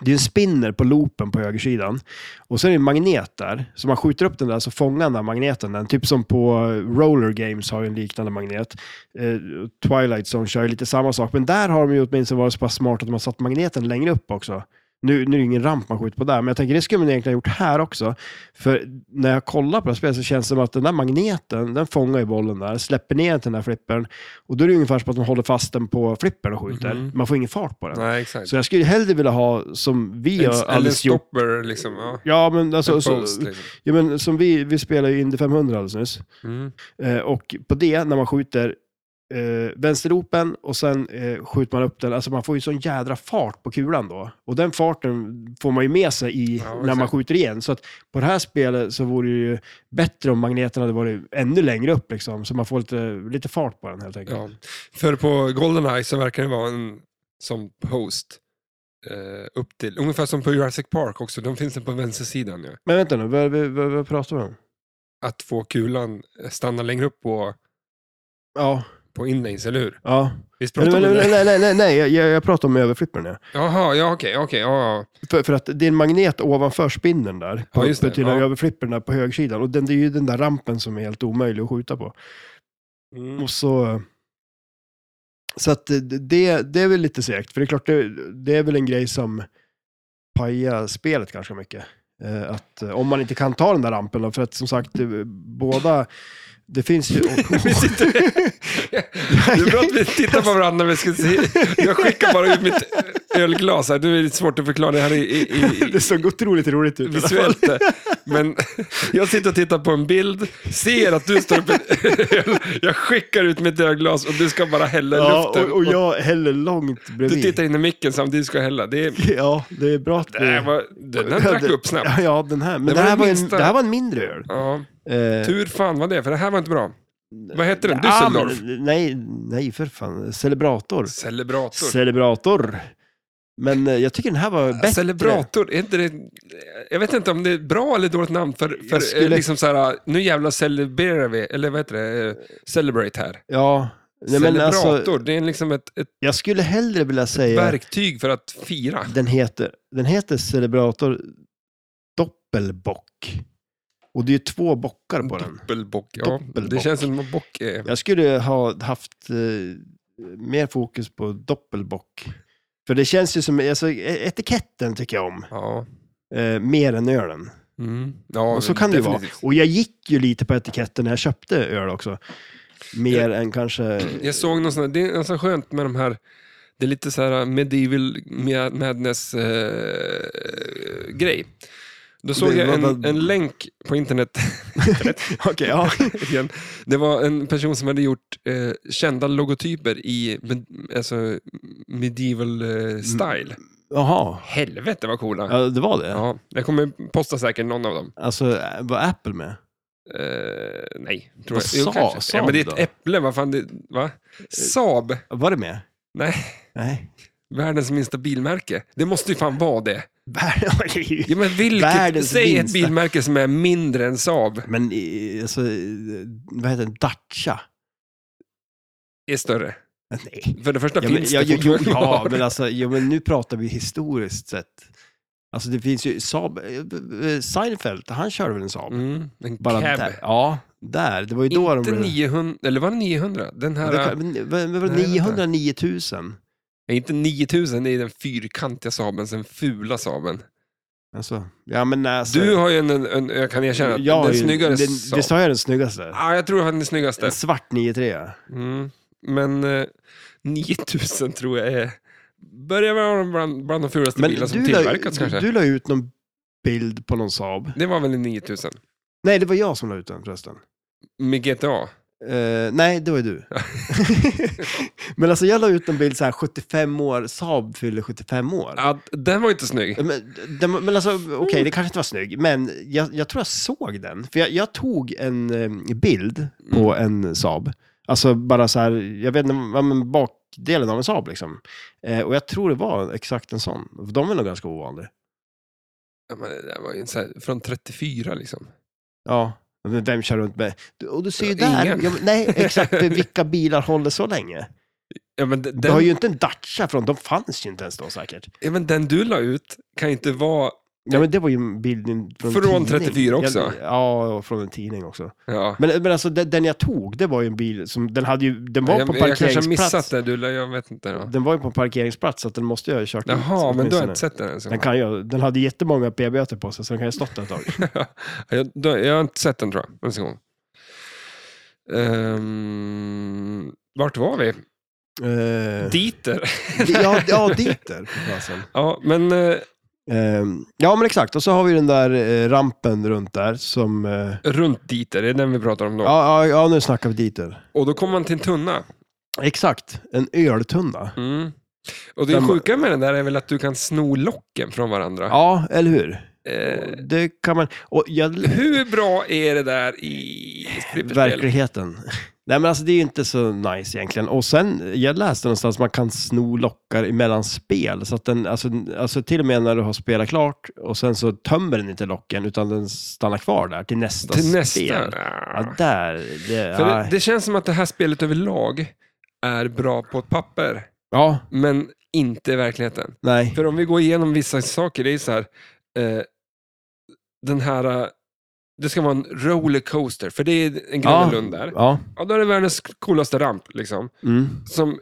Det är ju en spinner på loopen på högersidan. Och sen är det en magnet där. Så man skjuter upp den där så fångar den där magneten den. Typ som på Roller Games har ju en liknande magnet. Eh, Twilight Zone kör ju lite samma sak. Men där har de ju åtminstone varit så pass smarta att de har satt magneten längre upp också. Nu, nu är det ingen ramp man skjuter på där, men jag tänker det skulle man egentligen ha gjort här också. För när jag kollar på det här spelet så känns det som att den där magneten, den fångar ju bollen där, släpper ner den till den där flippern. Och då är det ungefär som att man håller fast den på flippern och skjuter. Mhm. Man får ingen fart på den. Nej, exakt. Så jag skulle hellre vilja ha som vi En- har eller en alldeles gjort. stopper, liksom. Ja. Ja, men alltså, En så, post, liksom. ja, men som vi, vi spelar ju Indy 500 alldeles nyss. Mm. Eh, och på det, när man skjuter eh, vänsterropen och sen eh, skjuter man upp den, alltså man får ju sån jädra fart på kulan då. Och den farten får man ju med sig i Ja, när man exakt. skjuter igen. Så att på det här spelet så vore det ju bättre om magneten hade varit ännu längre upp liksom, så man får lite, lite fart på den helt enkelt. Ja. Mm. För på Goldeneye så verkar det vara en som host. Eh, upp till. Ungefär som på Jurassic Park också, de finns på vänstersidan. Ja. Men vänta nu, vad, vad, vad, vad pratar vi om? Att få kulan eh, stanna längre upp på, Ja, på inlanes, eller hur? ja. Visst Nej, pratar vi om det? nej, nej, nej, nej, jag, jag jag pratar om överflippern. Ja. Jaha, ja okej, okej. ja, ja. För, för att det är en magnet ovanför spindeln där. Ja, På, just det, till ja. överflippern där på högersidan. Och den, det är ju den där rampen som är helt omöjlig att skjuta på. Och så... Så att det- det, det är väl lite segt. För det är klart, det, det är väl en grej som pajar spelet ganska mycket. Eh, Att eh, om man inte kan ta den där rampen då, för att som sagt, eh, båda... Det finns ju... Vi sitter- Det är bra att vi tittar på varandra, men vi ska se. jag skickar bara ut mitt eh, ölglas. Här. Det är lite svårt att förklara det här i, i, i, Det såg otroligt roligt ut. i alla fall. visuellt. Men jag sitter och tittar på en bild, ser att du står upp ett öl. Jag skickar ut mitt ölglas och du ska bara hälla i Ja, luften. och, och jag häller långt Du bredvid. tittar in i micken samtidigt ska jag hälla. Det är, Ja, det är bra att det här var, den här drack du upp snabbt. Ja, Ja, den här. Men Det det, var här det var en, minsta. det här var en mindre öl. Ja, Eh, tur fan var det, för det här var inte bra. Vad heter den? ja, Düsseldorf? men- nej, nej, för fan. Celebrator. Celebrator. Celebrator. Men eh, jag tycker den här var bättre. Celebrator, är inte det, jag vet inte om det är ett bra eller dåligt namn för, för Jag skulle- eh, liksom så här, nu jävlar celebrerar vi, eller vad heter det, Eh, celebrate här. Ja. Nej, men Celebrator, alltså, det är liksom ett, ett jag skulle hellre vilja säga verktyg för att fira. den heter, den heter Celebrator Doppelbock. Och det är ju två bockar på den. Doppelbock, ja. Doppelbock. Det känns som vad bock är. Jag skulle ha haft eh, mer fokus på doppelbock. För det känns ju som, alltså, etiketten tycker jag om, Ja. eh, mer än ölen. Mm. ja Och så kan det ju vara. definitivt. Och jag gick ju lite på etiketten när jag köpte öl också. Mer än kanske... Jag såg någon sån här, det är ganska skönt med de här, det är lite så här medieval mad- madness-grej. Då såg Det jag var en, bara- en länk på internet, Okej, ja. igen. det var en person som hade gjort eh, kända logotyper i med, alltså, medieval eh, style. Jaha. Helvete vad coola! Ja. Mm. Ja, det var det? jag kommer posta säkert någon av dem. Alltså, äh, var Apple med? Eh, nej, tror Vad jag. Jo, sa- kanske. ja, Saab men det är ett då? äpple, vad fan det, va? Saab, Var det med? Nej. Nej. världens minsta bilmärke. Det måste ju fan vara det. Vär- Ja, men vilket, Världens säg ett minsta. bilmärke som är mindre än Saab Men eh, alltså, eh, vad heter den? Dacia? är större. Nej. För det första Ja, men, finns ja, det jo, jo, fortfarande ja, kvar. men alltså, ja, men nu pratar vi historiskt sett. Alltså det finns ju Saab, eh, eh, Seinfeld, han körde väl en Saab? mm, en Bara cab. där. Ja, där. Det var ju då Inte de blev... 900, eller var det 900? Den Ja, här, det kan- men- men- men var det Nej, vänta. 900, 9000? nej, inte 9000, det är den fyrkantiga Saaben, den fula Saaben. Alltså, ja men alltså, Du har ju en, en, en jag kan erkänna, att jag har den ju- snyggare den, Saab. Ah, Visst har jag den snyggaste? Ja, jag tror han är En snyggaste. svart 93. Mm. Men eh, 9000 tror jag är, börjar vara bland, bland de fulaste Men bilar som du la, tillverkats kanske. du la ut någon bild på någon Saab. Det var väl en 9000? Nej, det var jag som la ut den förresten. Med GTA? Eh, nej, det var ju du. men alltså jag la ut en bild så här 75 år, Saab fyller 75 år. Ja, Mm. den var inte snygg. Men, den, men alltså, okej, det kanske inte var snygg, men jag, jag tror jag såg den. För jag, jag tog en eh, bild på Mm. en Saab. Alltså bara så här, jag vet inte, ja, men bakdelen av en Saab liksom. Eh, och jag tror det var exakt en sån. För de är nog ganska ovanliga. Ja, men det där var ju en så här, från 34 liksom. Ja. Men vem kör runt med... Du- Och du ser ju Ja, där, ingen. ja, men, nej exakt, vilka bilar håller så länge? Ja, men d- Du har den, ju inte en Dacia från, de fanns ju inte ens då säkert. ja, men den du la ut kan ju inte vara... Ja men det var ju en bild in- från en Från tidning. 34 också. Ja, Ja, och från en tidning också. Ja. Men, men alltså den, den jag tog, det var ju en bil som, den hade ju, den var jag, på jag kanske har parkeringsplats. missat det, du, la- jag vet inte. Då. Den var ju på en parkeringsplats, så att den måste jag ha kört ut Jaha, men du har åtminstone. inte sett den ens? den, kan ju, den hade jättemånga p-böter på sig, så den kan ju ha stått där ett tag. jag, då, jag har inte sett den tror jag, ens en gång. Ehm, vart var vi? Eh, Dieter. ja, ja, diter. för fasen. Ja, men eh, Ehm, ja, men exakt. Och så har vi den där eh, rampen runt där som... eh, runt Dieter, det är den vi pratar om då. ja, ja, ja, nu snackar vi diter. Och då kommer man till en tunna. Exakt, en öltunna. Mm. Och det Den- sjuka med den där är väl att du kan sno locken från varandra. Ja, eller hur? Eh, Det kan man... Och jag, hur bra är det där i stripperspel? Verkligheten. Nej men alltså det är ju inte så nice egentligen. Och sen, jag läste någonstans att man kan sno lockar emellan spel. Så att den, alltså, alltså till och med när du har spelat klart och sen så tömmer den inte locken utan den stannar kvar där till nästa Till nästa. spel. Ja, där. Det, För ja. det, det känns som att det här spelet överlag är bra på ett papper, ja, men inte i verkligheten. nej. För om vi går igenom vissa saker, det är så här, eh, den här, eh, det ska vara en rollercoaster, för det är en Ja. Gröna Lund där. Ja. Ja, då är det världens coolaste ramp, liksom. Mm. Som,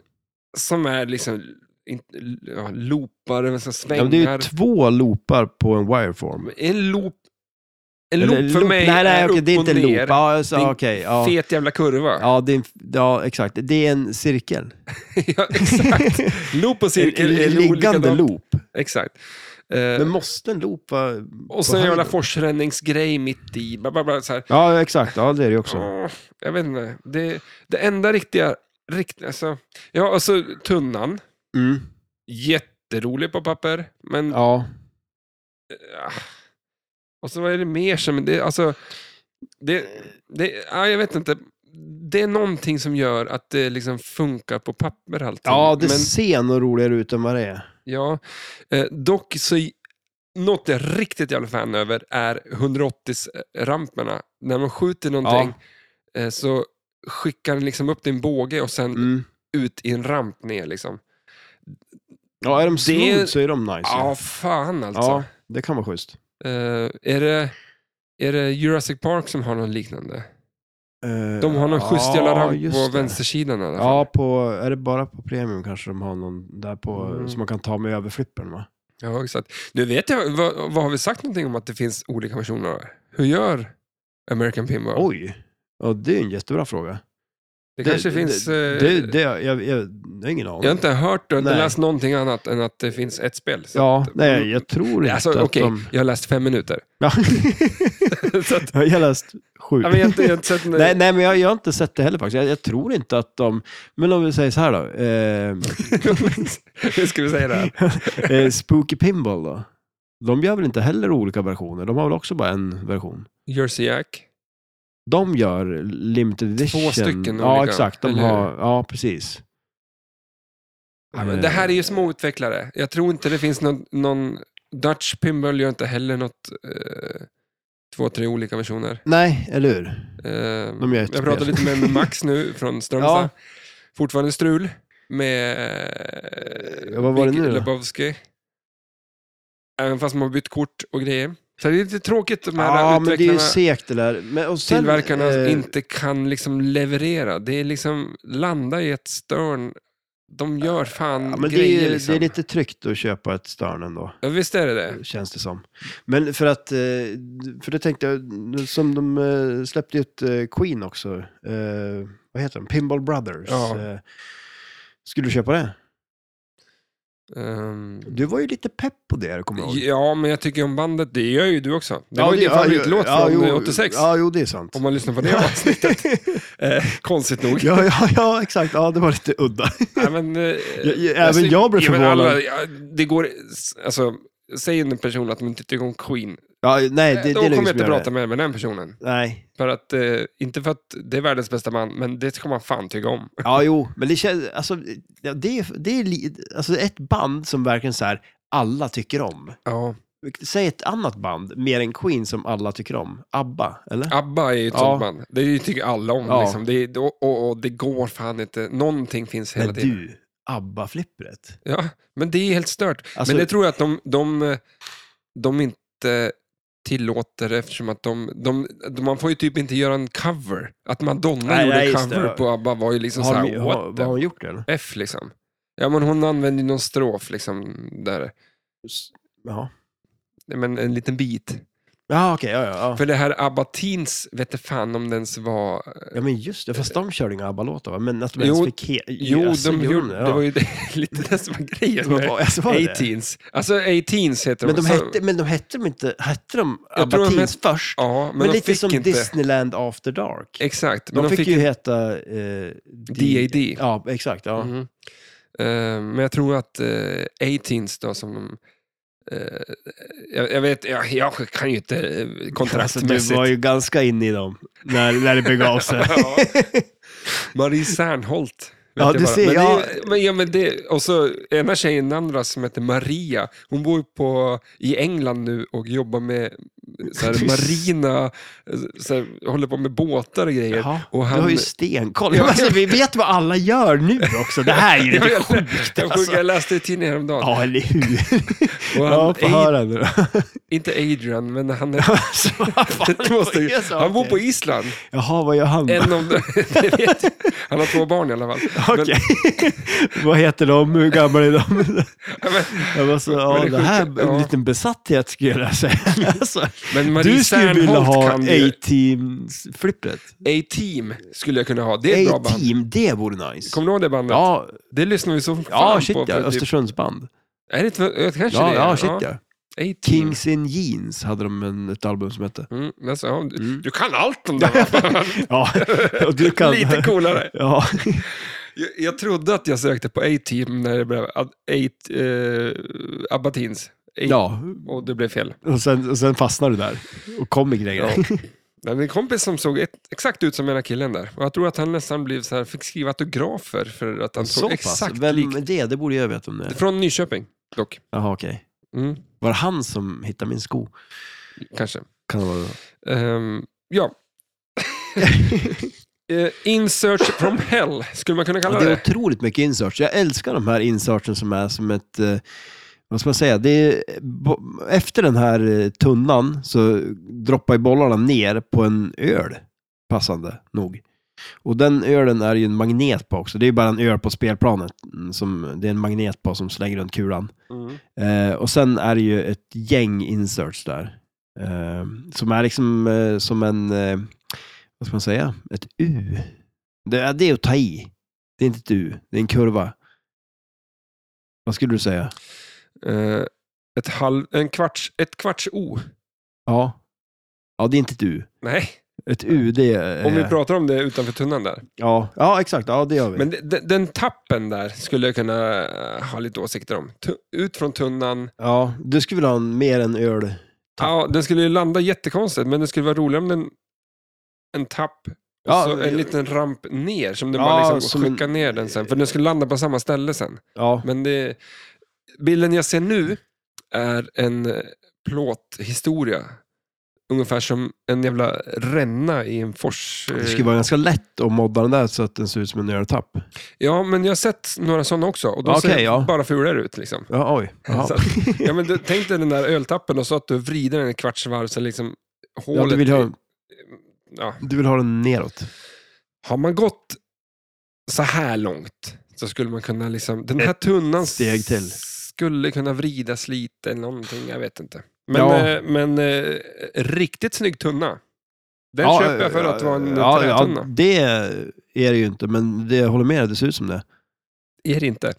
som är liksom, inte- ja, loopar, så ja svängar. men det är ju två loopar på en wireform. En loop, en Eller loop för loop- mig nej, nej, är okej, upp det är inte och en ner. loop. Ja, Det är så, en okej. ja. Fet jävla kurva. Ja, Ja, det är en, ja, exakt. Det är en cirkel. exakt. Loop och cirkel är Liggande likadant. loop. Exakt. Eh, Men måste en loop vara... på och så en jävla höjden? forsränningsgrej mitt i. Bla, bla, bla, så här. Ja, exakt. Ja, det är det ju också. Åh, jag vet inte. Det, det enda riktiga, rikt, alltså, ja, alltså tunnan. Mm. Jätterolig på papper, men Ja. Ah. Och så vad är det mer som... Det, alltså, det, det, ja, jag vet inte. Det är någonting som gör att det liksom funkar på papper alltid. ja, det men, ser nog roligare ut än vad det är. Ja, eh, dock så i- något jag riktigt jävla fan över är 180-ramperna. När man skjuter någonting eh, så skickar den liksom upp din båge och sen Mm. ut i en ramp ner. Liksom. Ja, är de smooth Det- så är de nice. Ja, ju. fan alltså. ja det kan vara schysst. Eh, är, det, är det Jurassic Park som har något liknande? Eh, De har någon schysst jävla ramp just på det. vänstersidan i alla fall. Ja, på, är det bara på premium kanske de har någon där på Mm. som man kan ta med över flippen va? Ja, exakt. Nu vet jag, vad, vad har vi sagt någonting om att det finns olika versioner? Hur gör American Pinball? Oj! Ja, det är en jättebra fråga. det, kanske finns... Det, eh, det, det, jag, jag, jag, jag har ingen aning. Jag har inte hört och inte Nej. läst någonting annat än att det finns ett spel. Så Ja, att- nej, jag tror inte Mm. Alltså, att okej, de... jag har läst fem minuter. Ja. så att, jag har läst sju. jag, vet, inte- jag har inte sett... Nej, nej, men jag, jag har inte sett det heller faktiskt. Jag, jag tror inte att de... Men om vi säger så här då. Eh, Hur ska vi säga det här? eh, Spooky Pinball då. De gör väl inte heller olika versioner? De har väl också bara en version? Jersey Jack. De gör limited edition. stycken Ja, olika, exakt. De eller har, ja, precis. Ja, men det här är ju små utvecklare. Jag tror inte det finns någon... någon Dutch Pinball gör inte heller något... Eh, två, tre olika versioner. Nej, eller hur? Eh, De gör ett jag pratar spel. lite med Max nu från Strömstad. Ja. Fortfarande strul med Ja, Eh, vad var det Big nu då? Lebowski. Även fast man har bytt kort och grejer. Så det är lite tråkigt de här Ja, men det är ju utvecklarna, segt det där. Men, och sen, tillverkarna eh, inte kan liksom leverera. Det är liksom, landa i ett störn. De gör fan ja, men det, grejer är, ju- liksom. det är lite tryggt att köpa ett Stern ändå. Ja, Visst är det det? känns det som. Men för att, eh, för det tänkte jag, som de eh, släppte ut eh, Queen också, eh, vad heter de, Pinball Brothers. Ja. Eh, Skulle du köpa det? Ehm, Du var ju lite pepp på det, kommer jag ihåg. ja, men jag tycker om bandet. Det gör ju du också. Det var ju din ja, favoritlåt ja, från jo, eh, 86. Ja, jo, det är sant. Om man lyssnar på det avsnittet. Eh, konstigt nog. ja, ja, ja, exakt. Ja, det var lite udda. Nej, men, eh, ja, även jag blev ja, men förvånad. alla- ja, det går, alltså, säger en person att de inte tycker om Queen, Ja, nej, det, eh, det är då ingen kommer som jag inte gör det. prata med, med den personen. Nej, För att, eh, inte för att det är världens bästa man, men det ska man fan tycka om. ja, jo, men det känns, alltså, ja, det är, det är li, alltså ett band som verkligen så här, alla tycker om. Ja. Säg ett annat band, mer än Queen, som alla tycker om. ABBA, eller? ABBA är ju ett Ja. sånt band. Det är ju- tycker alla om. Ja. Liksom. Det, är, och, och, och det går fan inte. Någonting finns hela Men tiden. du, ABBA-flippret. Ja, men det är helt stört. Alltså- men det tror jag att de, de, eh, de inte tillåter eftersom att de, de, de, man får ju typ inte göra en cover. Att Madonna Nej, gjorde nej, just cover det. på ABBA var ju liksom Har, såhär, de, har, what har the hon gjort det, eller? f liksom. Ja men hon använde ju någon strof liksom där, Ja. men en liten bit. Ja, okej, ja, ja. ja. För det här ABBA Teens, vet du fan om den ens var... Ja, men just det. Fast de körde inga ABBA-låtar, va? Men att de Jo, ens fick... He- alltså, Jo, Jaså, de gjorde, ja. det var ju det, lite det som var grejen Men med vad- alltså, var det det? A-Teens. Alltså A-Teens heter alltså- Men de Så- hette, men de hette de inte... Hette de Jag tror de ABBA Teens hette- först? Ja, men, men de lite fick som inte... Disneyland After Dark. Exakt, De, men fick, ju heta... Eh, D- DAD. Ja, exakt. Ja. Mhm. Eh, men jag tror att uh, A-Teens då som de... eh, jag, jag vet, jag, jag kan ju inte eh, Alltså, du kontraktsmässigt. var ju ganska inne i dem när, när det begav sig. Ja. Marie Serneholt. vet Ja, jag du bara. ser, men ja. Det, är- men, ja, men det, och så ena tjejen, den andra som heter Maria, hon bor ju på, i England nu och jobbar med eh, så här, marina, eh, så här, håller på med båtar och grejer. Jaha, och Du har ju han- stenkoll. Ja. Alltså, vi vet vad alla gör nu också. Det här är ju jag, lite jag, sjukt jag, alltså. jag läste i tidningen häromdagen. Ja, eller hur? Och han, Ja, få höra nu då. inte Adrian, men han, Alltså, vad fan, det måste, vad är ju- saker? han bor på Island. Jaha, vad gör han? då? En av, det vet jag. han har två barn i alla fall. Okej. vad heter de? Hur gamla är de? Men, men, Jag var så, Men ja, det det här sjuka- är ja. en liten besatthet skulle jag vilja säga. Alltså, men du Marie skulle vilja Serneholt ha kan ju... A-Team-flippret. A-Team skulle jag kunna ha. Det är ett bra band. A-Team, det vore nice. Kommer du ihåg det bandet? Ja, Det lyssnar vi så fan ja shit på. ja. för typ- Östersundsband. Är det inte, kanske Ja, det är. ja, shit ja. A-Team. Kings in Jeans hade de en, ett album som hette. Mm, alltså, ja, du, du kan allt om det. Ja, och du kan... Lite coolare. Ja, Jag, jag trodde att jag sökte på A-Team när det blev A- A- eh, Abba Teens. A- ja. Och det blev fel. Och, sen, och sen fastnar du där och kommer grejer. Ja. Det var en kompis som såg ett, exakt ut som ena killen där. Och jag tror att han nästan blev så här, fick skriva autografer för att han såg exakt Vem lik. är det? Det borde jag veta om det är. Från Nyköping. dock. Jaha, okej. Mm, Var det han som hittade min sko? kanske. Kan det vara Ehm, ja. Eh, in search from hell, skulle man kunna kalla det det. är otroligt mycket inserts. Jag älskar de här insertsen som är som ett, eh, vad ska man säga, det är, bo- efter den här eh, tunnan så droppar ju bollarna ner på en öl, passande nog. Och den ölen är ju en magnet på också. Det är ju bara en öl på spelplanet. mm, Som, det är en magnet på som slänger runt kulan. Mm. Eh, och sen är det ju ett gäng inserts där. Eh, som är liksom eh, som en, eh, vad ska man säga, ett U. Det, är- det är att ta i. Det är inte ett U, det är en kurva. Vad skulle du säga? Mm. Eh, ett, halv, en kvarts, ett kvarts O. Ja. Ja, det är inte ett U. Nej, Ett U, det är... om vi eh, pratar om det utanför tunnan där. ja. ja, exakt. Ja, det gör vi. Men de- de- den tappen där skulle jag kunna eh, ha lite åsikter om. Tu- Ut från tunnan. Ja, du skulle vilja ha en, mer än öl. Tapp. Ja, den skulle ju landa jättekonstigt, men det skulle vara roligare om den... En tapp och Ja, så det- en liten ramp ner, som den Ja, bara liksom som en- skickar ner den sen. För den skulle landa på samma ställe sen. Ja, Men det, bilden jag ser nu är en eh, plåthistoria. Ungefär som en jävla ränna i en fors. eh, det skulle vara ganska lätt att modda den där så att den ser ut som en öltapp. Ja, men jag har sett några sådana också och de Okej, ser ja. bara fulare ut. Liksom. Ja, oj. Jaha. Så att, ja, men du, tänk dig den där öltappen och så att du vrider den ett kvarts varv så liksom hålet... Ja, du, vill ha, ja. du vill ha den neråt. Har man gått så här långt så skulle man kunna liksom... Den här tunnan steg till. skulle kunna vridas lite, någonting, jag vet inte. Men, Ja. eh, men eh, riktigt snygg tunna. Den köper jag för att det var en ja, trätunna. ja, det är det ju inte, men det jag håller med dig, det ser ut som det. Är det inte.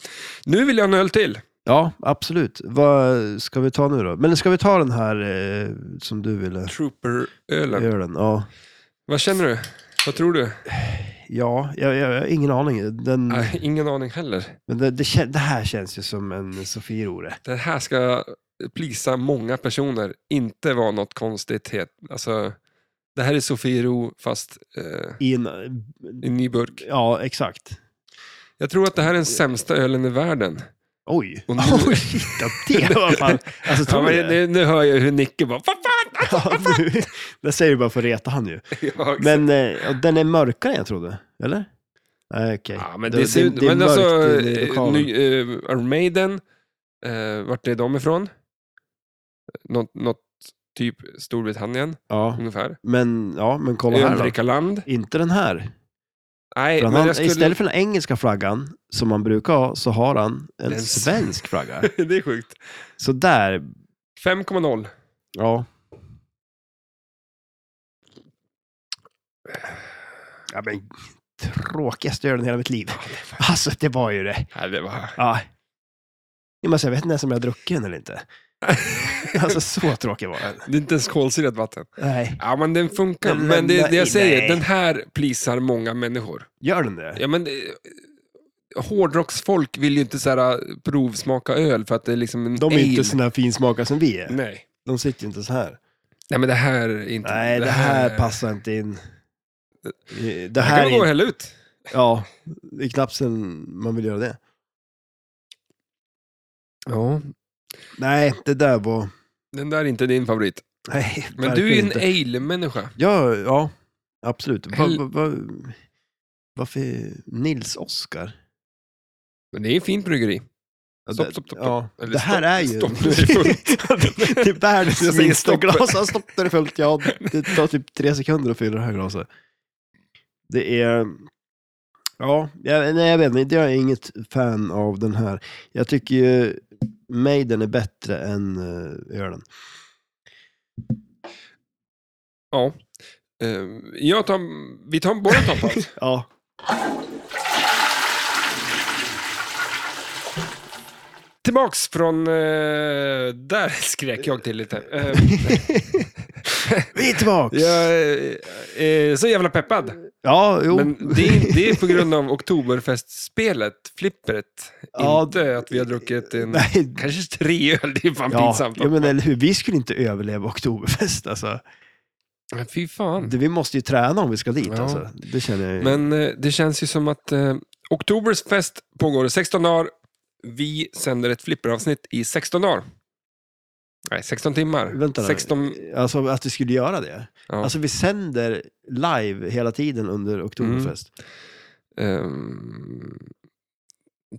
Nu vill jag ha en öl till. Ja, absolut. Vad ska vi ta nu då? Men ska vi ta den här eh, som du ville? Trooper-ölen. Gör den. Ja, Mm. Vad känner du? Vad tror du? ja jag, jag, jag har ingen aning. Den, Nej, ingen aning heller. men det, det, kän- det här känns ju som en Sofiero. Det här ska plisa många personer, inte vara något konstigt. het- Alltså, det här är Sofiero fast eh, I en, i en ny burk. ja, exakt. Jag tror att det här är den sämsta ölen i världen. Oj. Och nu- Oj, shit, ja, det var fan... Alltså, Ja, tror men du det? nu, nu hör jag hur Nicke bara Vad fan! Ja, nu, det säger du bara för att reta han ju. Ja, exakt. Men eh, och den är mörkare än jag trodde, eller? Nej, okej. ja, men det, ser ut... Men mörkt alltså, i- i lokalen. ny, eh, Iron Maiden, eh, vart är de ifrån? Något, något typ Storbritannien, ja, ungefär. men, ja, men kolla här då. Övriga land. Inte den här. Nej, För men han, jag skulle... Istället för den engelska flaggan, som man brukar ha, så har han en Den s- svensk flagga. det är sjukt. Så där, 5,0. ja. ja men, tråkigaste ölen i hela mitt liv. Alltså, det var ju det. Nej, det var... Ja. Jag, måste, alltså, jag vet inte ens om jag har druckit den eller inte. Alltså, så tråkig var den. Det är inte ens kolsyrat vatten. Nej. Ja, men den funkar. Men- Men, men- det, det nej. jag säger, den här plisar många människor. Gör den det? Ja, men, det- hårdrocksfolk vill ju inte så här, eh, provsmaka öl för att det är liksom en De är ale. inte såna här finsmakare som vi är. Nej. De sitter ju inte så här. Nej, men det här är inte... Nej, det här passar inte in. Det Det här här kan man gå och är, hälla ut. ja, det är knappt sen man vill göra det. Ja. Nej, det där var... Den där är inte din favorit. Nej, Men du är verkligen ju en inte. ale-människa. Ja, ja, absolut. Va, Hell- va, va, varför Nils Oskar? Men det är en fint bryggeri. Ja, Stopp, det- stopp, stopp, Ja, Eller det stopp, här är ju... stopp, nu är det det, det är Jag världens Typ säger minsta stopp. glas. Ja, Stopp, när det är fullt. Ja, det tar typ tre sekunder att fylla det här glaset. Det är... Ja, jag, nej, jag vet inte. Jag är inget fan av den här. Jag tycker ju Maiden är bättre än eh, ölen. Ja. Eh, Jag tar, vi tar båda tar paus. Ja. Tillbaks från... eh, där skrek jag till lite. Eh, Vi är tillbaka! jag eh, är så jävla peppad. Ja, jo. Men det är, det är på grund av Oktoberfestspelet, flippret. Ja, inte att vi har druckit en, Nej, kanske tre öl. Det är fan ja, pinsamt. ja, men eller hur. Vi skulle inte överleva Oktoberfest alltså. Mm. Men Fy fan. Det, vi måste ju träna om vi ska dit Ja. alltså. Det känner jag ju. Men eh, det känns ju som att eh, Oktobers fest pågår i 16 dagar. vi sänder ett flipperavsnitt i 16 dagar. Nej, 16 timmar. Vänta nu. 16, Alltså att vi skulle göra det. ja, Alltså vi sänder live hela tiden under Oktoberfest. Mm. ehm,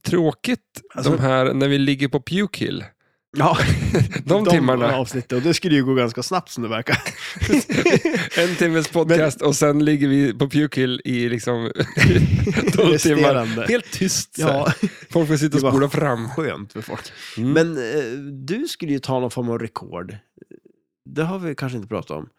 tråkigt, Alltså- de här när vi ligger på Puke Hill. Ja, De, timmarna. Avsnittet, och det skulle ju gå ganska snabbt som det verkar. En timmes podcast och sen ligger vi på Puke Hill i liksom 12 timmar. Resterande. Helt tyst. så här. Ja, Folk får sitta Det och var- spola fram. skönt för folk. Mm. Men eh, du skulle ju ta någon form av rekord. Det har vi kanske inte pratat om.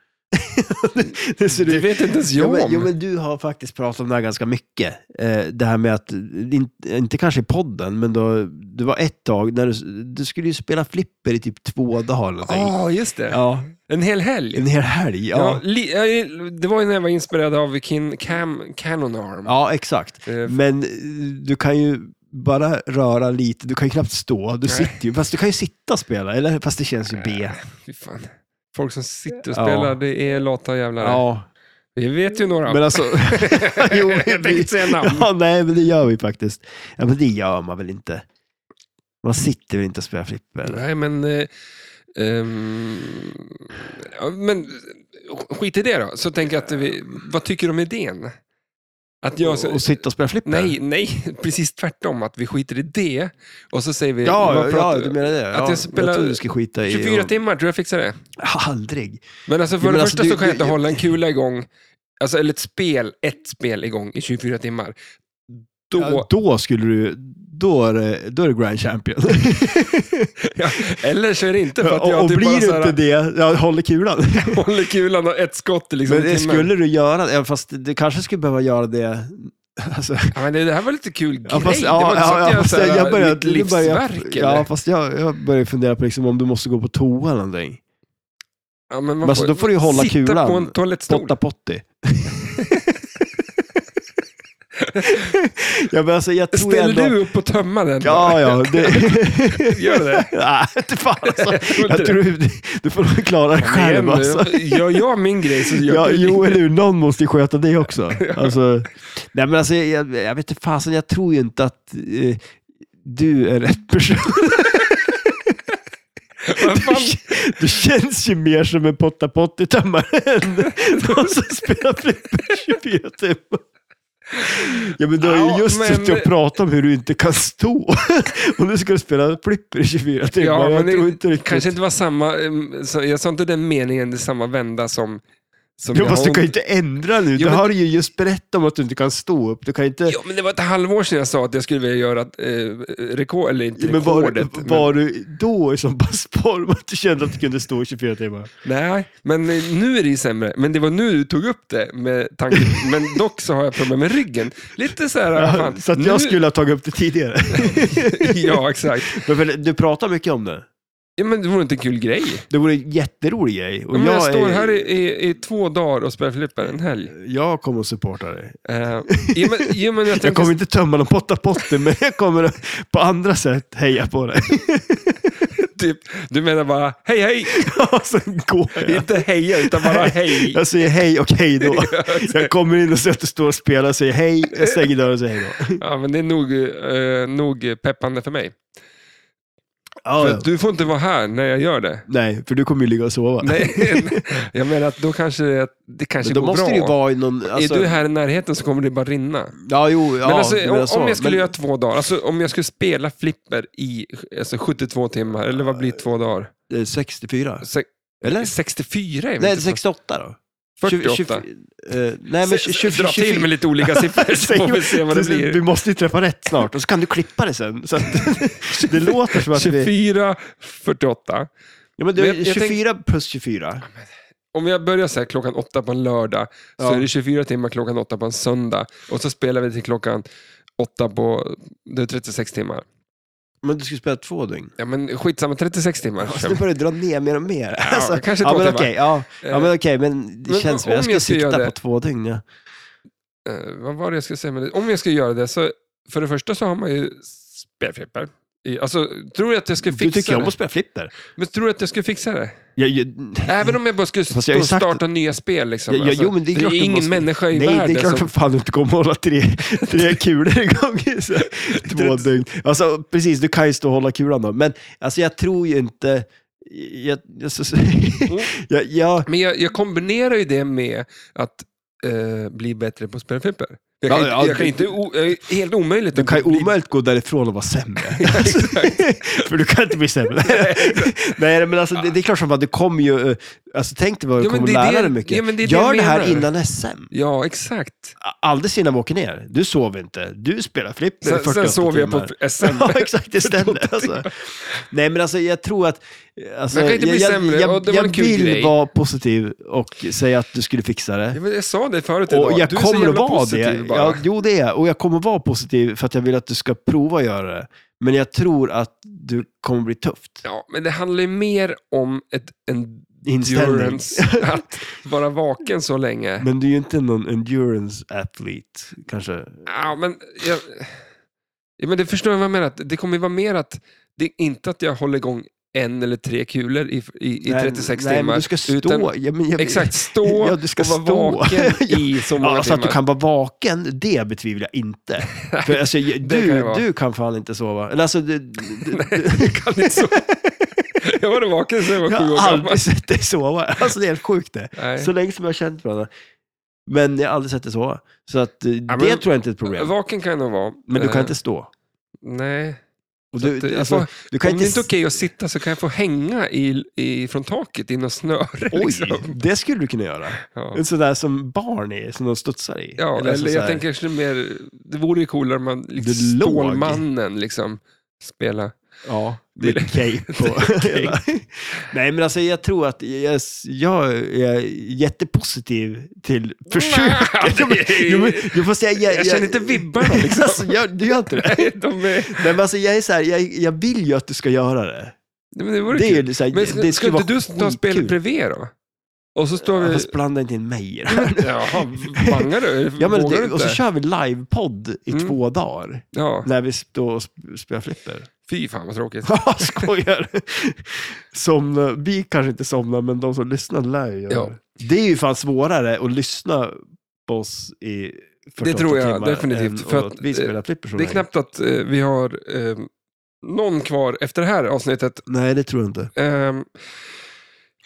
det, det ser det ut- vet inte ens Jo jag men, om. jo, men du har faktiskt pratat om det här ganska mycket. Eh, det här med att, inte, inte kanske i podden, men då, det var ett tag när du, du skulle ju spela flipper i typ två dagar eller någonting. Ja, just det. Ja, En hel helg. en hel helg. Ah, Ja. Ja, li, eh, det var ju när jag var inspirerad av Kin, Cam, Canon Arm. ja exakt. Eh, Men eh, du kan ju bara röra lite, du kan ju knappt stå, du Nej. sitter ju, fast du kan ju sitta och spela, eller? Fast det känns ju B. fy fan. Folk som sitter och Ja. spelar, det är lata jävlar. Ja, Vi vet ju några. men alltså... jo, jag tänkte inte säga namn. Ja, nej, men det gör vi faktiskt. Ja, men det gör man väl inte? Man sitter väl inte och spelar flipper? Eller? Nej, men... Eh, ehm, ja, men eh, skit i det då. Så tänker jag att vi, vad tycker du om idén? Att jag, och, och sitta och spela flipper? nej, nej, precis tvärtom. Att vi skiter i det och så säger vi... Ja, vad ja, pratar- du menar det. jag ja, spelar jag trodde du skulle skita i... 24 och- timmar, tror jag fixar det. Aldrig. Men alltså för Jo, men det alltså, första du- så kan jag du- inte hålla en kula igång, alltså, eller ett spel, ett spel igång i 24 timmar. Då, Ja, då skulle du... Då är det, då är det grand champion. Ja, eller så är det inte för att och jag och typ bara Liksom blir så du inte här, det, jag håller kulan. håller kulan och ett skott i liksom Men en det timme. skulle du göra, även fast du kanske skulle behöva göra det... Alltså, Ja, men det, det här var lite kul grej. ja, fast, det var ja, inte så ja, att ja, jag, fast så här, jag, jag börjar, mitt nu börjar- livsverk. eller? ja, fast jag, jag börjar fundera på liksom, om du måste gå på toa eller någonting. Ja, men man Men alltså, då får du ju hålla sitta kulan. på en toalettstol. Potta potti. ja, men alltså, jag tror Ställer ändå... du upp och tömma den? Ja, ja. Det... Gör det? Nej, inte fan alltså. tror inte Jag tror du, du får nog klara dig själv alltså. Gör jag min grej så gör Ja, du jo, eller hur? Någon måste ju sköta det också. Alltså, nej, men alltså, jag, jag vet inte fasen, jag tror ju inte att eh, du är rätt person. Vad fan? Du känns ju mer som en potta tömmare än någon som spelar flipper 24 timmar. Ja, men du har ju Ja, just men- suttit och pratat om hur du inte kan stå. Och nu ska du spela flipper i 24 timmar. Ja, jag men tror det inte riktigt... kanske inte var samma, em, så- jag sa inte den meningen i samma vända som, som Ja, fast har du kan ju ont- inte ändra nu. du men- har ju just berättat om att du inte kan stå upp. Du kan inte... Jo, men det var ett halvår sedan jag sa att jag skulle vilja göra ett, eh, rekord, eller inte men var, rekordet. men- var du då i sån pass form att du kände att du kunde stå i 24 timmar? Nej, men eh, nu är det ju sämre. Men det var nu du tog upp det med tanken. men dock så har jag problem med ryggen. Lite så här, fan, så att nu, jag skulle ha tagit upp det tidigare. Ja, exakt. men för, du pratar mycket om det. Ja, men det vore inte en kul grej. Det vore en jätterolig grej. Och Om jag, är- står här i, i, i två dagar och spelar flipper en helg. Jag kommer att supporta dig. Eh, ja, men, ja, men jag Jag tänker kommer inte tömma någon potta potter, men jag kommer att på andra sätt heja på dig. typ, du menar bara hej hej, Och sen går jag. inte heja utan bara hej. Jag säger hej och hej då. Jag kommer in och ser att du står och spelar och säger hej. Jag stänger dörren och säger hej då. Ja, men det är nog, eh, nog peppande för mig. Ja, för ja. att du får inte vara här när jag gör det. Nej, för du kommer ju ligga och sova. Nej, jag menar att då kanske det, det kanske Men då går måste bra. det ju vara i någon... Alltså, Är du här i närheten så kommer det bara rinna. Ja, jo, ja. men alltså, du menar om, så. om jag skulle Men- göra två dagar, alltså, om jag skulle spela flipper i alltså, 72 timmar, eller vad blir två dagar? eh, 64? Se, Eller? 64 är väl Nej, inte så- 68 då? 48. 20, eh, nej, men 20, Dra till med lite olika siffror så får vi se vad det Vi blir. måste ju träffa rätt snart och så kan du klippa det sen. Så att, det låter som att vi... 24, 48. Ja, men det, Men jag- jag 24 plus 24. Om jag börjar så här klockan åtta på en lördag, så Ja. är det 24 timmar klockan åtta på en söndag. Och så spelar vi till klockan åtta på... Det är 36 timmar. Men du skulle spela två dygn. Ja, men skitsamma, 36 timmar. Alltså, nu börjar du dra ner mer och mer. Ja, alltså, kanske ja, två men timmar. okej, ja. ja, Eh, men okej, men det men känns om väl. Jag jag skulle ska göra sikta det- på två dygn. Ja. Eh, vad var det jag skulle säga med det? Om jag ska göra det så, för det första så har man ju spelflipper. I- Alltså, tror du att jag ska Du tycker fixa om det? att spela flipper? Men tror du att jag ska fixa det? Jag, jag, Även om jag bara skulle Fast stå jag har ju och sagt- starta nya spel liksom. Ja, ja, jo, men det är klart du ingen måste- människa i nej, världen det är klart som... för fan du inte kommer att hålla tre, tre kulor igång i så här två dygn. Alltså precis, du kan ju stå och hålla kulan då. Men alltså jag tror ju inte... Jag, jag, så- Mm. jag, jag, Men jag, jag kombinerar ju det med att eh, bli bättre på att spela flipper. Jag kan, Ja, inte- ja, jag kan det- inte... O, jag är helt omöjligt. du att kan ju bli- omöjligt gå därifrån och vara sämre. Exakt. För du kan inte bli sämre. Nej, men alltså, det, det är klart som att du kommer ju... eh, Alltså, tänk dig vad du Ja, men kommer det är lära det- dig mycket. ja, men det är det Gör jag det här menar. innan SM. Ja, exakt. Alldeles innan vi åker ner. Du sover inte. Du spelar flipper i Sen, 48 sen sover jag timmar. på SM. Ja, exakt, det stämmer. Alltså. Nej, men alltså jag tror att... Alltså, Man kan inte bli jag, sämre, Jag, och det var jag en kul vill grej. vara positiv och säga att du skulle fixa Ja, det. men jag sa det förut idag. Och jag du är så kommer att jävla vara det. positiv bara. Ja, jo, det är jag. Och jag kommer att vara positiv för att jag vill att du ska prova att göra det. Men jag tror att du kommer bli tufft. Ja, men det handlar ju mer om ett endurance, Inställning. att vara vaken så länge. Men du är ju inte någon endurance athlete, kanske. Ja, men, jag, ja, men det förstår jag vad jag menar. att Det kommer ju vara mer att, det är inte att jag håller igång en eller tre kulor i, i, i Nej, 36 nej, timmar. Men du ska stå. utan- ja, men jag, exakt, stå Ja, du ska och vara stå. vaken i så många Ja, så att timmar. du kan vara vaken, det betvivlar jag inte. För alltså, jag- Det kan jag du, vara. du kan fan inte sova. Eller alltså, du, du, Jag kan inte sova. Jag var vaken sen jag var jag sju år har gammal. aldrig sett dig sova. Alltså det är helt sjukt det. Nej. Så länge som jag har känt varandra. Men jag har aldrig sett dig sova. Så att, eh, men- det tror jag inte är ett problem. Vaken kan jag nog vara. Men du kan Eh, inte stå. Nej. Och att, du, eh, alltså, jag du kan Om det inte inte... är okej att sitta så kan jag få hänga i, i, från taket i något snöre. Oj, Liksom. det skulle du kunna göra. Ja. En sån där som barn är, som de studsar i. Ja, eller, alltså så jag här- tänker kanske mer, det vore ju coolare om man, liksom, Du låg. Stålmannen, liksom, spela. Ja, Det- med cape och hela. Nej, men alltså jag tror att jag, jag är jättepositiv till Nej, försöket. Jo, men- jo, men- jo, fast jag, jag, Jag känner inte vibbarna, liksom. alltså, jag, du gör inte det? Nej, de är, Nej, men alltså jag är så här, jag, jag vill ju att du ska göra det. nej, men det vore Det är kul. ju så här, Men det skulle ska inte vara du ta spelet skitkul. bredvid då? Och så står Ja, vi... Fast blanda inte in mig i det Ja, här. men- Jaha, bangar du? Ja, men Vågar det, du och så inte? kör vi livepodd i Mm. två dagar. Ja, När vi står och sp- spelar flipper. fy fan vad tråkigt. Ja, skojar. Somna, vi kanske inte somnar, men de som lyssnar lär ju göra Ja. det. Det är ju fan svårare att lyssna på oss i 48 Det tror jag timmar definitivt, än för att, att, eh, vi spelar flipper så Det är länge. knappt att eh, vi har eh, någon kvar efter det här avsnittet. Nej, det tror jag inte. Ehm,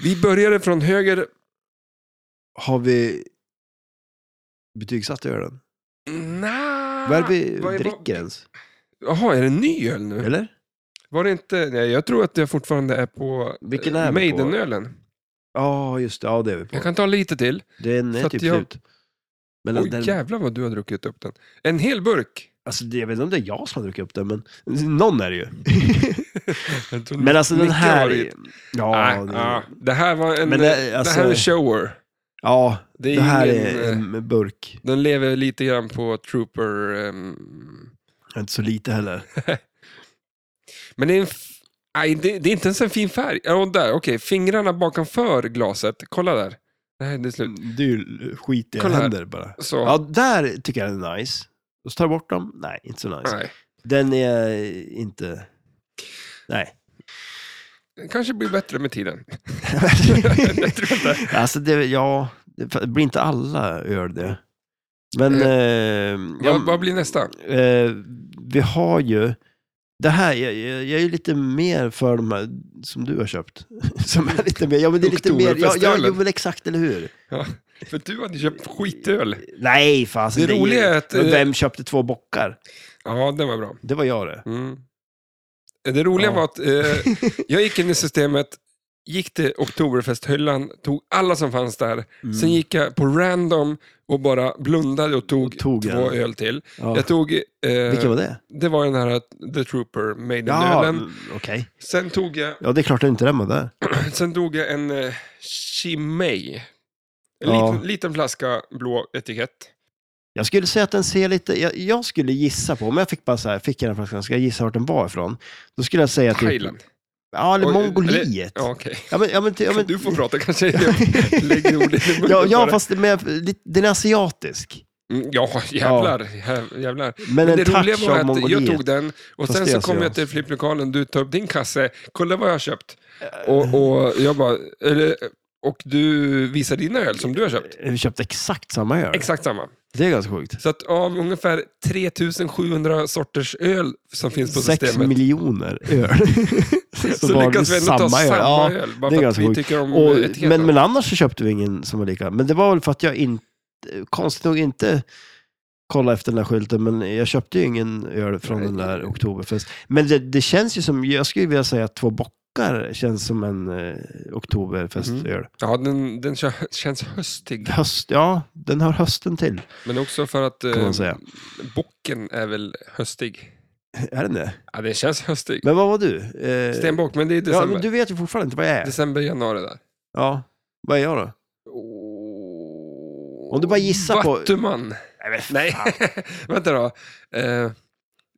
vi började från höger. Har vi betygsatt ölen? Nah, Vad är det vi Ah, vad är- dricker ens? Jaha, är det en ny öl nu? Eller? Var det inte... Nej, jag tror att jag fortfarande är på eh, Vilken är vi på? Maidenölen. Ja, just det. Ja, det är vi på. Jag kan ta lite till. Den Så är att typ jag- slut. Men Oj, den, jävlar vad du har druckit upp den. En hel burk. alltså, det- jag vet inte om det är jag som har druckit upp den, men någon är det ju. Jag tror men alltså den Micke här... har är- varit- Ja, Nej, ah. det- ja, det här var en... eh, Men Det, det- alltså- här är en shower. ja, Det är Det här ingen, är eh, en burk. Den lever lite grann på Trooper... ehm, Inte så lite heller. Men det är, en f- Nej, det, det är inte ens en fin färg. Ja, där, okej. Fingrarna bakomför glaset. Kolla där. Nej, det är slut. Det är ju skit i Typ. Kolla här. händer bara. Så. Ja, där tycker jag den är nice. Och så tar jag bort dem. Nej, inte så nice. Nej. Den är inte... Nej. Det kanske blir bättre med tiden. det tror jag inte. alltså, det, ja, det blir inte alla öl det. Men... Eh, Eh, ja, Vad, vad blir nästa? eh, vi har ju... Det här, jag, jag, jag är ju lite mer för de här som du har köpt. Som är lite mer, ja men det är lite mer, ja, ja Oktoberfestölen. jo, men exakt, eller hur? Ja, för du hade köpt skitöl. Nej, fasen. Det är roliga ju- är att, Men eh, vem köpte två bockar? Ja, den var bra. Det var jag det. Mm. Det roliga Ja. var att eh, jag gick in i systemet, gick till Oktoberfesthyllan, tog alla som fanns där. Mm. Sen gick jag på random och bara blundade och tog, Och tog två en. öl till. ja. Jag tog... Eh, Vilken var det? Det var den här The Trooper, Ja, Maiden-ölen. mm, okej. Sen, tog jag, Ja, det är klart att inte den var där. sen tog jag en eh, Chimay. En Ja. liten, liten flaska blå etikett. Jag skulle säga att den ser lite, jag, jag skulle gissa på, om jag fick bara så här, fick jag den här flaskan, ska jag gissa vart den var ifrån? Då skulle jag säga typ... Thailand. Ja, eller Oj, Mongoliet. Ja, okej. Ja, men, ja, men, ja, men, Du får prata kanske. Jag lägger ord i din mun ja, ja, bara. fast det- men, jag- lite- den är asiatisk. Mm, ja, jävlar. jäv- jävlar. Men Men en det roliga touch var av att jag tog Mongoliet. den och Fast sen det så alltså kom jag. jag till flipplokalen, du tar upp din kasse, kolla vad jag har köpt. Och, och jag bara, eller, och du visar dina öl som du har köpt. Vi köpte exakt samma öl. Exakt samma. Det är ganska sjukt. Så att av ungefär 3700 sorters öl som finns på Sex systemet miljoner öl. så, var lyckas det vi ändå ta samma eh, öl, Ja, bara det för är att ganska vi sjukt. tycker om Och, etiketten. men, men annars så köpte vi ingen som var lika. Men det var väl för att jag inte, konstigt nog inte kollade efter den där skylten, men jag köpte ju ingen öl från Nej. den där Oktoberfest. Men det, det känns ju som, jag skulle vilja säga att två bockar känns som en eh, Oktoberfestöl. Ja, den, den kö- känns höstig. Höst, ja, den hör hösten till, Men också för att kan eh, man säga. bocken är väl höstig. Är den det? Ja, den känns höstig. Men vad var du? Eh, Stenbock, men det är ja, december. men du vet ju fortfarande inte vad jag är. December, januari där. Ja, vad är jag då? Oh. Om du bara gissar på- Vattuman. Nej, men fan. Nej, vänta då. Eh,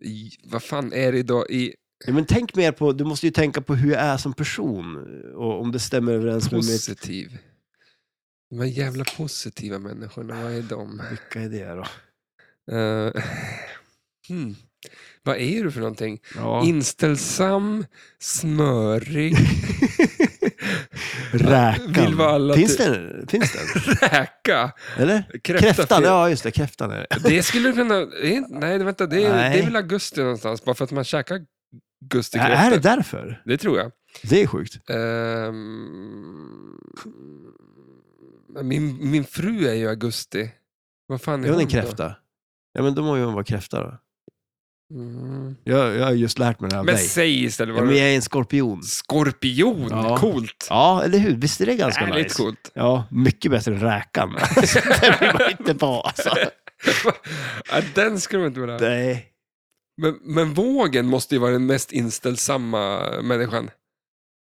i- vad fan är det idag i... Ja, men tänk mer på, du måste ju tänka på hur jag är som person och om det stämmer överens med mitt... Positiv. De här jävla positiva människorna, vad är de? Vilka är det då? Eh, hmm. Vad är du för någonting? Ja. Inställsam, smörig, Räkan. Vill vara alla Finns till- den? Finns den? räka, Eller? kräfta. Kräftan, fel. ja just det, kräftan är det. Det skulle du kunna... är- Nej, vänta, det är, Nej. det är väl augusti någonstans, bara för att man käkar Ja, augustikräftor. är det därför? det tror jag. Det är sjukt. Ehm, min, min fru är ju augusti. Vad fan är Jag har hon en kräfta. Ja men då må ju hon vara kräfta då. då? Mm. Jag, jag har just lärt mig det här av Men dig. säg istället Ja, vad men du... jag är en skorpion. Skorpion, Ja. coolt. Ja, eller hur? Visst är det ganska Ärligt nice? coolt. Ja, mycket bättre än räkan. Alltså, det vill man inte på alltså. ja, den skulle man inte vilja ha. Nej. Men, men vågen måste ju vara den mest inställsamma människan.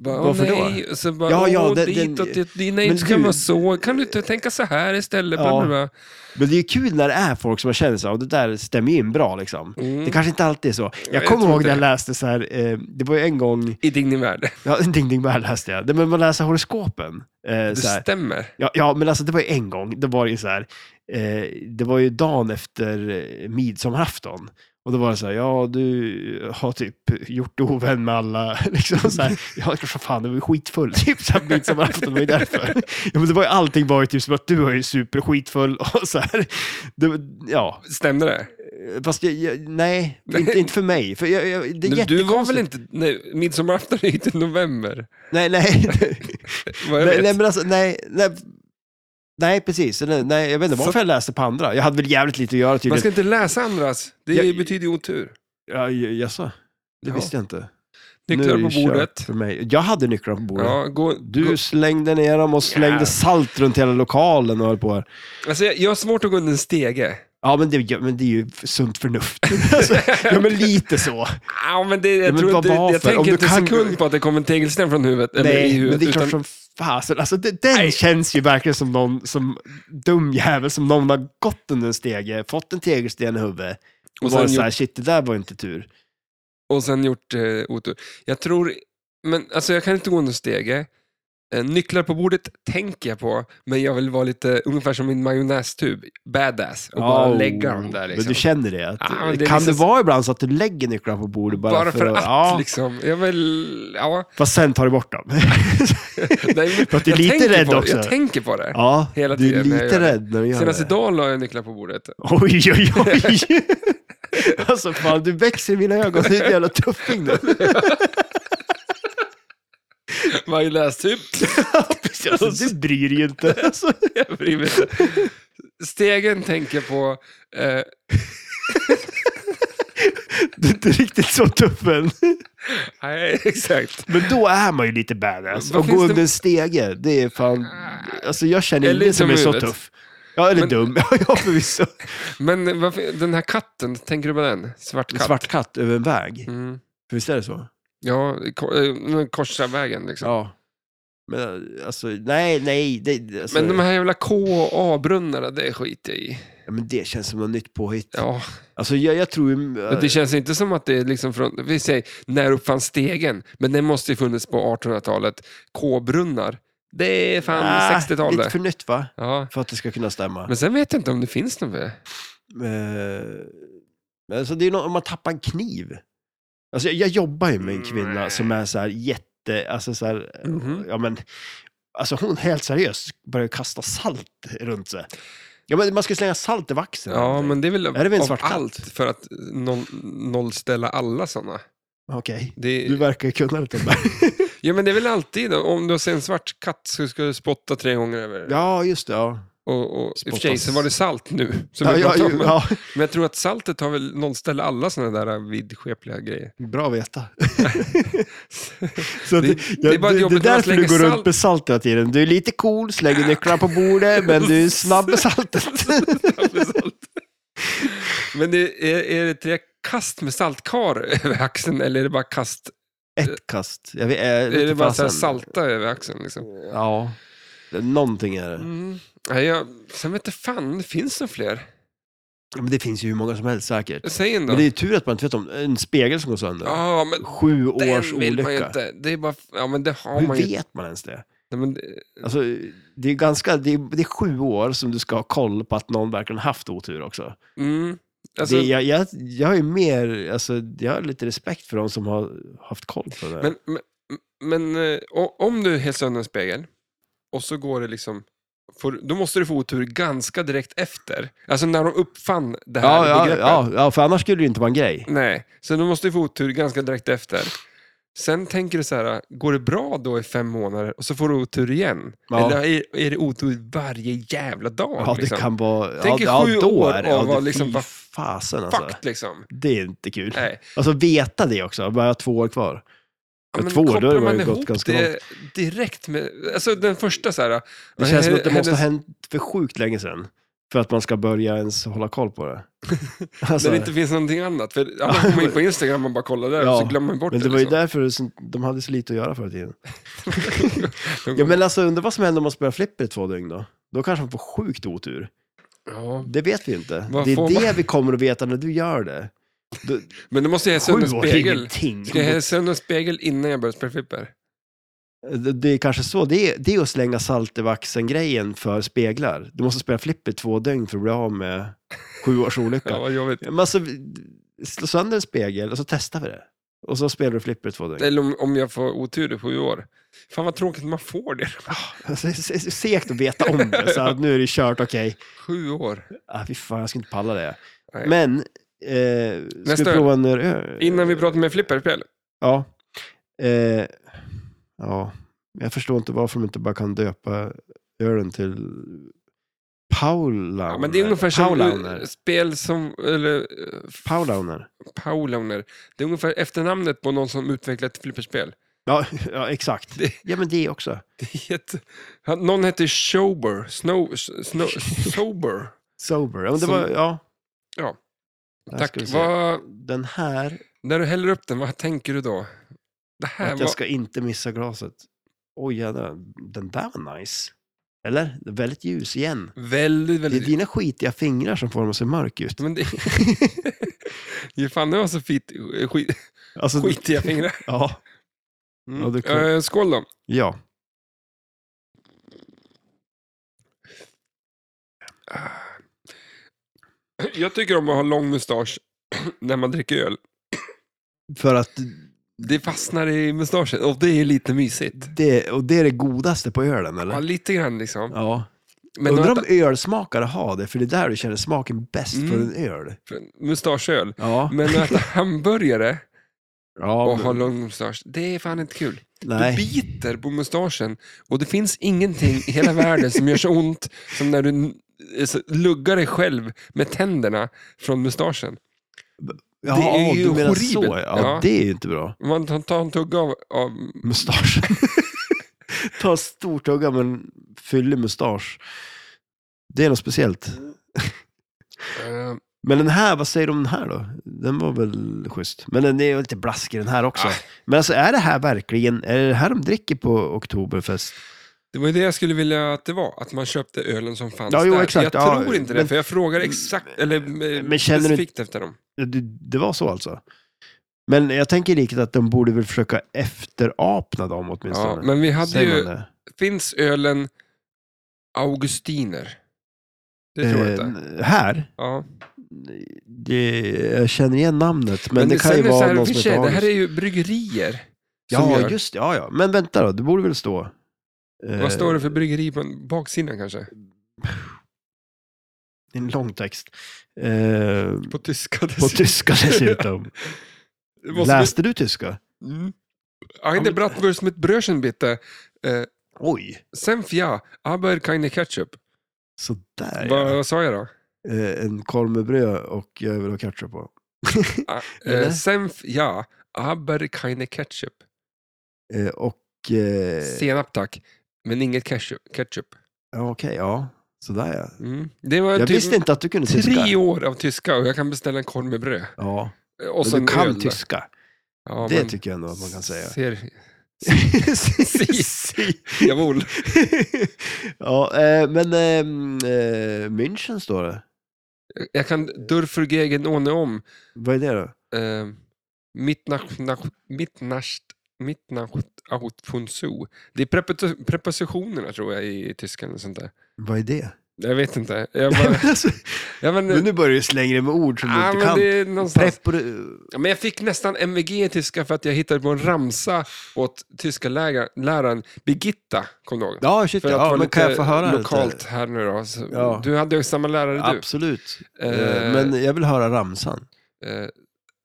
Bara, åh, Varför då? nej. då? Så bara, Ja, ja, åh, den- dit och den- dit, dit, nej, Men det ska du- vara så. Kan du inte tänka så här istället? Bla, Ja. bla, bla. Men det är ju kul när det är folk som man känner så här, och det där stämmer ju in bra liksom. Mm. Det kanske inte alltid är så. jag Jag kommer tror ihåg inte när jag det. läste så här, eh, det var ju en gång, I din värld. ja, Ding Ding Bell läste jag, Det- men man läser horoskopen. Eh, Det så här. stämmer. Ja, ja, men alltså det var ju en gång, det var ju så här, eh, det var ju dagen efter eh, midsommarafton. Och då var det så här, ja du har typ gjort ovän med alla, liksom så här, ja kanske fan, det var ju skitfull, typ så här midsommarafton, det var ju därför. Ja men det var ju, allting var ju typ som att du var ju superskitfull och så här, det, ja. Stämde det? Eh, Fast jag, jag, nej, Nej. inte, inte för mig. För jag, jag, det är Men Du var jättekonstigt. väl inte... Nej, midsommarafton är ju inte i november. Nej, nej. Vad jag nej, vet. nej, men alltså, nej, nej. Nej, precis. Nej, nej, jag vet inte Så- varför jag läste på andra. Jag hade väl jävligt lite att göra typ. Man tydligen. ska inte läsa andras. Det Jag- betyder ju otur. Ja, j- jaså? Det Ja. visste jag inte. Nycklar Nu är på det kört bordet. För mig. Jag hade nycklar på bordet. Ja, gå, Du slängde ner dem och slängde Ja. salt runt hela lokalen och höll på. Här. Alltså, jag, jag har svårt att gå under en stege. Ja, men det, ja, men det är ju sunt förnuft. alltså, ja, men lite så. Ja, men det, jag men tror vad inte, var jag för? Om tänker du inte en kan- sekund på att det kommer en tegelsten från huvudet. Eller i Nej, huvudet men det är klart utan, som fasen. Alltså, det, den känns ju verkligen som någon som dum jävel som någon har gått under en stege, fått en tegelsten i huvudet och, Och sen varit så här, gjort- shit, det där var inte tur. och sen gjort eh, otur. Jag tror... Men alltså, jag kan inte gå under en stege. Eh, Nycklar på bordet tänker jag på, men jag vill vara lite ungefär som min majonnästub. Badass. Och bara Oh, lägga dem där. Liksom. Men du känner det? Att, Ja, men det är kan liksom- det vara ibland så att du lägger nycklarna på bordet bara, bara, för att, Ja, liksom. Jag vill... Ja. fast sen tar du bort dem. Nej, men För att du är jag lite tänker rädd på, också. Jag tänker på det. ja, Hela du är tiden när jag lite gör det. rädd när du gör Senast det. idag la jag nycklar på bordet. Oj, oj, oj! alltså fan, du växer i mina ögon. Du är en jävla tuffing nu. Majonnästub. alltså, du bryr dig ju inte. Alltså. Jag bryr mig inte. Stegen tänker på... Eh, Du är inte riktigt så tuff än. nej, exakt. Men då är man ju lite badass. Vad Och finns gå det- under en stege, det är fan... Alltså jag känner Eller ingen som som är så huvudet. tuff. Ja, eller Men- dum. ja, förvisso. Men varför, den här katten, tänker du på den? Svart En katt. svart katt över en väg. Mm. För Visst är det så? Ja, ko- eh, den korsar vägen liksom. Ja. Men alltså, nej, nej. Det, alltså, Men de här jävla K och A-brunnarna, det skiter jag i. ja, men det känns som något nytt påhitt. Ja, Alltså jag, jag tror ju... men det känns inte som att det är liksom från, vi säger, när uppfanns stegen? Men den måste ju funnits på 1800-talet. K-brunnar, Det är fan Ah, 60-tal Lite det. för nytt va? Ja. För att det ska kunna stämma. Men sen vet jag inte om det finns någon mer. Eh, Men, alltså, det är ju något, om man tappar en kniv. Alltså, jag, jag jobbar ju med en kvinna Mm, Nej. som är så här jätte, alltså så här, Mhm. ja men, alltså hon helt seriöst börjar kasta salt runt sig. Ja men man ska slänga salt i vaxen. Ja, men det är väl, Är det väl en av svart katt? allt för att noll, nollställa alla sådana. Okej, Det, du verkar ju kunna lite om det. ja, men det är väl alltid, om du ser en svart katt så ska du spotta tre gånger över. Ja, just det. Ja, Och, och, I och för sig Spottas. så var det salt nu, som ja, vi ja, pratade om. ju- ja. Men jag tror att saltet har väl nollställt alla sådana där vidskepliga grejer. Bra att veta. Så att, Det- ja, det är bara det, jobbigt det när man är därför slänger du går runt salt. med salt hela tiden. Du är lite cool, slänger nycklarna på bordet, men du är snabb med saltet. Med Alltså, salt. Men det, är, är det tre kast med saltkar över axeln eller är det bara kast? Ett kast. Jag vet, jag Eh, vet Är det inte bara så fasen. här salta över axeln? Liksom? Ja, Det- någonting är det. Mm. Nej, jag, sen vet jag fan, det finns det fler? Ja, Men det finns ju hur många som helst säkert. Säg en då. Men det är ju tur att man inte vet om en spegel som går sönder. Ja, men Sju års den vill man ju olycka. inte. Det är bara, ja men det har Hur man ju. vet man ens det? Nej, men, det- Alltså, det, är ganska, det, är, det är sju år som du ska ha koll på att någon verkligen haft otur också. mm. alltså, det, jag, jag, jag har ju mer, alltså, jag har lite respekt för de som har haft koll på det. men, men, men eh, o- om du helt sönder en spegel och så går det liksom, får, då måste du få otur ganska direkt efter. Alltså när de uppfann det här ja, ja, begreppet. ja, ja, för annars skulle det ju inte vara en grej. Nej, så du måste ju få otur ganska direkt efter. Sen tänker du så här, går det bra då i fem månader och så får du otur igen? Ja. Eller är, är det otur varje jävla dag? Ja, det liksom? kan vara... Tänk er ja, sju ja, då år är det. av Ja, vad det liksom- fy vad- fasen alltså. Fucked liksom. Det är inte kul. Nej. Alltså veta det också, bara två år kvar. Ja, men två år, då kopplar har det man ju gått ihop ganska det långt. direkt med, alltså den första så här. Det ja, känns som att det hennes- måste ha hänt för sjukt länge sedan. För att man ska börja ens hålla koll på det. Alltså, När det inte finns någonting annat. För ja, man kommer in på Instagram och bara kollar där Ja, och så glömmer man bort men det det. var ju liksom. därför som- de hade så lite att göra förr i tiden. De Ja, går- men alltså undrar vad som händer om man spelar flipper i två dygn då? Då kanske man får sjukt otur. ja. Det vet vi inte. Vad det får är det vi kommer att veta när du gör det. Då, men då måste jag häsa sju under en år är spegel. ingenting. Ska jag häsa under en spegel innan jag börjar spela flipper? Eh, Det det är kanske så. Det är, det är att slänga salt i vaxen-grejen för speglar. Du måste spela flipper två dygn för att bli av med sju års olycka. Ja, vad jobbigt. Men alltså, slå sönder en spegel och så testar vi det. Och så spelar du flipper två dygn. Eller om, om jag får otur i sju år. Fan vad tråkigt man får det. Alltså, det är segt att veta om det. Så att nu är det kört, okej. Sju år. Ah, fy fan, jag ska inte palla det. Nej. Men, eh, ska Nästa vi öl. prova en öl? Innan vi pratar med flipperspel. Ja. Eh, ja. Jag förstår inte varför de inte bara kan döpa ölen till Paulauner. Ja, men det är ungefär som Paulauner. eh, spel som, eller eh, f- Paulauner. Paulauner. Det är ungefär efternamnet på någon som utvecklat ett flipperspel. Ja, ja exakt. Det- Ja, men det också. Det är jätte... Han- Någon hette Sober. Snow, snow, sober. Sober. Ja, men det Som- var, ja. Ja. Där ska Tack. vi se. Vad, Den här, när du häller upp den, vad tänker du då? Det här att var... jag ska inte missa glaset. Oj, jädrar. Den där var nice. Eller? Det är Väldigt ljus igen. Väldigt, Det är väldigt... dina skitiga fingrar som får dem att se mörk ut. Men det... Ge fan, det var så fit, skit, Alltså, skitiga fingrar. Ja. Ja, Mm. det är klart. Eh, skål då. ja. Jag tycker om att ha lång mustasch när man dricker öl. För att Det fastnar i mustaschen och det är lite mysigt. det, och det är det godaste på ölen, Ja, eller? lite grann liksom. Ja. Men Undrar något- om ölsmakare har det, för det är där du känner smaken bäst Mm. för en öl. mustaschöl. Ja. Men att äta hamburgare ja och ha men, lång mustasch, det är fan inte kul. Du nej. biter på mustaschen och det finns ingenting i hela världen som gör så ont som när du n- alltså, luggar dig själv med tänderna från mustaschen. Ja, det är ju du menar horribelt. så. Ja, Ja. det är ju inte bra. Man tar- tar en tugga av, av Mustaschen. Ta en stor tugga med en fyllig mustasch. Det är något speciellt. eh, Men den här, vad säger du om den här då? Den var väl schysst. Men den är ju lite blaskig den här också. Ah. Men alltså är det här verkligen, är det det här de dricker på Oktoberfest? det var ju det jag skulle vilja att det var, att man köpte ölen som fanns Ja, jo, där. exakt. jag Ja, tror inte det, men- Mm. för jag frågar exakt, eller eh, Men känner du- specifikt efter dem. Ja, Det, det var så alltså? Men jag tänker riktigt att de borde väl försöka efterapna dem åtminstone. Ja, men vi hade Säger man ju det? finns ölen Augustiner? Det tror jag inte. Eh, Här? Ja. Det, jag känner igen namnet, men, det kan sen ju är så vara här, någon i och som för sig, heter Det här är August. ju bryggerier. som Ja, gör. just det. Ja, ja. Men vänta då, det borde väl stå... eh, Vad står det för bryggeri på baksidan kanske? Det är en lång text. Eh, På tyska på dessutom. tyska dessutom. Det måste Läste du tyska? bli- Mm. Eine Bratwurst mit Bröschen bitte. Eh, Oj, Senf ja, aber keine Ketchup. sådär Vad ja. vad sa jag då? Eh, En korv med bröd och jag vill ha ketchup på. Ah, Eller? Eh, senf ja, aber keine Ketchup. Eh, Och... eh, Senap tack, men inget ketchup. ketchup. Ja, okej, ja. Sådär ja. Mm. Det var Jag typ visste inte att du kunde tyska. tre år av tyska och jag kan beställa en korv med bröd. Ja, Eh, Och men sen du kan öl. tyska. Ja, det men tycker jag ändå att man kan säga. Ser, Si- si. jawohl. ja, eh, men ehm, eh, München står det. Jag kan dörfer gegen ohne om. Vad är det då? Eh, Mittnacht, nach- mittnacht, mittnacht out von so. Det är prepot- prepositionerna tror jag i tyskan. Och sånt där. Vad är det? Jag vet inte. Jag bara, Alltså, ja, men, men nu börjar du slänga dig med ord som du ja, inte men kan. det är någonstans. Prepper, Ja, men jag fick nästan MVG i tyska för att jag hittade på en ramsa åt tyska läga- läraren Birgitta, kom du ihåg? ja, shit, För att ja, vara men kan jag få höra lokalt lite? här nu då. Så, Ja. Du hade ju samma lärare du. Absolut. Eh, Eh, men jag vill höra ramsan. eh,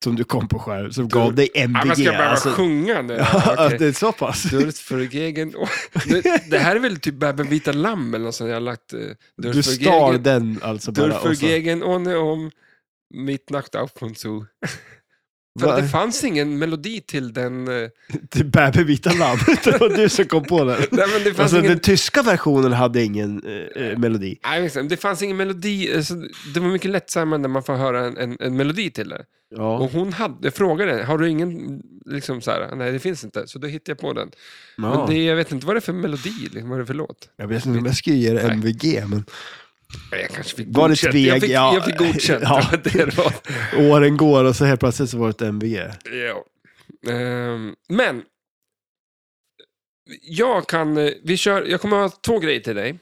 Som du kom på själv, som gav dig Ja, man ska MVG. behöva alltså. sjunga nu. Ja, Okej. det är så pass. Durst för gegen. Åh, det- Det här är väl typ Bäben vita lamm eller något sånt jag har lagt. eh, Durst för Du stal gegen- den alltså bara. Durst för och så- gegen ohne om mitt Nacht auf und zu. För Va? att det fanns ingen melodi till den. eh, Till Bäbe vita lamm. det var du som kom på den. Nej, men det fanns Alltså, ingen... Den tyska versionen hade ingen eh, eh, melodi. Nej, liksom, det fanns ingen melodi, eh, så det var mycket lättsammare när man får höra en, en, en melodi till det. Ja, Och hon hade, jag frågade, har du ingen, liksom så här, nej det finns inte, så då hittade jag på den. ja. Men det, jag vet inte, vad är det för melodi, liksom, vad är det för låt? Jag vet inte om jag skulle ge det Nej. MVG, men Nej, Jag kanske fick Var det godkänt. tveg? Jag fick, Ja. jag fick godkänt. Ja. ja. det var. åren går och så helt plötsligt så var det ett MVG. Ja. Ehm, men, jag kan, eh, vi kör, jag kommer ha två grejer till dig.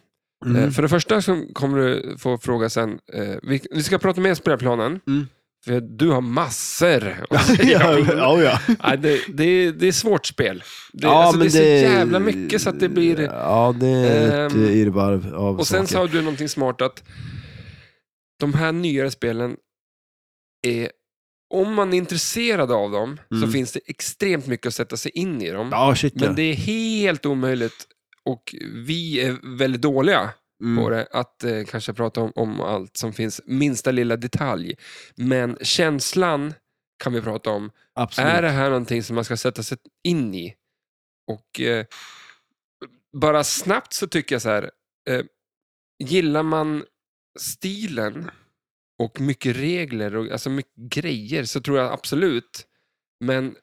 Mm. Eh, För det första så kommer du få fråga sen, eh, vi, vi ska prata mer om spelplanen. Mm. För du har massor att säga ja, om. ja, ja. Nej, det, det, är- det är svårt spel. Det, ja alltså, men det är så jävla mycket så att det blir... Ja, det är ett Ehm, virrvarr av Och sen saker. sa du någonting smart att de här nyare spelen är, om man är intresserad av dem så Mm. finns det extremt mycket att sätta sig in i dem. Ja, shit ja. Men det är helt omöjligt och vi är väldigt dåliga Mm. på det att eh, kanske prata om, om allt som finns, minsta lilla detalj. Men känslan kan vi prata om. Absolut. Är det här någonting som man ska sätta sig in i? Och eh, bara snabbt så tycker jag så här, eh, gillar man stilen och mycket regler och alltså mycket grejer så tror jag absolut. Men,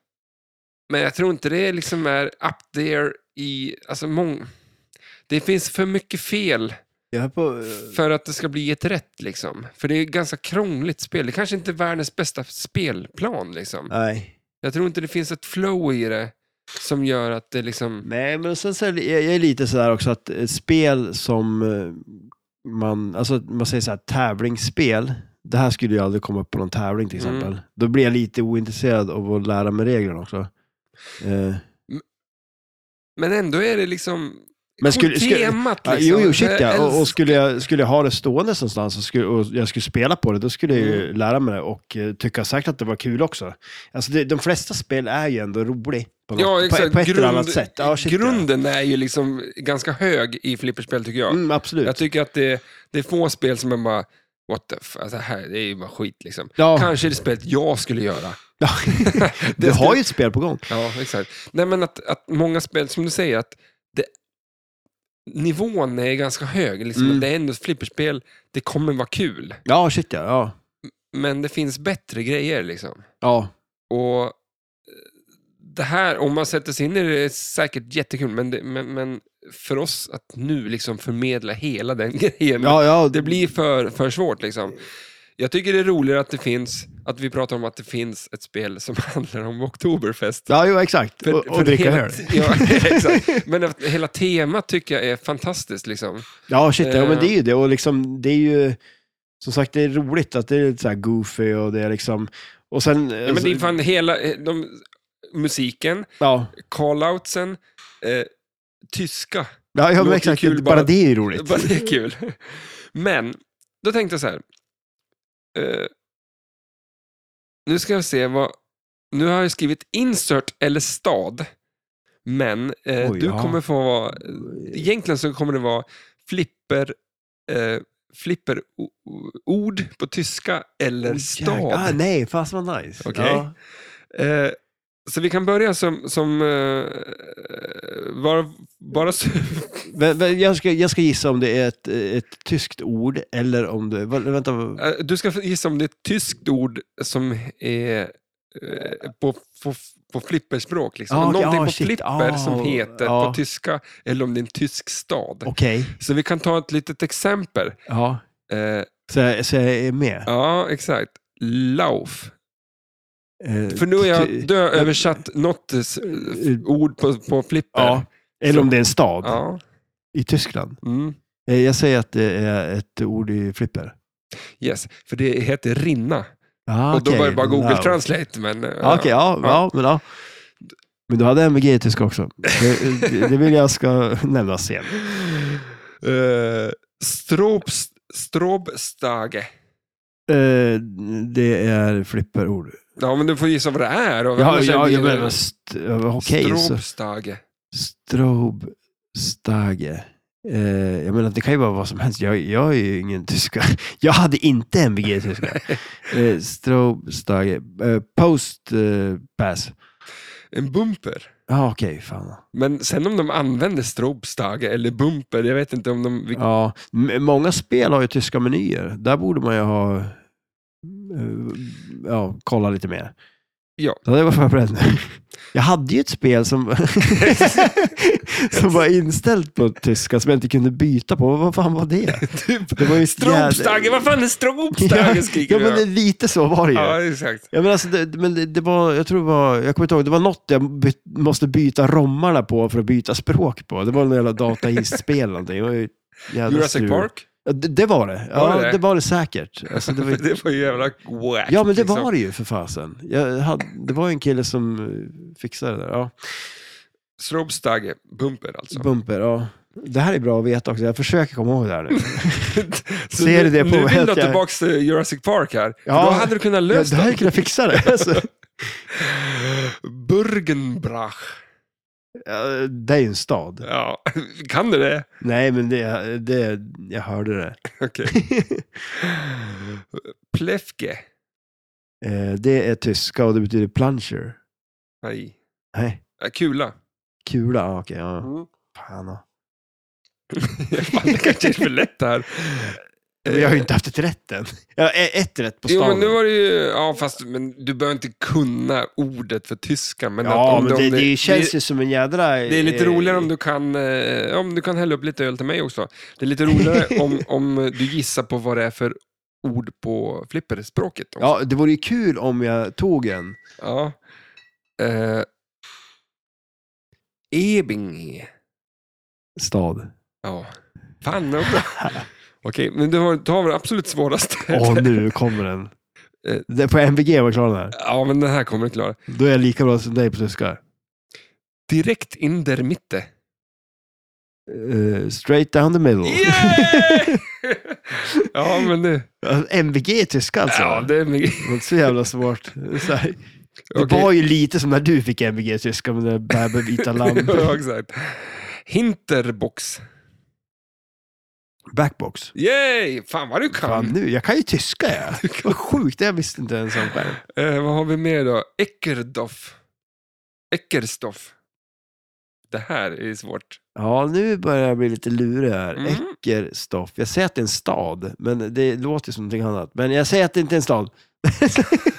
men jag tror inte det liksom är up there i, alltså mång... Det finns för mycket fel Jag är på, eh, för att det ska bli ett rätt liksom. För det är ett ganska krångligt spel. Det kanske inte är världens bästa spelplan liksom. nej. Jag tror inte det finns ett flow i det som gör att det liksom... nej, men sen så är det- jag, jag är lite sådär också att eh, spel som eh, man, alltså man säger såhär tävlingsspel, det här skulle ju aldrig komma upp på någon tävling till Mm. exempel. Då blir jag lite ointresserad av att lära mig reglerna också. Eh, Men ändå är det liksom... Men skulle- skulle- temat Ja, liksom. jo, jo, shit Jag ja. Och, älskar- och skulle, jag, skulle jag ha det stående någonstans och, skulle, och jag skulle spela på det, då skulle jag Mm. ju lära mig det och eh, tycka säkert att det var kul också. Alltså, det, de flesta spel är ju ändå rolig på, något, Ja, på, exakt. på ett eller annat Grund- sätt. Ja, shit, Grunden är ju liksom ganska hög i flipperspel tycker ja. jag. Mm, absolut. Jag tycker att det, det är få spel som man bara, what the f... Alltså, här, det är ju bara skit liksom. ja. Kanske är det spelet jag skulle göra. Ja. Det du har skulle- ju ett spel på gång. Ja, exakt. Nej, men att, att många spel, som du säger, att det, nivån är ganska hög. Liksom, Mm. Det är ändå ett flipperspel, det kommer vara kul. Ja, shit ja. Ja, Men det finns bättre grejer liksom. ja. Och eh, det här, om man sätter sig in i det, är säkert jättekul, men, det, men, men för oss att nu liksom förmedla hela den grejen, ja, ja. det blir för, för svårt liksom. Jag tycker det är roligare att det finns, att vi pratar om att det finns ett spel som handlar om Oktoberfest. Ja, jo, exakt. och och dricka hela, öl. Ja, exakt. Men att hela temat tycker jag är fantastiskt. Liksom. Ja, shit, ja, men Eh. det är ju det. Och liksom, det är ju, som sagt, det är roligt att det är lite så här goofy och det är liksom... Och sen... Ja, men det är fan hela eh, de, musiken, ja, call-outsen, eh, tyska. ja, ja men låter exakt. kul Bara, bara bara- det är ju roligt. Bara det är kul. Men, då tänkte jag så här. Eh, nu ska jag se vad... Nu har jag skrivit insert eller stad. Men eh, Oj, du ja. kommer få vara... Egentligen så kommer det vara flipper... Eh, flipper o- o- ord på tyska eller Åh, stad. jäklar. Ah, nej, fast vad nice. Okej. Ja. Eh, så vi kan börja som... som eh, bara, bara så, Men, men jag, ska, jag ska gissa om det är ett, ett tyskt ord eller om det... vad- Vänta. vad- Eh, Du ska gissa om det är ett tyskt ord som är eh, på, på, på flipperspråk. Liksom. Ah, okej, Någonting ah, på shit, flipper ah, som heter ja. på tyska eller om det är en tysk stad. Okej. Så vi kan ta ett litet exempel. Ja. Eh, Så, jag- så jag är med. ja, exakt. Lauf. Eh, För nu har ty- jag dö- översatt något eh, s- ord på, på flipper. Ja. Eller om det är en stad Ja, i Tyskland. mm, Eh, Jag säger att det är ett ord i flipper. yes. För det heter rinna. Ah, Och då okej. var det bara Google Wow. Translate. Men, eh, Ja, Okej, ja, ja. Ja. men ja. Men du hade MVG i tyska också. Det, det- det vill jag ska nämnas sen. Eh, Strobs, strobstage. Eh, det är flipperord. Ja, men du får gissa vad det är. Och Ja, annars är ja, det- ja, men st- eh, okej. så- Strobstage. Strobstage. Eh, jag menar, det kan ju vara vad som helst. Jag, jag är ju ingen tyska. Jag hade inte MVG i tyska. Eh, Strobstage. Eh, post eh, pass. En bumper. Ja, okej. fan. Men sen om de använder strobstage eller bumper, jag vet inte om de... vilk- Ja, m- många spel har ju tyska menyer. Där borde man ju ha... eh, Ja, kolla lite mer. Ja. Så det var förberedd nu. Jag hade ju ett spel som, som var inställt på tyska som jag inte kunde byta på. Vad fan var det? Typ, Det var ju ett jävla- strobstage, vad fan är Ja, strobstage skriker ja, du. men det, lite så var det ju. ja, exakt. Ja, men alltså, det, men det, det var, jag tror det var, jag kommer inte ihåg, det var något jag by, måste byta romarna på för att byta språk på. Det var någon jävla dataistspel eller någonting. Det var ju jävla Jurassic strul. Park? Ja, det, det var det. Ja, Var det det? det? var det säkert. Alltså, det var, ju- Det var ju jävla wack. ja, men det liksom. var det ju för fasen. Jag hade, det var ju en kille som eh, fixade det där. Ja. Strobstage, bumper alltså. Bumper, ja. Det här är bra att veta också. Jag försöker komma ihåg det här nu. Så nu, Ser du det på nu vill att du jag- tillbaka till Jurassic Park här. Ja. Ja. Då hade du kunnat Ja, lösa det här hade kunnat fixa det. Alltså, Burgenbrach. ja, det är ju en stad. Ja, kan du det? Nej, men det, det, jag hörde det. Okej. Plefke. Eh, Det är tyska och det betyder plunger. Nej. Nej, Ja, Kula. kula. Ja, okej, ja. Mm. Fan, ja. Fan, det kanske är för lätt det här. Men jag har ju inte haft ett rätt än. Jag har ett rätt på Jo, staden. men nu var det ju... Ja, fast men du behöver inte kunna ordet för tyska. Men att ja, om men du, om det, det, känns det, ju som en jädra... det är lite roligare om du kan, eh, om du kan hälla upp lite öl till mig också. Det är lite roligare om, om du gissar på vad det är för ord på flipperspråket. också. Ja, det vore ju kul om jag tog en. Ja. Eh, Ebinge. Stad. Ja. Fan vad bra. Okej, men du har, tar väl absolut svåraste. Åh, nu kommer den. Eh. Det- På MVG var jag klar den här. Ja, men den här kommer du klara. Då är jag lika bra som dig på tyska. Direkt in der Mitte. Eh, straight down the middle. Yeah! ja, men nu. Alltså, MVG är tyska alltså. Ja, det... det är mycket. var inte så jävla svårt. Så här. Det Okej. var ju lite som när du fick MVG i tyska med den där Bäbe vita ja, lampor. exakt. Hinterbox. Backbox. Yay! Fan vad du kan. Fan nu, jag kan ju tyska jag. Vad sjukt, det här visste inte ens om själv. Eh, vad har vi mer då? Eckerdoff. Eckerstoff. Det här är svårt. Ja, nu börjar jag bli lite lurig här. Mm. Eckerstoff. Jag säger att det är en stad, men det låter som någonting annat. Men jag säger att det inte är en stad.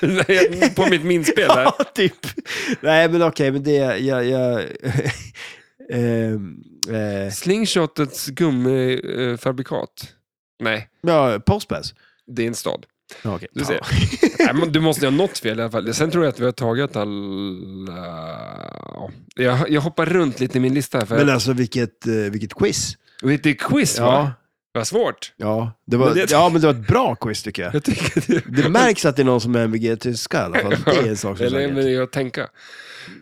Nej, på mitt minspel här. ja, typ. Nej, men okej, men det... Jag, jag, ehm, eh, Slingshotets gummifabrikat. Nej, ja, Postpass. det är en stad. Ja, okej. Du Ja. ser. Nej, men du måste ju ha något fel i alla fall. Sen tror jag att vi har tagit alla... ja. Jag, jag hoppar runt lite i min lista här. För... Men alltså vilket, eh, vilket quiz. Lite quiz va? Ja, Vad svårt. ja, det var, Men det- ja, men det var ett bra quiz tycker jag. Jag tycker det... Det märks att det är någon som är MVG-tyska i alla fall. Det är en sak som är Eller säker. men jag tänka.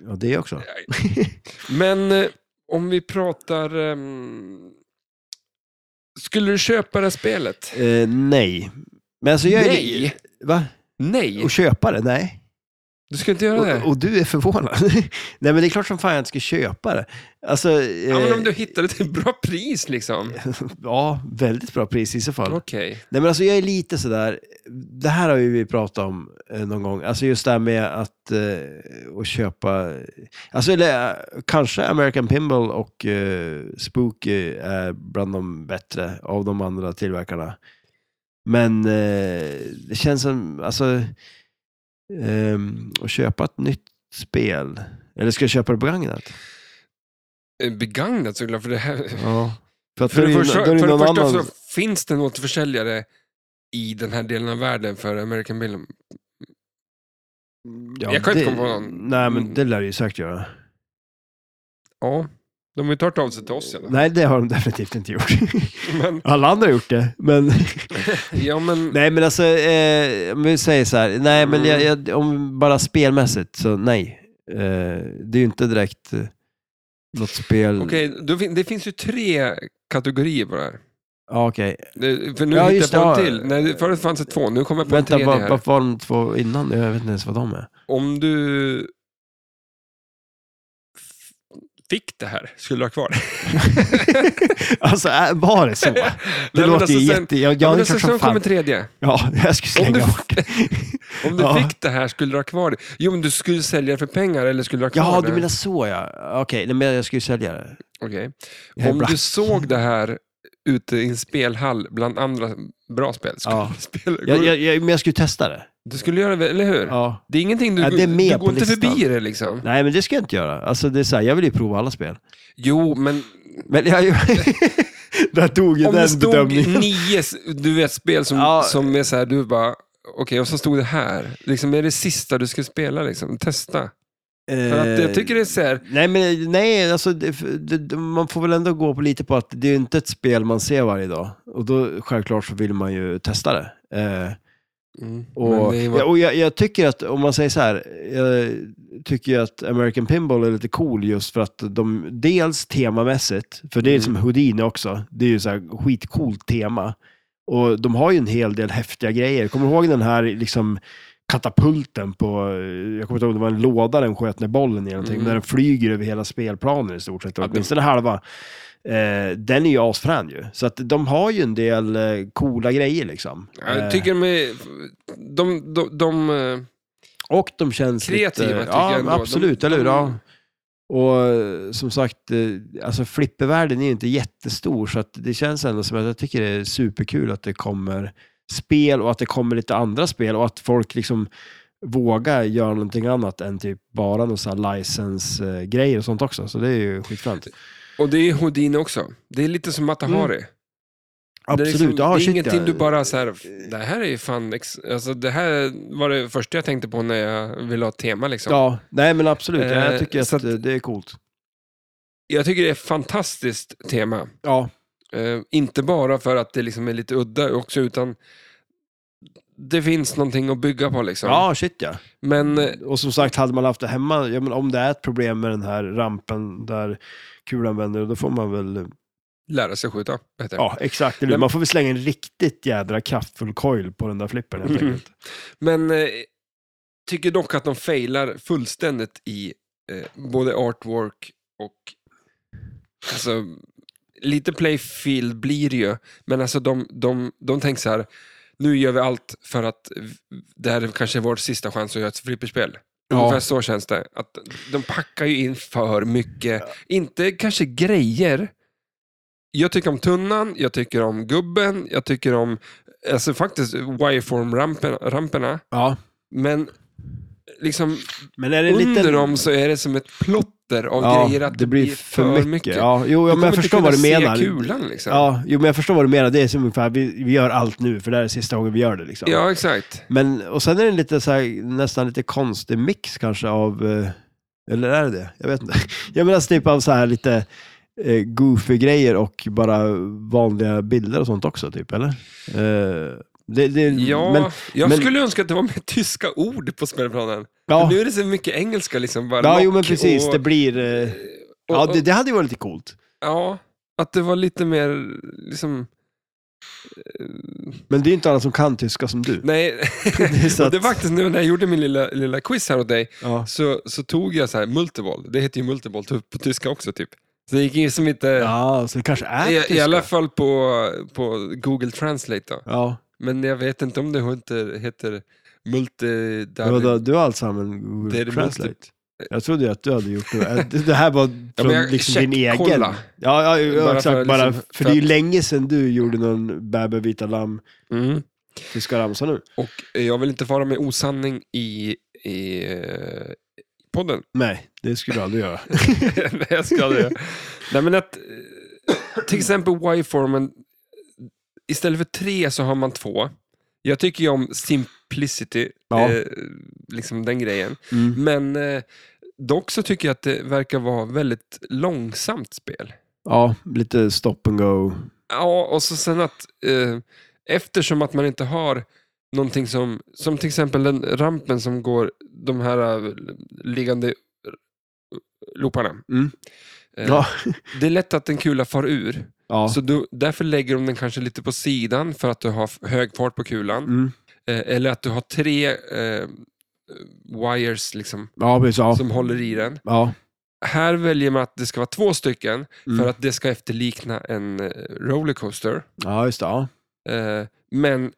Ja, det också. Men eh, om vi pratar... ehm, Skulle du köpa det här spelet? Eh, nej. Men alltså jag är... Nej. Va? Nej, Och köpa det? Nej. du ska inte göra Och, det. och du är förvånad. nej, men det är klart som fan jag inte ska köpa det. Alltså... Eh, Ja, men om du hittar det till ett bra pris liksom. ja, väldigt bra pris i så fall. Okej. Nej men alltså jag är lite sådär, det här har ju vi pratat om eh, någon gång, alltså just det här med att, eh, att köpa, alltså eller eh, kanske American Pinball och eh, Spook eh, är bland de bättre av de andra tillverkarna. Men eh, det känns som, alltså, ehm, att köpa ett nytt spel, eller ska jag köpa det begagnat? Eh, Begagnat såklart, för det här... Ja. För, att För då är det ju- första, då är ju för det någon första annan- så finns det en återförsäljare i den här delen av världen för American Bill. Ja, jag kan inte komma det- på någon. Mm. Nej men det lär det ju säkert göra. Ja, de har ju tagit av sig till oss. i alla fall. Nej, det har de definitivt inte gjort. Men, Alla andra har gjort det, men... ja, men nej, men alltså, eh, om vi säger så här, nej, men jag, Mm. jag, om bara spelmässigt, så nej. Eh, det är ju inte direkt eh, något spel... okej, då fin- det finns ju tre kategorier på det här. Ja, okej. Det- För nu Ja, hittar jag just på en det, ja. till. Nej, förut fanns det två, nu kommer jag på en Vänta, tredje vad här. vad var de två innan? Jag vet inte ens vad de är. Om du f- fick det här, skulle du ha kvar alltså, äh, var det så? Det men låter alltså ju sen- jätte... Jag, Ja, men jag, ja, alltså, sen kommer fan... tredje. ja, jag skulle Om du, slänga bort. om du Ja. fick det här, skulle du ha kvar det? Jo, men du skulle sälja det för pengar eller skulle du ha kvar Ja, det? du menar så ja. Okej, nej, men jag skulle ju sälja det. Okej. Jag är Om bra. du såg det här ute i en spelhall bland andra bra spel, skulle Ja. du spela? Jag, jag, jag, men jag skulle testa det. Du skulle göra det, eller hur? Ja. Det är ingenting du, Ja, det är med du går på inte listan. förbi det liksom. Nej, men det ska jag inte göra. Alltså, det är så här, jag vill ju prova alla spel. Jo, men Men jag... Där tog ju om det den stod bedömningen. nio s- du vet, spel som, Ja. som är så här, du bara, okej, och så stod det här. Liksom, är det sista du ska spela? Liksom? Testa. Mm. För att Eh. jag tycker det är så här, Nej, men nej, alltså, det, det, det- man får väl ändå gå på lite på att det är ju inte ett spel man ser varje dag. Och då självklart så vill man ju testa det. Eh, mm, men och det är vad- ja, och jag, jag tycker att, om man säger så här, jag tycker ju att American Pinball är lite cool just för att de, dels temamässigt, för det är Mm. som Houdini också, det är ju så här skitcoolt tema. Och de har ju en hel del häftiga grejer. Kommer du ihåg den här liksom katapulten på, eh, jag kommer inte ihåg, det var en låda den sköt ner bollen i någonting, Mm. men den flyger över hela spelplanen i stort sett, Ja, det- åtminstone halva. Eh, den är ju asfrän ju. Så att de har ju en del eh, coola grejer liksom. Ja, Eh, Jag tycker de är... De, de, de, eh, Och de känns Kreativa lite... tycker ja, jag ändå. absolut, De- eller hur? de- Ja. Och eh, som sagt, eh, alltså flippervärlden är ju inte jättestor så att det känns ändå som att jag tycker det är superkul att det kommer spel och att det kommer lite andra spel och att folk liksom vågar göra någonting annat än typ bara någon sån här license-grejer och sånt också. Så det är ju skitfränt. och det är Houdini också. Det är lite som Matahari. Det är, Mm. Absolut. liksom, ja, det är shit, ingenting ja. du bara så här, det här är ju fan, ex, alltså det här var det första jag tänkte på när jag ville ha ett tema liksom. Ja, nej men absolut. Ja, Eh, jag tycker att, så att- eh, det är coolt. Jag tycker det är ett fantastiskt tema. Ja, Eh, inte bara för att det liksom är lite udda också, utan det finns någonting att bygga på liksom. ja shit ja. Men eh, Och som sagt, hade man haft det hemma, ja, men om det är ett problem med den här rampen där kulan vänder, då får man väl... lära sig skjuta, heter det. Ja, exakt. Eller, Men- man får väl slänga en riktigt jädra kraftfull coil på den där flippern helt Mm. enkelt. Men eh, tycker dock att de failar fullständigt i eh, både artwork och alltså, lite playfield blir det ju, men alltså de, de, de tänker så här, nu gör vi allt för att v- det här är kanske vår sista chans att göra ett flipperspel. Ja. Ungefär så känns det. Att de packar ju in för mycket, inte kanske grejer. Jag tycker om tunnan, jag tycker om gubben, jag tycker om alltså faktiskt wireform-ramperna. Ja, Men liksom, Men är det en under liten... dem så är det som ett plotter av grejer. Att det blir för mycket. Ja, jo, Du ja, men kommer jag inte förstår kunna vad du se menar. kulan liksom. Ja, Ja, jo, men jag förstår vad du menar. Det är som ungefär, vi, vi gör allt nu, för det här är sista gången vi gör det. Liksom. exakt. Men, och sen är det en lite, så här, nästan lite konstig mix kanske av, eh, eller är det det? Jag vet inte. Jag menar typ av så här lite eh, goofy grejer och bara vanliga bilder och sånt också, typ, eller? Eh, det, det, Ja, men, jag men- skulle önska att det var mer tyska ord på spelplanen. ja, Nu är det så mycket engelska liksom. Bara ja jo, men lock precis. Och, Det blir, eh, och, ja, det, det hade ju varit lite coolt. ja, att det var lite mer liksom... Men det är ju inte alla som kan tyska som du. Nej, Det är så och det att- var faktiskt nu när jag gjorde min lilla, lilla quiz här åt dig, Ja. så, så tog jag så här multiboll. Det heter ju multiboll typ, på tyska också typ. Så det gick ju som inte... ja, så det kanske är I, I tyska. alla fall på, på Google Translate då. Ja. Men jag vet inte om det heter, heter multi... Ja, du, du har alltså använt Det är Google det Translate? Jag trodde ju att du hade gjort det. Äh, Det det här var från jag liksom din egen. checkkolla. Ja, ja, ja Bara exakt. för bara, liksom- för det är ju länge sedan du gjorde någon Bäber vita lamm, Mm. tyska ramsa nu. Och eh, jag vill inte fara med osanning i, i eh, podden. Nej, det skulle du aldrig göra. Nej, jag ska det. Nej, men att eh, till exempel Y-formen, istället för tre så har man två. Jag tycker ju om simplicity, Ja. eh, liksom den grejen. Mm. Men eh, dock så tycker jag att det verkar vara väldigt långsamt spel. Ja, lite stop and go. Ja, och så sen att eh, eftersom att man inte har någonting som, som till exempel den rampen som går de här eh, liggande eh, looparna. Mm. Eh, Ja. Det är lätt att en kula far ur. ja. Så du, därför lägger de den kanske lite på sidan för att du har f- hög fart på kulan. Mm. Eh, eller att du har tre eh, wires liksom, Ja, precis. Ja. som håller i den. Ja. Här väljer man att det ska vara två stycken Mm. för att det ska efterlikna en eh, rollercoaster. ja, just det. Ja. Eh, men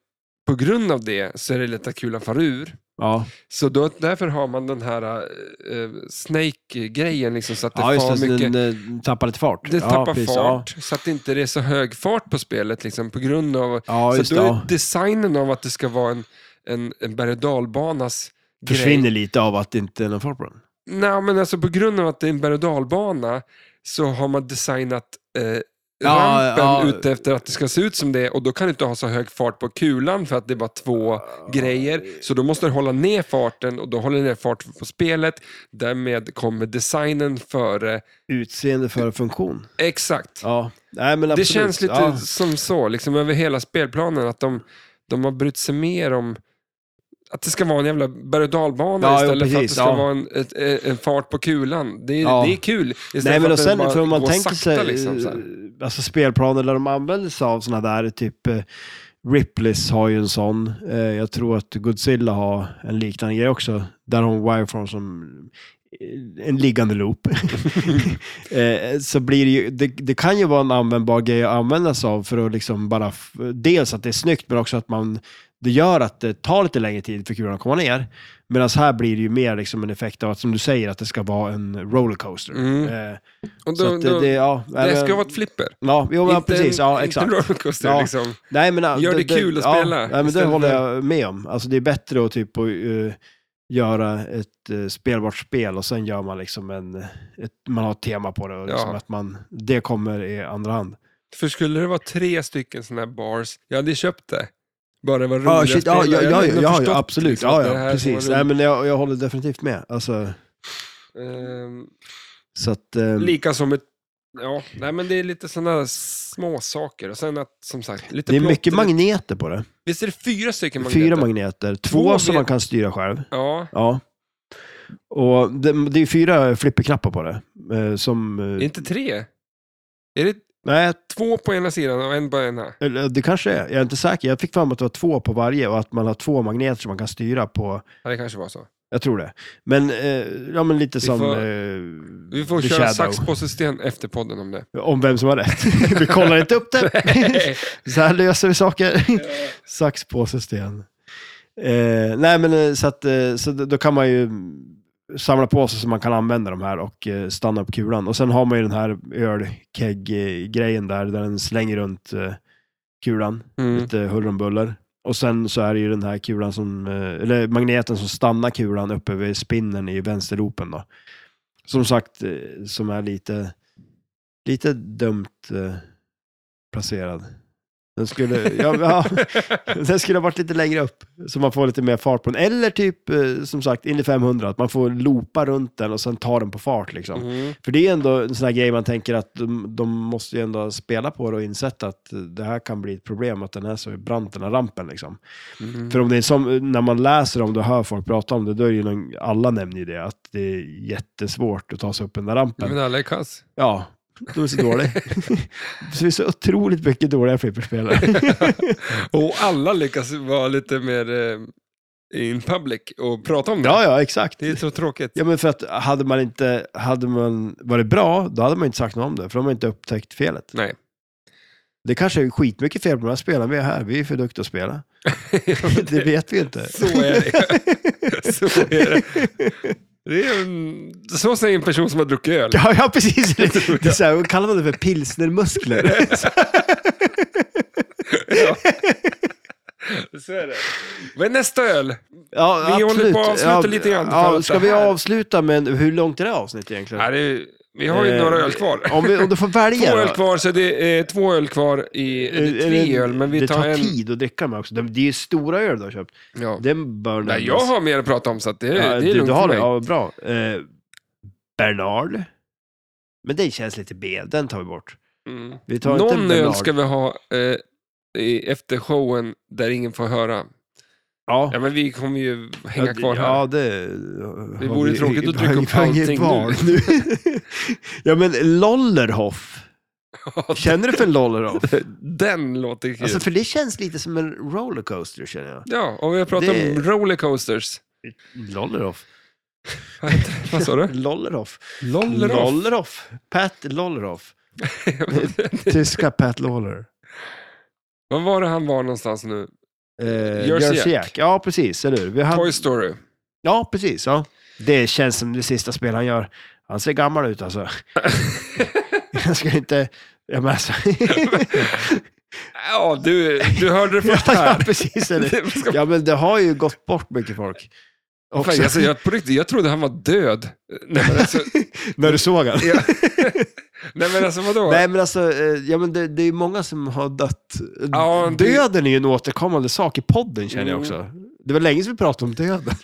på grund av det så är det lätt att kulan far ur. Ja, Så då, därför har man den här eh, eh, snake-grejen, liksom, så att det ja just far det. Så mycket. den eh, tappar lite fart. Det ja, tappar precis, fart, så att det inte är så hög fart på spelet liksom, på grund av... Ja, ja just så det. då är Ja. designen av att det ska vara en, en, en berg och dalbanas Försvinner grej. lite av att det inte är någon fart på den. Nej, men alltså på grund av att det är en berg och dalbana så har man designat eh, rampen ja. ute efter att det ska se ut som det och då kan du inte ha så hög fart på kulan för att det är bara två Ah, grejer. Så då måste du hålla ner farten och då håller du ner farten på spelet. Därmed kommer designen före. Utseende för funktion. Exakt. Ja. Nej, men Det absolut. känns lite Ja. som så, liksom över hela spelplanen, att de, de har brytt sig mer om att det ska vara en jävla berg och dalbana Ja, jo, istället för att precis, det ska ja. vara en, ett, eh, en fart på kulan. Det är, Ja. det är kul. Istället Nej, men och för att sen den för bara om man går tänker sakta, sig Liksom, så här. eh, alltså spelplaner där de använder sig av sådana där, typ eh, Ripley's har ju en sån. Eh, jag tror att Godzilla har en liknande grej också. Där har hon Wireform som eh, en liggande loop. eh, så blir det, ju, det, det kan ju vara en användbar grej att använda sig av för att liksom bara, f- dels att det är snyggt men också att man, det gör att det tar lite längre tid för kulan att komma ner. Medan här blir det ju mer liksom en effekt av att, som du säger, att det ska vara en rollercoaster. Mm. Eh, Och så då, att det, då, det, det, ja, nej, ska men- vara ett flipper. Ja, jo, men inte precis. en, Ja, inte exakt. en rollercoaster. Ja. Liksom. Nej, men, ja, Gör det kul att ja, spela Ja, men det istället håller för- jag med om. Alltså, det är bättre att typ, att, eh, göra ett eh, spelbart spel och sen gör man liksom en... Ett, man har ett tema på det och liksom Ja. att man, det kommer i andra hand. För skulle det vara tre stycken sådana här bars, jag hade ju köpt det. Bara det var roligt Ja, shit, ja, ja, ja, ja, ja, ja, absolut. ja, ja, liksom, det här precis. var Nej, roligt. men jag, jag håller definitivt med. Alltså, Ehm, så att... eh, Lika som ett... Ja, nej men det är lite sådana små saker. Och sen att, som sagt, lite det är mycket plotter. magneter på det. Visst är det fyra stycken magneter? Fyra magneter. Två Två som vet- man kan styra själv. Ja. Ja. Och det, det är fyra flipperknappar på det. eh, Som... eh, Är det inte tre? Är det Nej, två på ena sidan och en på ena? eller, det kanske är. Jag är inte säker. Jag fick fram att det var två på varje och att man har två magneter som man kan styra på. Ja, det kanske var så. Jag tror det. Men, eh, ja, men lite som... får- eh, Vi får The köra Shadow. sax, påse, sten efter podden om det. Mm. Om vem som har rätt. vi kollar inte upp det. så här löser vi saker. Sax, påse, sten. Eh, nej, men eh, så, att, eh, så då då kan man ju samla på sig så man kan använda de här och eh, stanna upp kulan. Och sen har man ju den här ölkeg-grejen där, där den slänger runt eh, kulan. Mm. Lite huller om buller. Och sen så är det ju den här kulan som, eh, eller magneten som stannar kulan uppe vid spinnen i vänsterlopen då. Som sagt, eh, som är lite, lite dumt eh, placerad. Den skulle, ja, ja, den skulle ha varit lite längre upp, så man får lite mer fart på den. Eller typ, eh, som sagt, Indy 500, att man får loopa runt den och sen ta den på fart liksom. Mm. För det är ändå en sån här grej man tänker att de, de måste ju ändå spela på det och insett att det här kan bli ett problem, att den är så brant den här rampen. Liksom. Mm. För om det är som, när man läser om det och hör folk prata om det, då är det ju någon, alla nämner ju det, att det är jättesvårt att ta sig upp den där rampen. Men alla är kass. Ja, de är så dåliga. så det är så otroligt mycket dåliga flipperspelare. Och alla lyckas vara lite mer eh, in public och prata om det. ja, ja, exakt. Det är så tråkigt. Ja, men för att hade man inte, hade man varit bra, då hade man inte sagt något om det, för de har inte upptäckt felet. Nej. Det kanske är skitmycket fel på de här spelarna vi är här. Vi är för duktiga att spela. Det vet vi inte. Så är det. Så är det. det är en, så säger en person som har druckit öl. Ja, ja precis. Det, det är så här, vad kallar man det för pilsnermuskler? Ja. Så är det. Vad är nästa öl? Ja, Vi håller på att avsluta lite grann för Ja, att ska det vi här- avsluta med, hur långt är det här avsnittet egentligen? Ja, det är, vi har ju Eh, några öl kvar. Om, vi, om du får välja. Två öl då. kvar, så det är två öl kvar i... Eh, Eller tre eh, öl, men vi det tar tar en... tid att dricka med också. Det det är ju stora öl du har köpt. Ja. Den bör Nej, jag har mer att prata om, så att det, är- ja, det är du, lugnt du för har det. mig. Ja, bra. Eh, Bernard. Men den känns lite B. Den tar vi bort. Mm. Vi tar Någon inte öl Bernard. ska vi ha eh, i- efter showen där ingen får höra. Ja. Ja, men vi kommer ju hänga det- kvar här. Ja, det... Det har vore vi- tråkigt att har trycka vi- upp har inget allting val nu. ja, men Lollerhoff. Känner du för Lollerhoff? Den låter kul. Alltså, för det känns lite som en rollercoaster, känner jag. ja, och vi har pratat det- om rollercoasters. Lollerhoff. Vad heter- Vad sa du? Lollerhoff. Lolleroff. Pat Lollerhoff. Tyska Pat Loller. Vad var det han var någonstans nu? Eh, Jersey Jersey Jack. Jack. Ja, precis. Eller hur? Vi har... Toy Story. Ja, precis. Ja. Det känns som det sista spel han gör. Han ser gammal ut alltså. Han ska inte... Ja, men alltså. Ja, du, du hörde det först ja, här. precis. Eller? Det- vad ska- Ja, men det har ju gått bort mycket folk. Också. Fan, alltså, jag, på riktigt, jag trodde han var död. Nej men alltså, När du såg han? ja. Nej, men alltså vadå? Nej, men alltså, eh, ja, men det, det är ju många som har dött. Ja, det- Döden är ju en återkommande sak i podden, känner Mm. jag också. Det var länge sedan vi pratade om döden.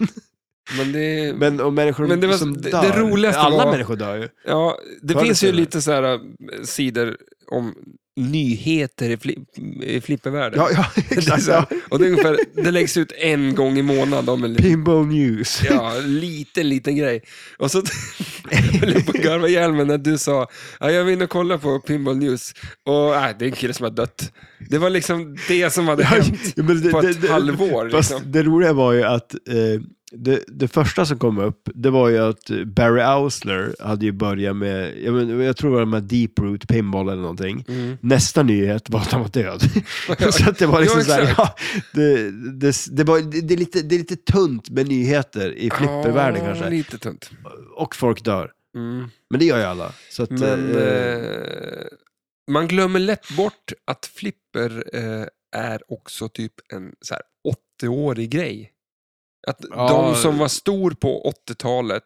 Men det, Men om människor Men det var- som det- det dör. roligaste Alla var- människor dör ju. ja, det Förr finns ju eller senare. lite så här äh, sidor om nyheter i, fli, i flippervärlden. Ja, ja det, är exakt. så här, Ja. och det, är ungefär, det läggs ut en gång i månaden om en liten, Pinball news. ja, liten, liten grej. Och så höll jag på att garva ihjäl mig när du sa ja, jag var inne och kollade på Pinball News och nej, det är en kille som har dött. Det var liksom det som hade hänt Ja, men det- på det- ett det- halvår. Fast Liksom. det roliga var ju att eh, det, det första som kom upp, det var ju att Barry Ausler hade ju börjat med, jag, men, jag tror det var med Deep Root Pinball eller någonting. Mm. Nästa nyhet var att han var död. så att det var liksom Ja, så här, exakt. ja, det, det, det, var, det, det, är lite, det är lite tunt med nyheter i flippervärlden Ja, kanske. lite tunt. Och folk dör. Mm. Men det gör ju alla. Så att, Men eh, eh, man glömmer lätt bort att flipper eh, är också typ en så här 80-årig grej. Att Ja. de som var stor på 80-talet,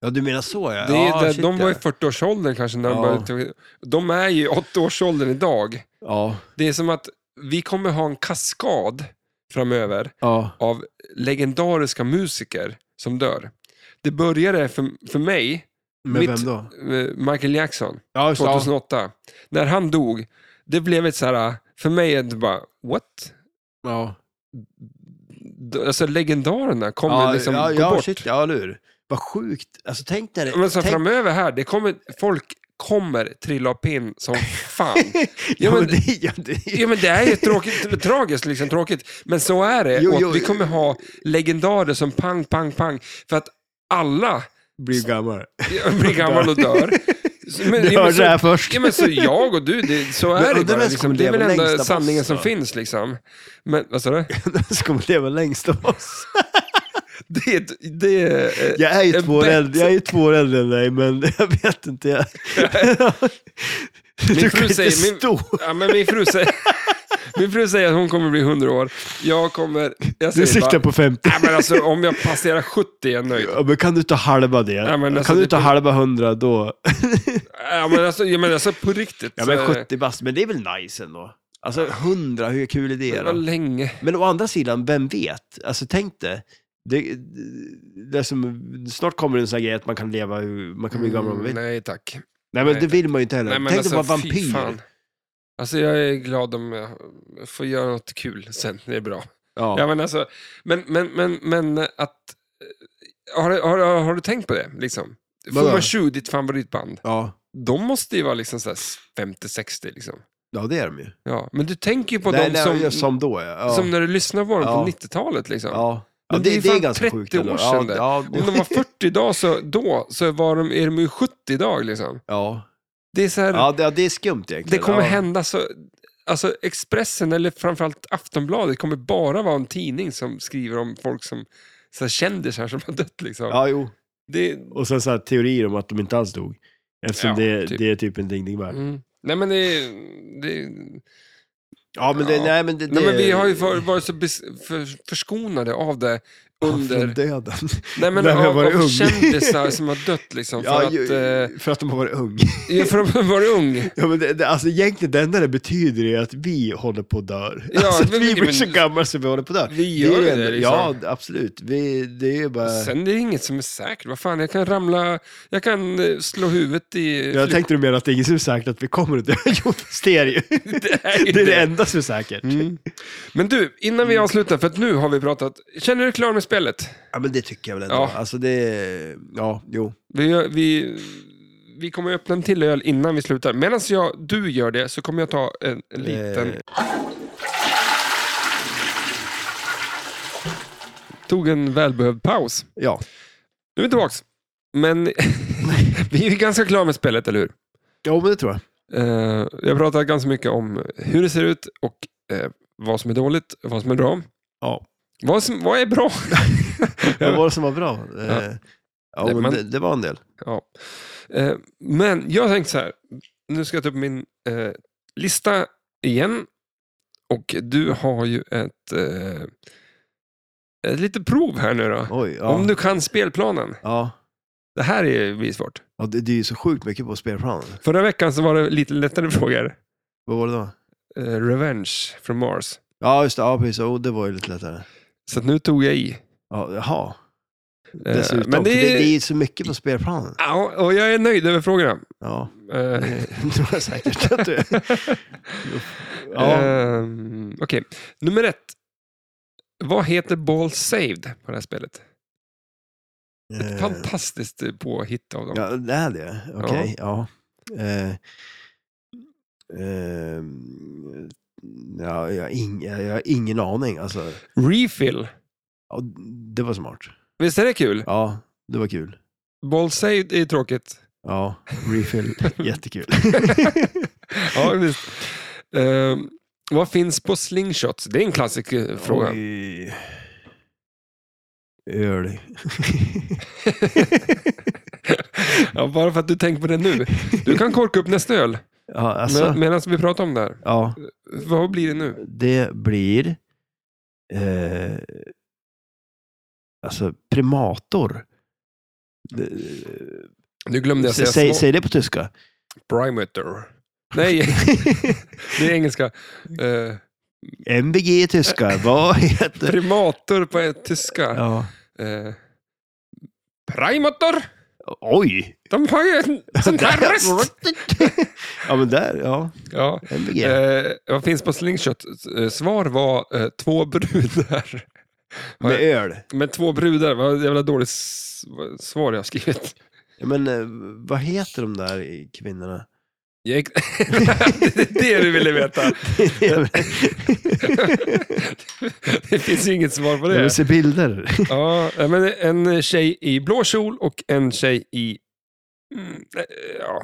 ja, du menar så ja. det är ja, där, shit, de var i ja. 40-årsåldern kanske när de Ja. började. De är ju i 80-årsåldern idag. Ja, Det är som att vi kommer ha en kaskad framöver ja. av legendariska musiker som dör. Det började för, för mig, Men Mitt- vem då? eh, Michael Jackson. Ja, just det, ja. 2008. När han dog, det blev ett så här, för mig är det bara, what? Ja. D- Alltså legendarerna kommer liksom ja, gå ja, bort. Shit, ja, eller hur? Vad sjukt. Alltså tänk när det... Men så tänk... framöver här, det kommer, folk kommer trilla av pinn som fan. ja, men men- det, ja, det... Ja men det är ju tråkigt, tragiskt liksom, tråkigt. Men så är det. Jo, och att jo. vi kommer ha legendarer som pang, pang, pang. För att alla Blir gammal. blir gammal och dör. Men, Du ja, men hörde så- det här först. Ja, men så jag och du, det, så Men är det undrar vem bara. som Liksom. kommer Det är väl leva enda längst av sanningen oss, som då? finns. Liksom. Men vad sa du? Den som kommer leva längst av oss. Det, är ett- det, är, eh, Jag är ju En två år bet. äldre, jag är ju två år äldre än dig, men jag vet inte. Jag... du fru kan inte säger- min- stå. ja, men min fru säger... Min fru säger att hon kommer bli 100 år. Jag kommer... Jag Du säger siktar bara, på 50. Nej, men alltså, om jag passerar 70 är jag nöjd. Ja, men kan du ta halva det? Ja, men alltså, kan du det- ta halva 100 då? Ja, men alltså, jag menar, alltså på riktigt. Ja, så- men 70 bast, men det är väl nice ändå? Alltså 100, hur kul är det Det var då? länge. Men å andra sidan, vem vet? Alltså tänk dig. Det, det är som, snart kommer en sån här grej att man kan leva, hur- man kan bli gammal om man vill. Mm, Nej tack. Nej, men nej. det vill man ju inte heller. Nej, men tänk alltså, dig vara fy vampyr. fan. Alltså jag är glad om jag får göra något kul sen, det är bra. Ja. Ja, men, alltså, men, men, men, men att... eh, Har, du- har, du- har du tänkt på det? Liksom? Vadå? Fuma 20, ditt favoritband, Ja. de måste ju vara liksom så här 50-60. Liksom. ja, det är de ju. Ja. Men du tänker ju på nej, dem nej, som, ja, som då, ja. ja. som när du lyssnar på dem Ja. på 90-talet. Liksom. ja. ja Men det, det är det, ju är fan ganska 30 sjukt. ändå. år sedan det. ja, Om ja, de var 40 idag så, då, så var de, är de ju 70 idag. Liksom. ja. Det är så här, Ja, det, ja, det är skumt egentligen. Det kommer ja. hända så... Alltså Expressen, eller framförallt Aftonbladet, kommer bara vara en tidning som skriver om folk som så här, kändisar som har dött. Liksom. Ja, jo. Det, Och sen så här teorier om att de inte alls dog. Eftersom Ja, det, typ. det är typ en ding ding värld. mm. Nej men det, det, Ja, men det, Ja. nej men det... Nej det- men vi har ju var- varit så bes, för, förskonade av det Från under... döden. Nej men när jag av, var av ung. kändisar som har dött liksom. För Ja, att... ju, Eh, för att de har varit ung. ja, för att de var ung. Ja, men det, det, alltså egentligen det enda det betyder är att vi håller på att dö. Ja, alltså, att men- vi men- blir så gamla så vi håller på att dö. Vi gör är det enda- liksom. Ja, absolut. Vi, det är ju bara... Sen det är inget som är säkert. Vad fan, jag kan ramla... Jag kan eh, slå huvudet i... jag tänkte du menar att det är ingen som är säkert att vi kommer att dö. Jo, det är det ju. Det är Mm. ju Det är det det. enda som är säkert. Men du, innan vi avslutar, för att nu har vi pratat. Känner du dig klar med spelet? Ja, men det tycker jag väl ändå. Ja. Alltså det... Ja, jo. Vi, gör- vi, vi kommer att öppna en till öl innan vi slutar. Medan jag, du gör det så kommer jag ta en, en liten... Tog en välbehövd paus. Ja. Nu är vi tillbaka. Men vi är ju ganska klara med spelet, eller hur? Jo, men det tror jag. Eh, jag pratar ganska mycket om hur det ser ut och eh, vad som är dåligt och vad som är bra. Ja. Vad, som, vad är bra? Vad var det som var bra? Eh, Ja. Ja, Nej, men man- det, det var en del. Ja. Eh, Men jag tänkte så här. Nu ska jag ta upp min eh, lista igen. Och du har ju ett, eh, ett litet prov här nu då. Oj, ja. Om du kan spelplanen. Ja. Det här är blir svårt. ja det, det är ju så sjukt mycket på spelplanen. Förra veckan så var det lite lättare frågor. Vad var det då? Eh, Revenge från Mars. Ja, just det. Ja, precis. Oh, det var ju lite lättare. Så att nu tog jag i. Ja, jaha. Eh, Dessutom. Men för det är... ju så mycket på spelplanen. Ja, och jag är nöjd över frågorna. Ja, Eh, det tror jag säkert att du ja. Ehm, Okej, nummer ett. Vad heter Ball Saved på det här spelet? Ett eh, fantastiskt eh, påhitt av dem. Ja, det är det. Okej, ja. Eh, eh, ja, jag, har ing, jag jag har ingen aning. Alltså, Refill. ja, det var smart. Visst är det kul? Ja, det var kul. Ball Saved är ju tråkigt. Ja, refill. Jättekul. ja, visst. Ehm, vad finns på slingshots? Det är en klassisk eh, fråga. Oj. Öl. ja, bara för att du tänker på det nu. Du kan korka upp nästa öl Ja, alltså. med, medan vi pratar om det här. Ja. Vad blir det nu? det blir eh, alltså primator. Det- Nu glömde jag säga Säg, små- säg det på tyska. Primator. Nej, det är engelska. Eh, MVG i tyska, vad heter primator på tyska. ja. Eh, primator! Oj! De har ju en sån där röst! ja, men där, ja. Ja. MVG. Eh, vad finns på slingshot? Eh, Svar var eh, två brudar. Med öl. Men två brudar, vad jävla dåligt s- vad- svar jag har skrivit. Ja, men eh, vad heter de där i- kvinnorna? Jag gick... det är det du ville veta. det finns ju inget svar på Jag det. vill se bilder. Ja, eh, men en tjej i blå kjol och en tjej i mm, eh, ja,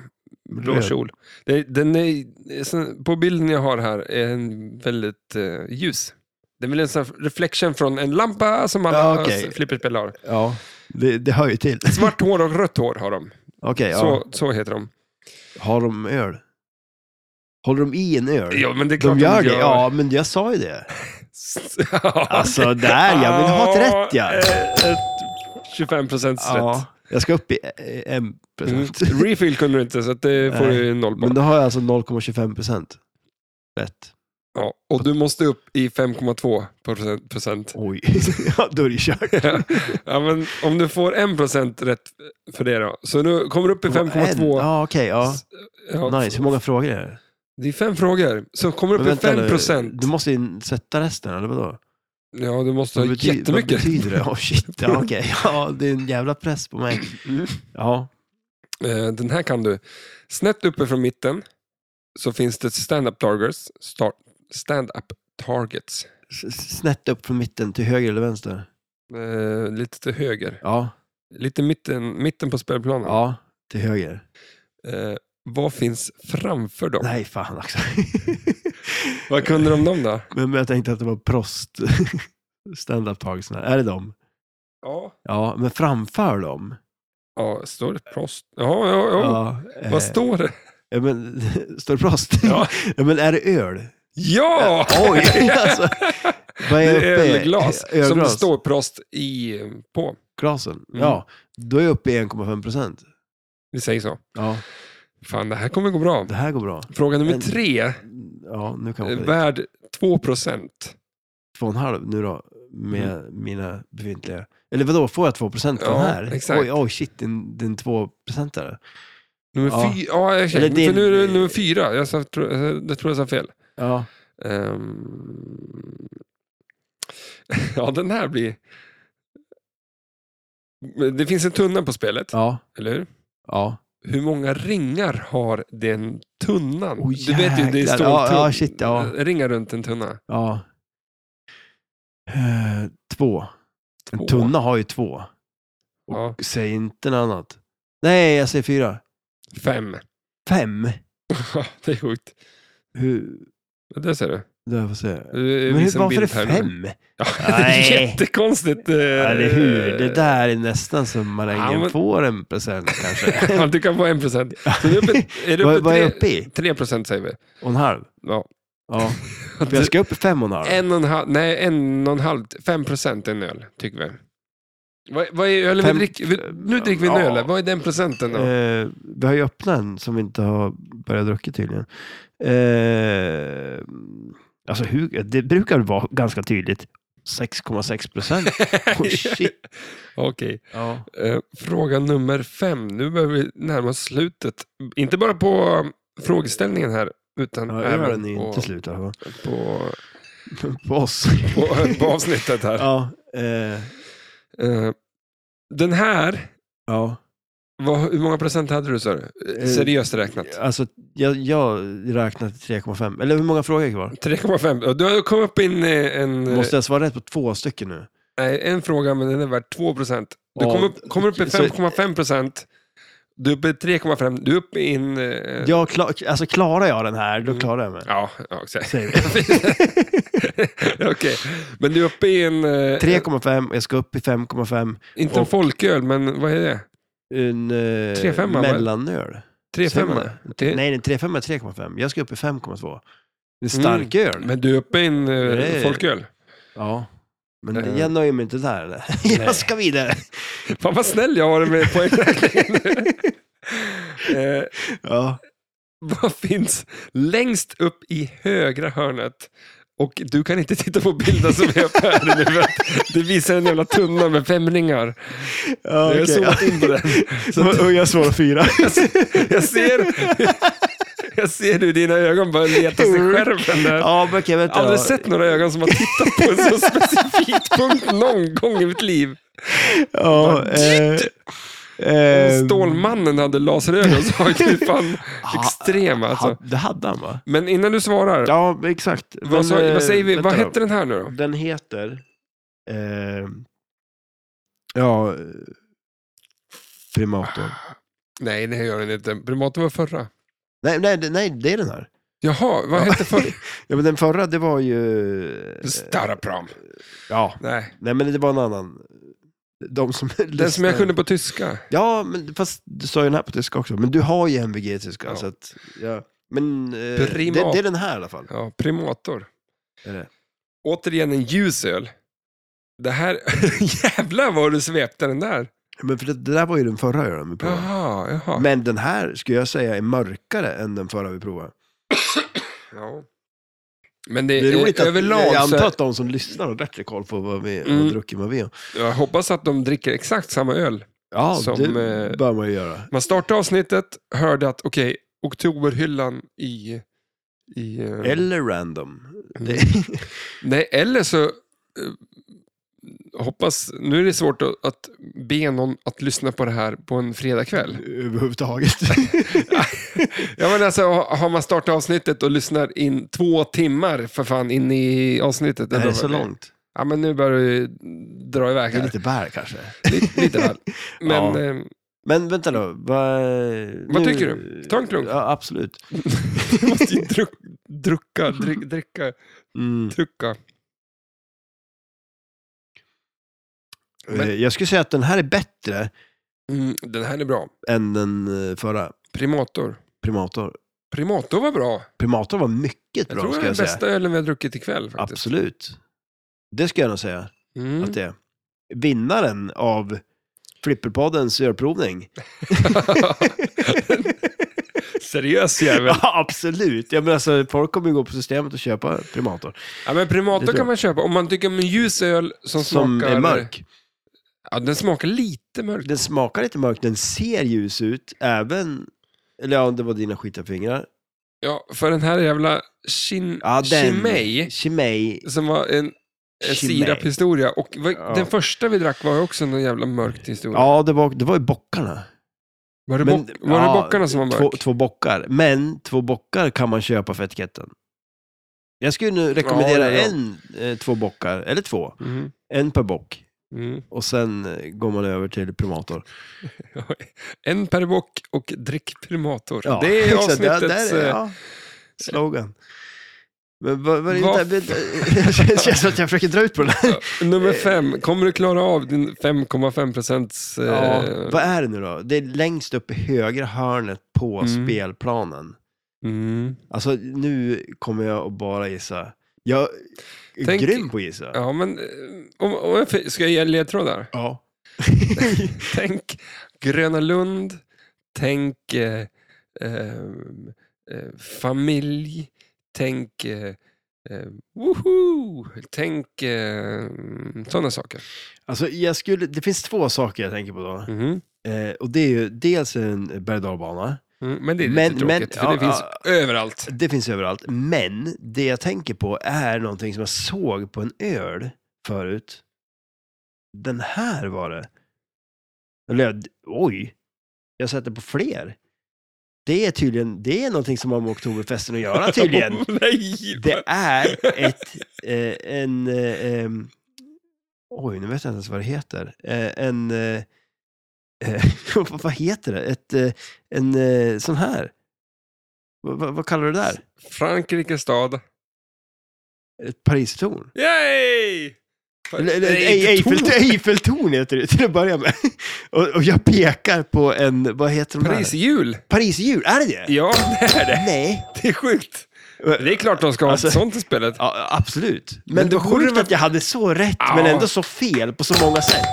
blå Röd. kjol. Det- Den är, sen- på bilden jag har här är en väldigt eh, ljus. Det är väl en sån här reflection från en lampa som alla Ja, okej. flipperspel har. Ja, det, det hör ju till. Svart hår och rött hår har de. Okej, ja. Så, så heter de. har de öl? Håller de i en öl? Ja, men det är klart de gör de det. Ja, men jag sa ju det. Ja, Alltså, där ja. Men du har ett rätt ja. eh, Ett 25 procents ja. rätt. Jag ska upp i eh, en Mm. procent. Refill kunde du inte, så att det får Nej. du noll på. Men då har jag alltså 0,25 procent rätt. Ja, och du måste upp i 5,2 procent- procent. Oj, ja, då är det kört. ja, men om du får 1 procent rätt för det då. Så nu kommer du upp i 5,2. Ja, okej. ja. Ja, Nice. Hur många frågor är det? Det är fem frågor. Så kommer du Men upp i 5 vänta nu, procent. Du måste ju sätta resten, eller vadå? Ja, du måste Vad ha bety- Vad jättemycket. betyder det? Oh, shit. Ja, okej. ja, det är en jävla press på mig. Mm. Ja. Eh, Den här kan du. Snett uppe från mitten så finns det stand-up targets. Star- Stand-up targets. S- Snett upp från mitten till höger eller vänster? Eh, lite till höger. Ja. Lite mitten, mitten på spelplanen. Ja, till höger. Eh, vad finns framför dem? Nej, fan också. Vad kunde de om dem då? men, men jag tänkte att det var prost stand-up targets. Är det dem? Ja. Ja, men framför dem? ja står det prost? Ja, ja, ja. eh, Vad står det? ja, men, står det prost? Ja! Ja, men är det öl? ja! Oj, alltså. Vad Det är jag är uppe i? Eh, ölglas som det Ölglas. står prost i, på. Glasen? Mm. Ja, då är jag uppe i 1,5 procent. Vi säger så. Ja, Fan, det här kommer gå bra. det här går bra. Fråga nummer Men- tre. Ja, nu kan Eh, jag hoppa dit. Värd 2 procent. Två och en halv nu då, med mina befintliga. Eller vadå, får jag 2 procent på Ja, den här? exakt. Oj, oj, shit, den, den 2 procentare. Nummer Ja. fyra. Ja, Eller exakt. det- För nu är det nummer fyra. Jag, sa, tro, jag tror jag sa fel. Ja, Ehm. ja, den här blir... Det finns en tunna på spelet, ja, eller hur? ja. Hur många ringar har den tunnan? Oh, du vet ju, det jäklar. står Ja, tun- ja, shit, ja. ringar runt en tunna. ja. Eh, två. En Två. tunna har ju två. Ja, Säg inte något annat. Nej, jag säger fyra. fem. Fem? Ja, det är sjukt. Hur, Det liksom ser du. det får se. du Men hur, varför är det fem? Ja, Nej. jättekonstigt. eh, Eller hur? Det där är nästan som marängen Ja, men- får en present kanske. Ja, du kan få en procent. Så du är uppe, är du Vad, vad är jag uppe uppe i? tre procent säger vi. Och en halv? Ja. Ja. För jag ska upp i fem och en halv. En och en halv, nej, en och en halv, fem procent är en öl, tycker vi. Vad, vad är ölen vi Fem- dricker? vi- Nu dricker vi en Ja. öl, vad är den procenten då? Eh, vi har ju öppnat en som vi inte har börjat dricka tydligen. Eh, alltså hur, det brukar vara ganska tydligt. 6,6 procent. Oh, shit. Okej. Ja. Eh, fråga nummer fem. Nu börjar vi närma oss slutet. Inte bara på um, frågeställningen här, utan Ja, även ölen är ju på, inte slut i alla fall. på, På oss. på, på avsnittet här. ja, eh, Eh, den här, ja. vad, hur många procent hade du sa du? Eh, Eh, Seriöst räknat. Alltså, jag, jag räknar till 3,5. Eller hur många frågor är kvar? 3,5. Och Du har kommit upp in eh, en, Måste jag svara rätt på två stycken nu? nej, en fråga, men den är värd 2 procent. Du Ja, kommer upp, kommer upp i så- 5,5 procent. Du är uppe i 3,5. Du är uppe i en... eh, Jag kla- alltså, klarar jag den här, då Mm. klarar jag mig. Ja, ja exakt. Säger vi. Okej, men du är uppe i en... eh, 3,5, jag ska upp i 5,5. Inte en och- folköl, men vad är det? En eh, 3,5, va? mellanöl. Säger 3,5? man det? Det- Nej, en 3,5 är 3,5. Jag ska upp i 5,2. En stark öl. Mm. Men du är uppe i en eh, Det är- folköl. Ja. Men Eh. jag nöjer mig inte där. eller? Nej. jag ska vidare. Fan vad snäll jag var med poängräkningen. eh, Ja. vad finns längst upp i högra hörnet? Och du kan inte titta på bilden som är uppe här nu. för att Det visar en jävla tunna med fem ringar. ja jag har zoomat in på den. Så att Och jag svarar fyra. jag, ser, jag ser hur dina ögon börjar leta sig i skärmen där. ja, men okej, Jag vänta har aldrig då. sett några ögon som har tittat på en så specifik punkt någon gång i mitt liv. Ja, eh, eh, Stålmannen hade laserögon, så var ju fan extrem alltså. ha- Det hade han va? Men innan du svarar, Ja, exakt. Men, vad, sa, eh, vad säger vi? vänta Vad då. hette den här nu då? Den heter... Eh, ja... eh, Primator. Nej, det gör den inte. Primaten var förra. Nej, nej, det- nej, det är den här. Jaha, vad hette förra? Ja, men den förra, det var ju... eh, Starapram. Ja, Nej, nej men det var en annan. De som den som jag kunde på tyska. Ja, men fast du sa ju den här på tyska också. Men du har ju MVG i tyska, Ja. så att... Ja. Men eh, det, Primat. det är den här i alla fall. Ja, primator. Är det. Återigen en ljus öl. Det här... Jävlar vad du svepte den där. Men för det, det där var ju den förra ölen vi provade. Jaha, jaha. Men den här skulle jag säga är mörkare än den förra vi Eh, provade. Ja. Men det, Det är roligt eh, att överlag jag antar så... att de som lyssnar har bättre koll på vad vi Mm. har druckit vad vi har. Jag hoppas att de dricker exakt samma öl. Ja, Som, eh, Mm. det bör man ju göra. Man startade avsnittet, hörde att okej, oktoberhyllan i... i eh, mm. Eller random. Det, Nej, eller så eh, hoppas... Nu är det svårt att, att be någon att lyssna på det här på en fredagkväll. överhuvudtaget. Ja, men alltså, ha- har man startat avsnittet och lyssnar in två timmar för fan in i avsnittet. det här är Eller så vad- långt. Ja, men nu börjar du dra iväg Det är här. lite bär kanske. Lite, lite väl. Men, Ja. ehm, Men vänta då. Vad, Vad nu- tycker du? Ta en klunk. Ja, absolut. Du måste ju druck, drucka, drick, dricka, Mm. drucka. Men- Eh, Jag skulle säga att den här är bättre Mm, den här är bra. än den eh, förra. Primator. Primator. Primator var bra. Primator var mycket Jag bra, tror det ska är jag den säga. bästa ölen vi har druckit ikväll faktiskt. Absolut. Det ska jag nog säga Mm. att det är. Vinnaren av Flipperpoddens ölprovning. Seriös jävel. Ja, absolut. Ja, men alltså, folk kommer ju gå på systemet och köpa primator. Ja, men Det primator tror kan jag. man köpa. Om man tycker om en ljus öl som, Som smakar... är mörk. Ja, den smakar lite mörk. Den smakar lite mörk, den ser ljus ut, även... Eller ja, det var dina skitiga fingrar. Ja, för den här jävla chin, Ja, den... Chimay, Chimay. som var en, en Chimay. siraphistoria. Och vad, Ja. den första vi drack var också en jävla mörkt historia. Ja, det var, det var ju bockarna. Var det, Men- bock, var ja, det bockarna som var mörk? Två, två bockar. Men två bockar kan man köpa för etiketten. Jag skulle nu Ja, rekommendera ja, ja. en, eh, två bockar, eller två. Mm. En per bock. Mm. Och sen eh, går man över till primator. En per bock och drick primator. Ja, Det är så där- avsnittets... där är- eh, ja, slogan. Men vad, vad är det Vad där? Men- Det känns som att jag försöker dra ut på den här. eh, Nummer fem, kommer du klara av din 5,5 procents... Eh, Ja, vad är det nu då? Det är längst upp i högra hörnet på Mm. spelplanen. mm. Alltså nu kommer jag att bara gissa. Jag är Tänk- grym på att gissa. ja men... eh, Om, om jag, får- ska jag ge ledtrådar? Ja. tänk Gröna Lund, tänk eh, ehm, eh, familj, tänk... Eh, eh, woho! Tänk eh, sådana saker. Alltså, jag skulle, det finns två saker jag tänker på då. Mhm. Eh, och det är ju dels en berg och Mm, men det är lite Men- tråkigt, men- för ja, det finns ja. överallt. Det finns överallt. Men det jag tänker på är någonting som jag såg på en öl förut. Den här var det. Eller jag- oj, jag sätter på fler. Det är tydligen, det är någonting som har med Oktoberfesten att göra tydligen. Nej! Det är ett, eh, en, eh, em, oj nu vet jag inte ens vad det heter. Eh, en, eh, eh, vad vad heter det? Ett, eh, en eh, sån här. Vad- vad- vad kallar du det där? Frankrikes stad. Ett Paristorn? Yay! Eller, eller, Nej, Ei- inte Eiffel, torn. Eiffeltorn heter det till att börja med. Och, och jag pekar på en, vad heter de här? Parisjul. Parisdjur, är det det? Ja, det är det. Nej. Det är sjukt. Det är klart de ska ha Alltså- ett sånt i spelet. Ja, absolut. Men, Men det det borde var sjukt vara- att jag hade så rätt, Ja. men ändå så fel på så många sätt.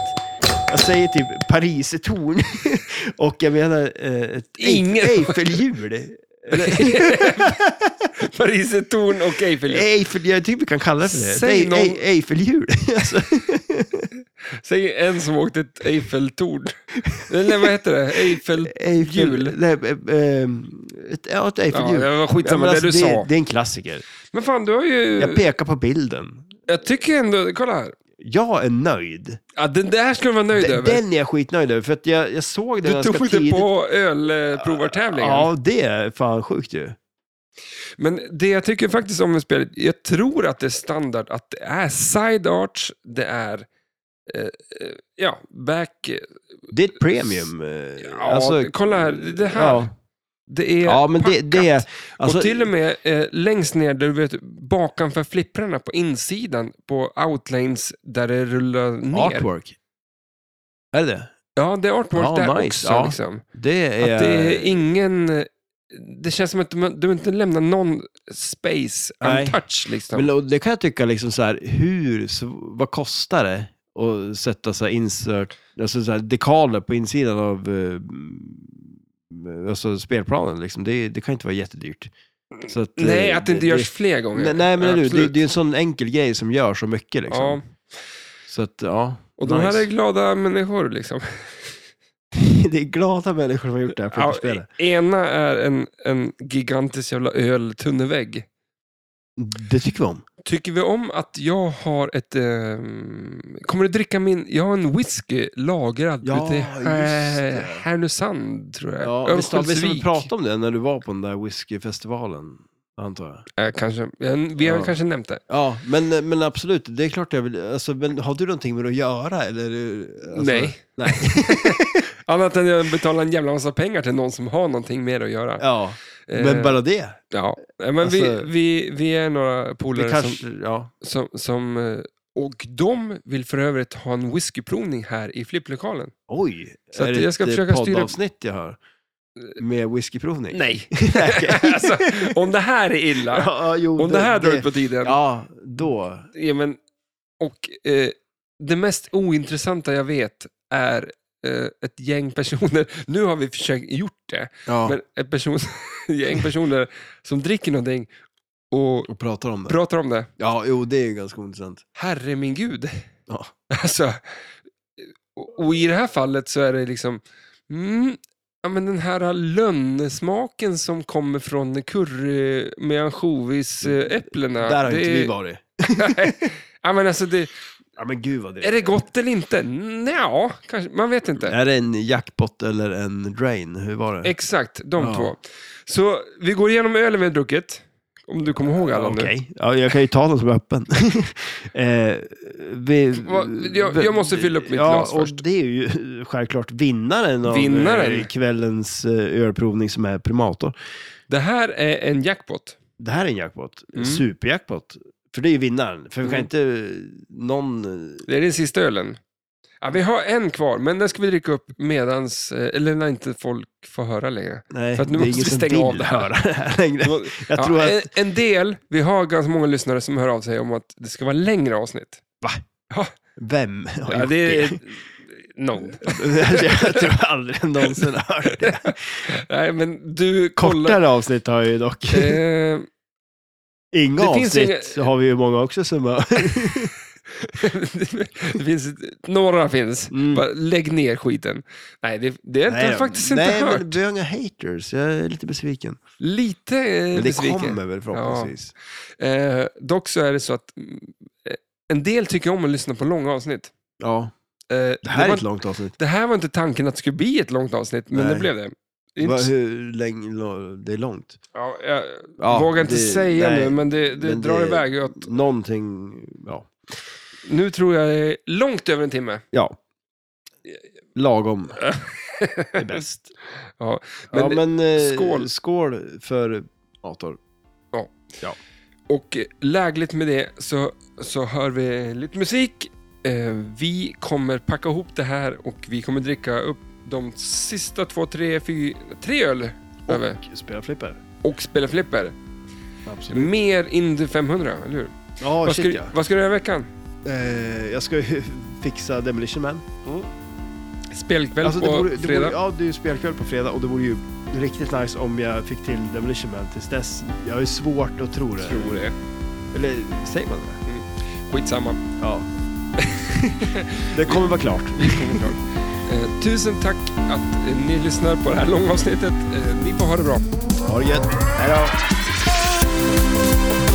Jag säger typ Paris-torn och jag menar eh, ett Ingen- Eif- Eiffelhjul. Eller- Paris är torn och Eiffel. Eiffel, jag tycker vi kan kalla det för det. Säg Säg någon- Eiffelhjul. Alltså, Säg en som åkte ett Eiffeltorn. Eller vad heter det? Eiffel... Hjul. Eiffel... Nej, eh, eh, ett, ja, ett Ja, Eiffelhjul. det var skitsamma det men alltså, du sa. Eh. Det är en klassiker. Men fan, du har ju... Jag pekar på bilden. Jag tycker ändå... Kolla här. Jag är nöjd. Ja, den där skulle du vara nöjd Den, över. den är jag skitnöjd över, för att jag, jag såg den du ganska tog det tidigt. på ölprovartävlingen. Ja, det är fan sjukt ju. Men det jag tycker faktiskt om med spelet, jag tror att det är standard att det är side arts, det är eh, eh, ja, back... eh, Det är ett premium. eh, Ja, alltså, kolla här, det här. Ja, Det är ja men det, det är... packat. Alltså, och till och med eh, längst ner, där du vet, bakanför flipprarna på insidan på outlanes där det rullar ner. artwork. Är det det? Ja, det är artwork Ja, där nice, också. ja. Eh, Liksom. Det Att är... det är ingen det känns som att du, du inte lämnar någon space Nej. untouched. Liksom. Men, och det kan jag tycka, liksom så här, hur, sv- vad kostar det att sätta så här insert, alltså så här dekaler på insidan av eh, mm, alltså spelplanen? Liksom. Det, det kan inte vara jättedyrt. Så att, eh, nej, att det inte görs fler gånger. Nej, nej men du, det, Absolut. det är en sån enkel grej som gör så mycket. Liksom. ja. Så att, ja. Och de nice. här är glada människor. Liksom. det är glada människor som har gjort det här Ja, e- flipperspelet. ena är en, en gigantisk jävla öltunnevägg. Det tycker vi om. Tycker vi om att jag har ett... ehm, kommer du dricka min... Jag har en whisky lagrad Ja, ute i just här, det. Härnösand, tror jag. Ja, visst har visst har vi Örnsköldsvik. pratat om det när du var på den där whiskyfestivalen? Antar jag. Eh, kanske. Eh, Vi har Ja. kanske nämnt det. Ja, men, men absolut. Det är klart jag vill. Alltså, men har du någonting med det att göra? Eller, är du- alltså, Nej. nej. Annat än jag betalar en jävla massa pengar till någon som har någonting mer att göra. Ja, Eh, men bara det. ja. Eh, Men Alltså- vi, vi, vi är några Det polare som, kanske, ja. som, som... eh, Och de vill för övrigt ha en whiskyprovning här i flipplokalen. Oj, Så är att det jag ska ett försöka styra- poddavsnitt jag hör? Med whiskyprovning? Nej. Okej. alltså, om det här är illa, ja, jo, om det här drar ut på tiden, Ja, då. Ja, men, och eh, det mest ointressanta jag vet är eh, ett gäng personer, nu har vi försökt gjort det, Ja, men ett person, gäng personer som dricker någonting och och pratar om det. pratar om det. Ja, jo, det är ju ganska intressant. Herre min gud. Ja. Alltså, och, och i det här fallet så är det liksom, mm, ja, men den här lönnsmaken som kommer från curry med ansjovisäpplena. Mm. Där har det inte vi är- varit. Nej. ja, men alltså det, Ja, men gud vad det Är det gott eller inte? Nja, kanske. Man vet inte. Är det en jackpot eller en drain? Hur var det? Exakt, de Ja. två. Så vi går igenom ölen vi har druckit. Om du kommer ihåg alla nu. Okej, ja, jag kan ju ta den som är öppen. eh, vi, Va- jag- jag måste fylla upp mitt ja, glas och först. Det är ju självklart vinnaren av Vinnaren. eh, kvällens eh, ölprovning som är primator. Det här är en jackpot. Det här är en jackpot, Mm. superjackpot. För det är ju vinnaren, för vi kan Mm. inte eh, någon... eh, Det är den sista ölen. Ja, vi har en kvar, men den ska vi dricka upp medans, eh, eller när inte folk får höra längre. Nej, För att nu det är måste ingen vi som stänga vill av det här. höra det här längre. Jag Ja, tror att... en, en del, vi har ganska många lyssnare som hör av sig om att det ska vara längre avsnitt. Vem har Ja, gjort det det? är någon. jag tror aldrig någonsin har hört det. Nej, men du kollar... Kortare avsnitt har jag ju dock. Eh, Inga det finns avsnitt har vi ju många också som har... det finns, några finns. Mm. Bara lägg ner skiten. Nej, det, det har jag då. faktiskt inte Nej, hört. men du har inga haters. Jag är lite besviken. Lite eh, Men det besviken. kommer väl förhoppningsvis. Eh, dock så är det så att mm, eh, en del tycker om att lyssna på långa avsnitt. Ja. Eh, Det här är var, ett långt avsnitt. det här var inte tanken att det skulle bli ett långt avsnitt, men Nej. det blev det. Det är Va, inte så- hur länge lo- det är långt? ja, jag Ja, vågar inte det- säga nej, nu, men det, det men drar det- iväg. Åt, Någonting, ja. nu tror jag det är långt över en timme. ja. Lagom är bäst. Ja, men, ja, men, eh, skål. skål för Ator. Och eh, lägligt med det så, så hör vi lite musik. Eh, vi kommer packa ihop det här och vi kommer dricka upp de sista två, tre, fyra, tre öl över Mm. Och spela flipper. och spela flipper. Absolut. Mer Indy 500, eller hur? Ja, vad, ska, shit du- ja. vad ska du göra i veckan? Eh, jag ska ju fixa Demolition Man. Spelkväll Alltså, det på vore, det fredag? Vore, ja, det är ju spelkväll på fredag och det vore ju riktigt nice om jag fick till Demolition Man tills dess. Jag har ju svårt att tro det. Tror det. Eller säger man det? Skitsamma. Ja. det kommer vara klart. Vi kommer klart. Eh, tusen tack att eh, ni lyssnar på det här långa avsnittet. Eh, ni får ha det bra. Ha det gött. Hej då.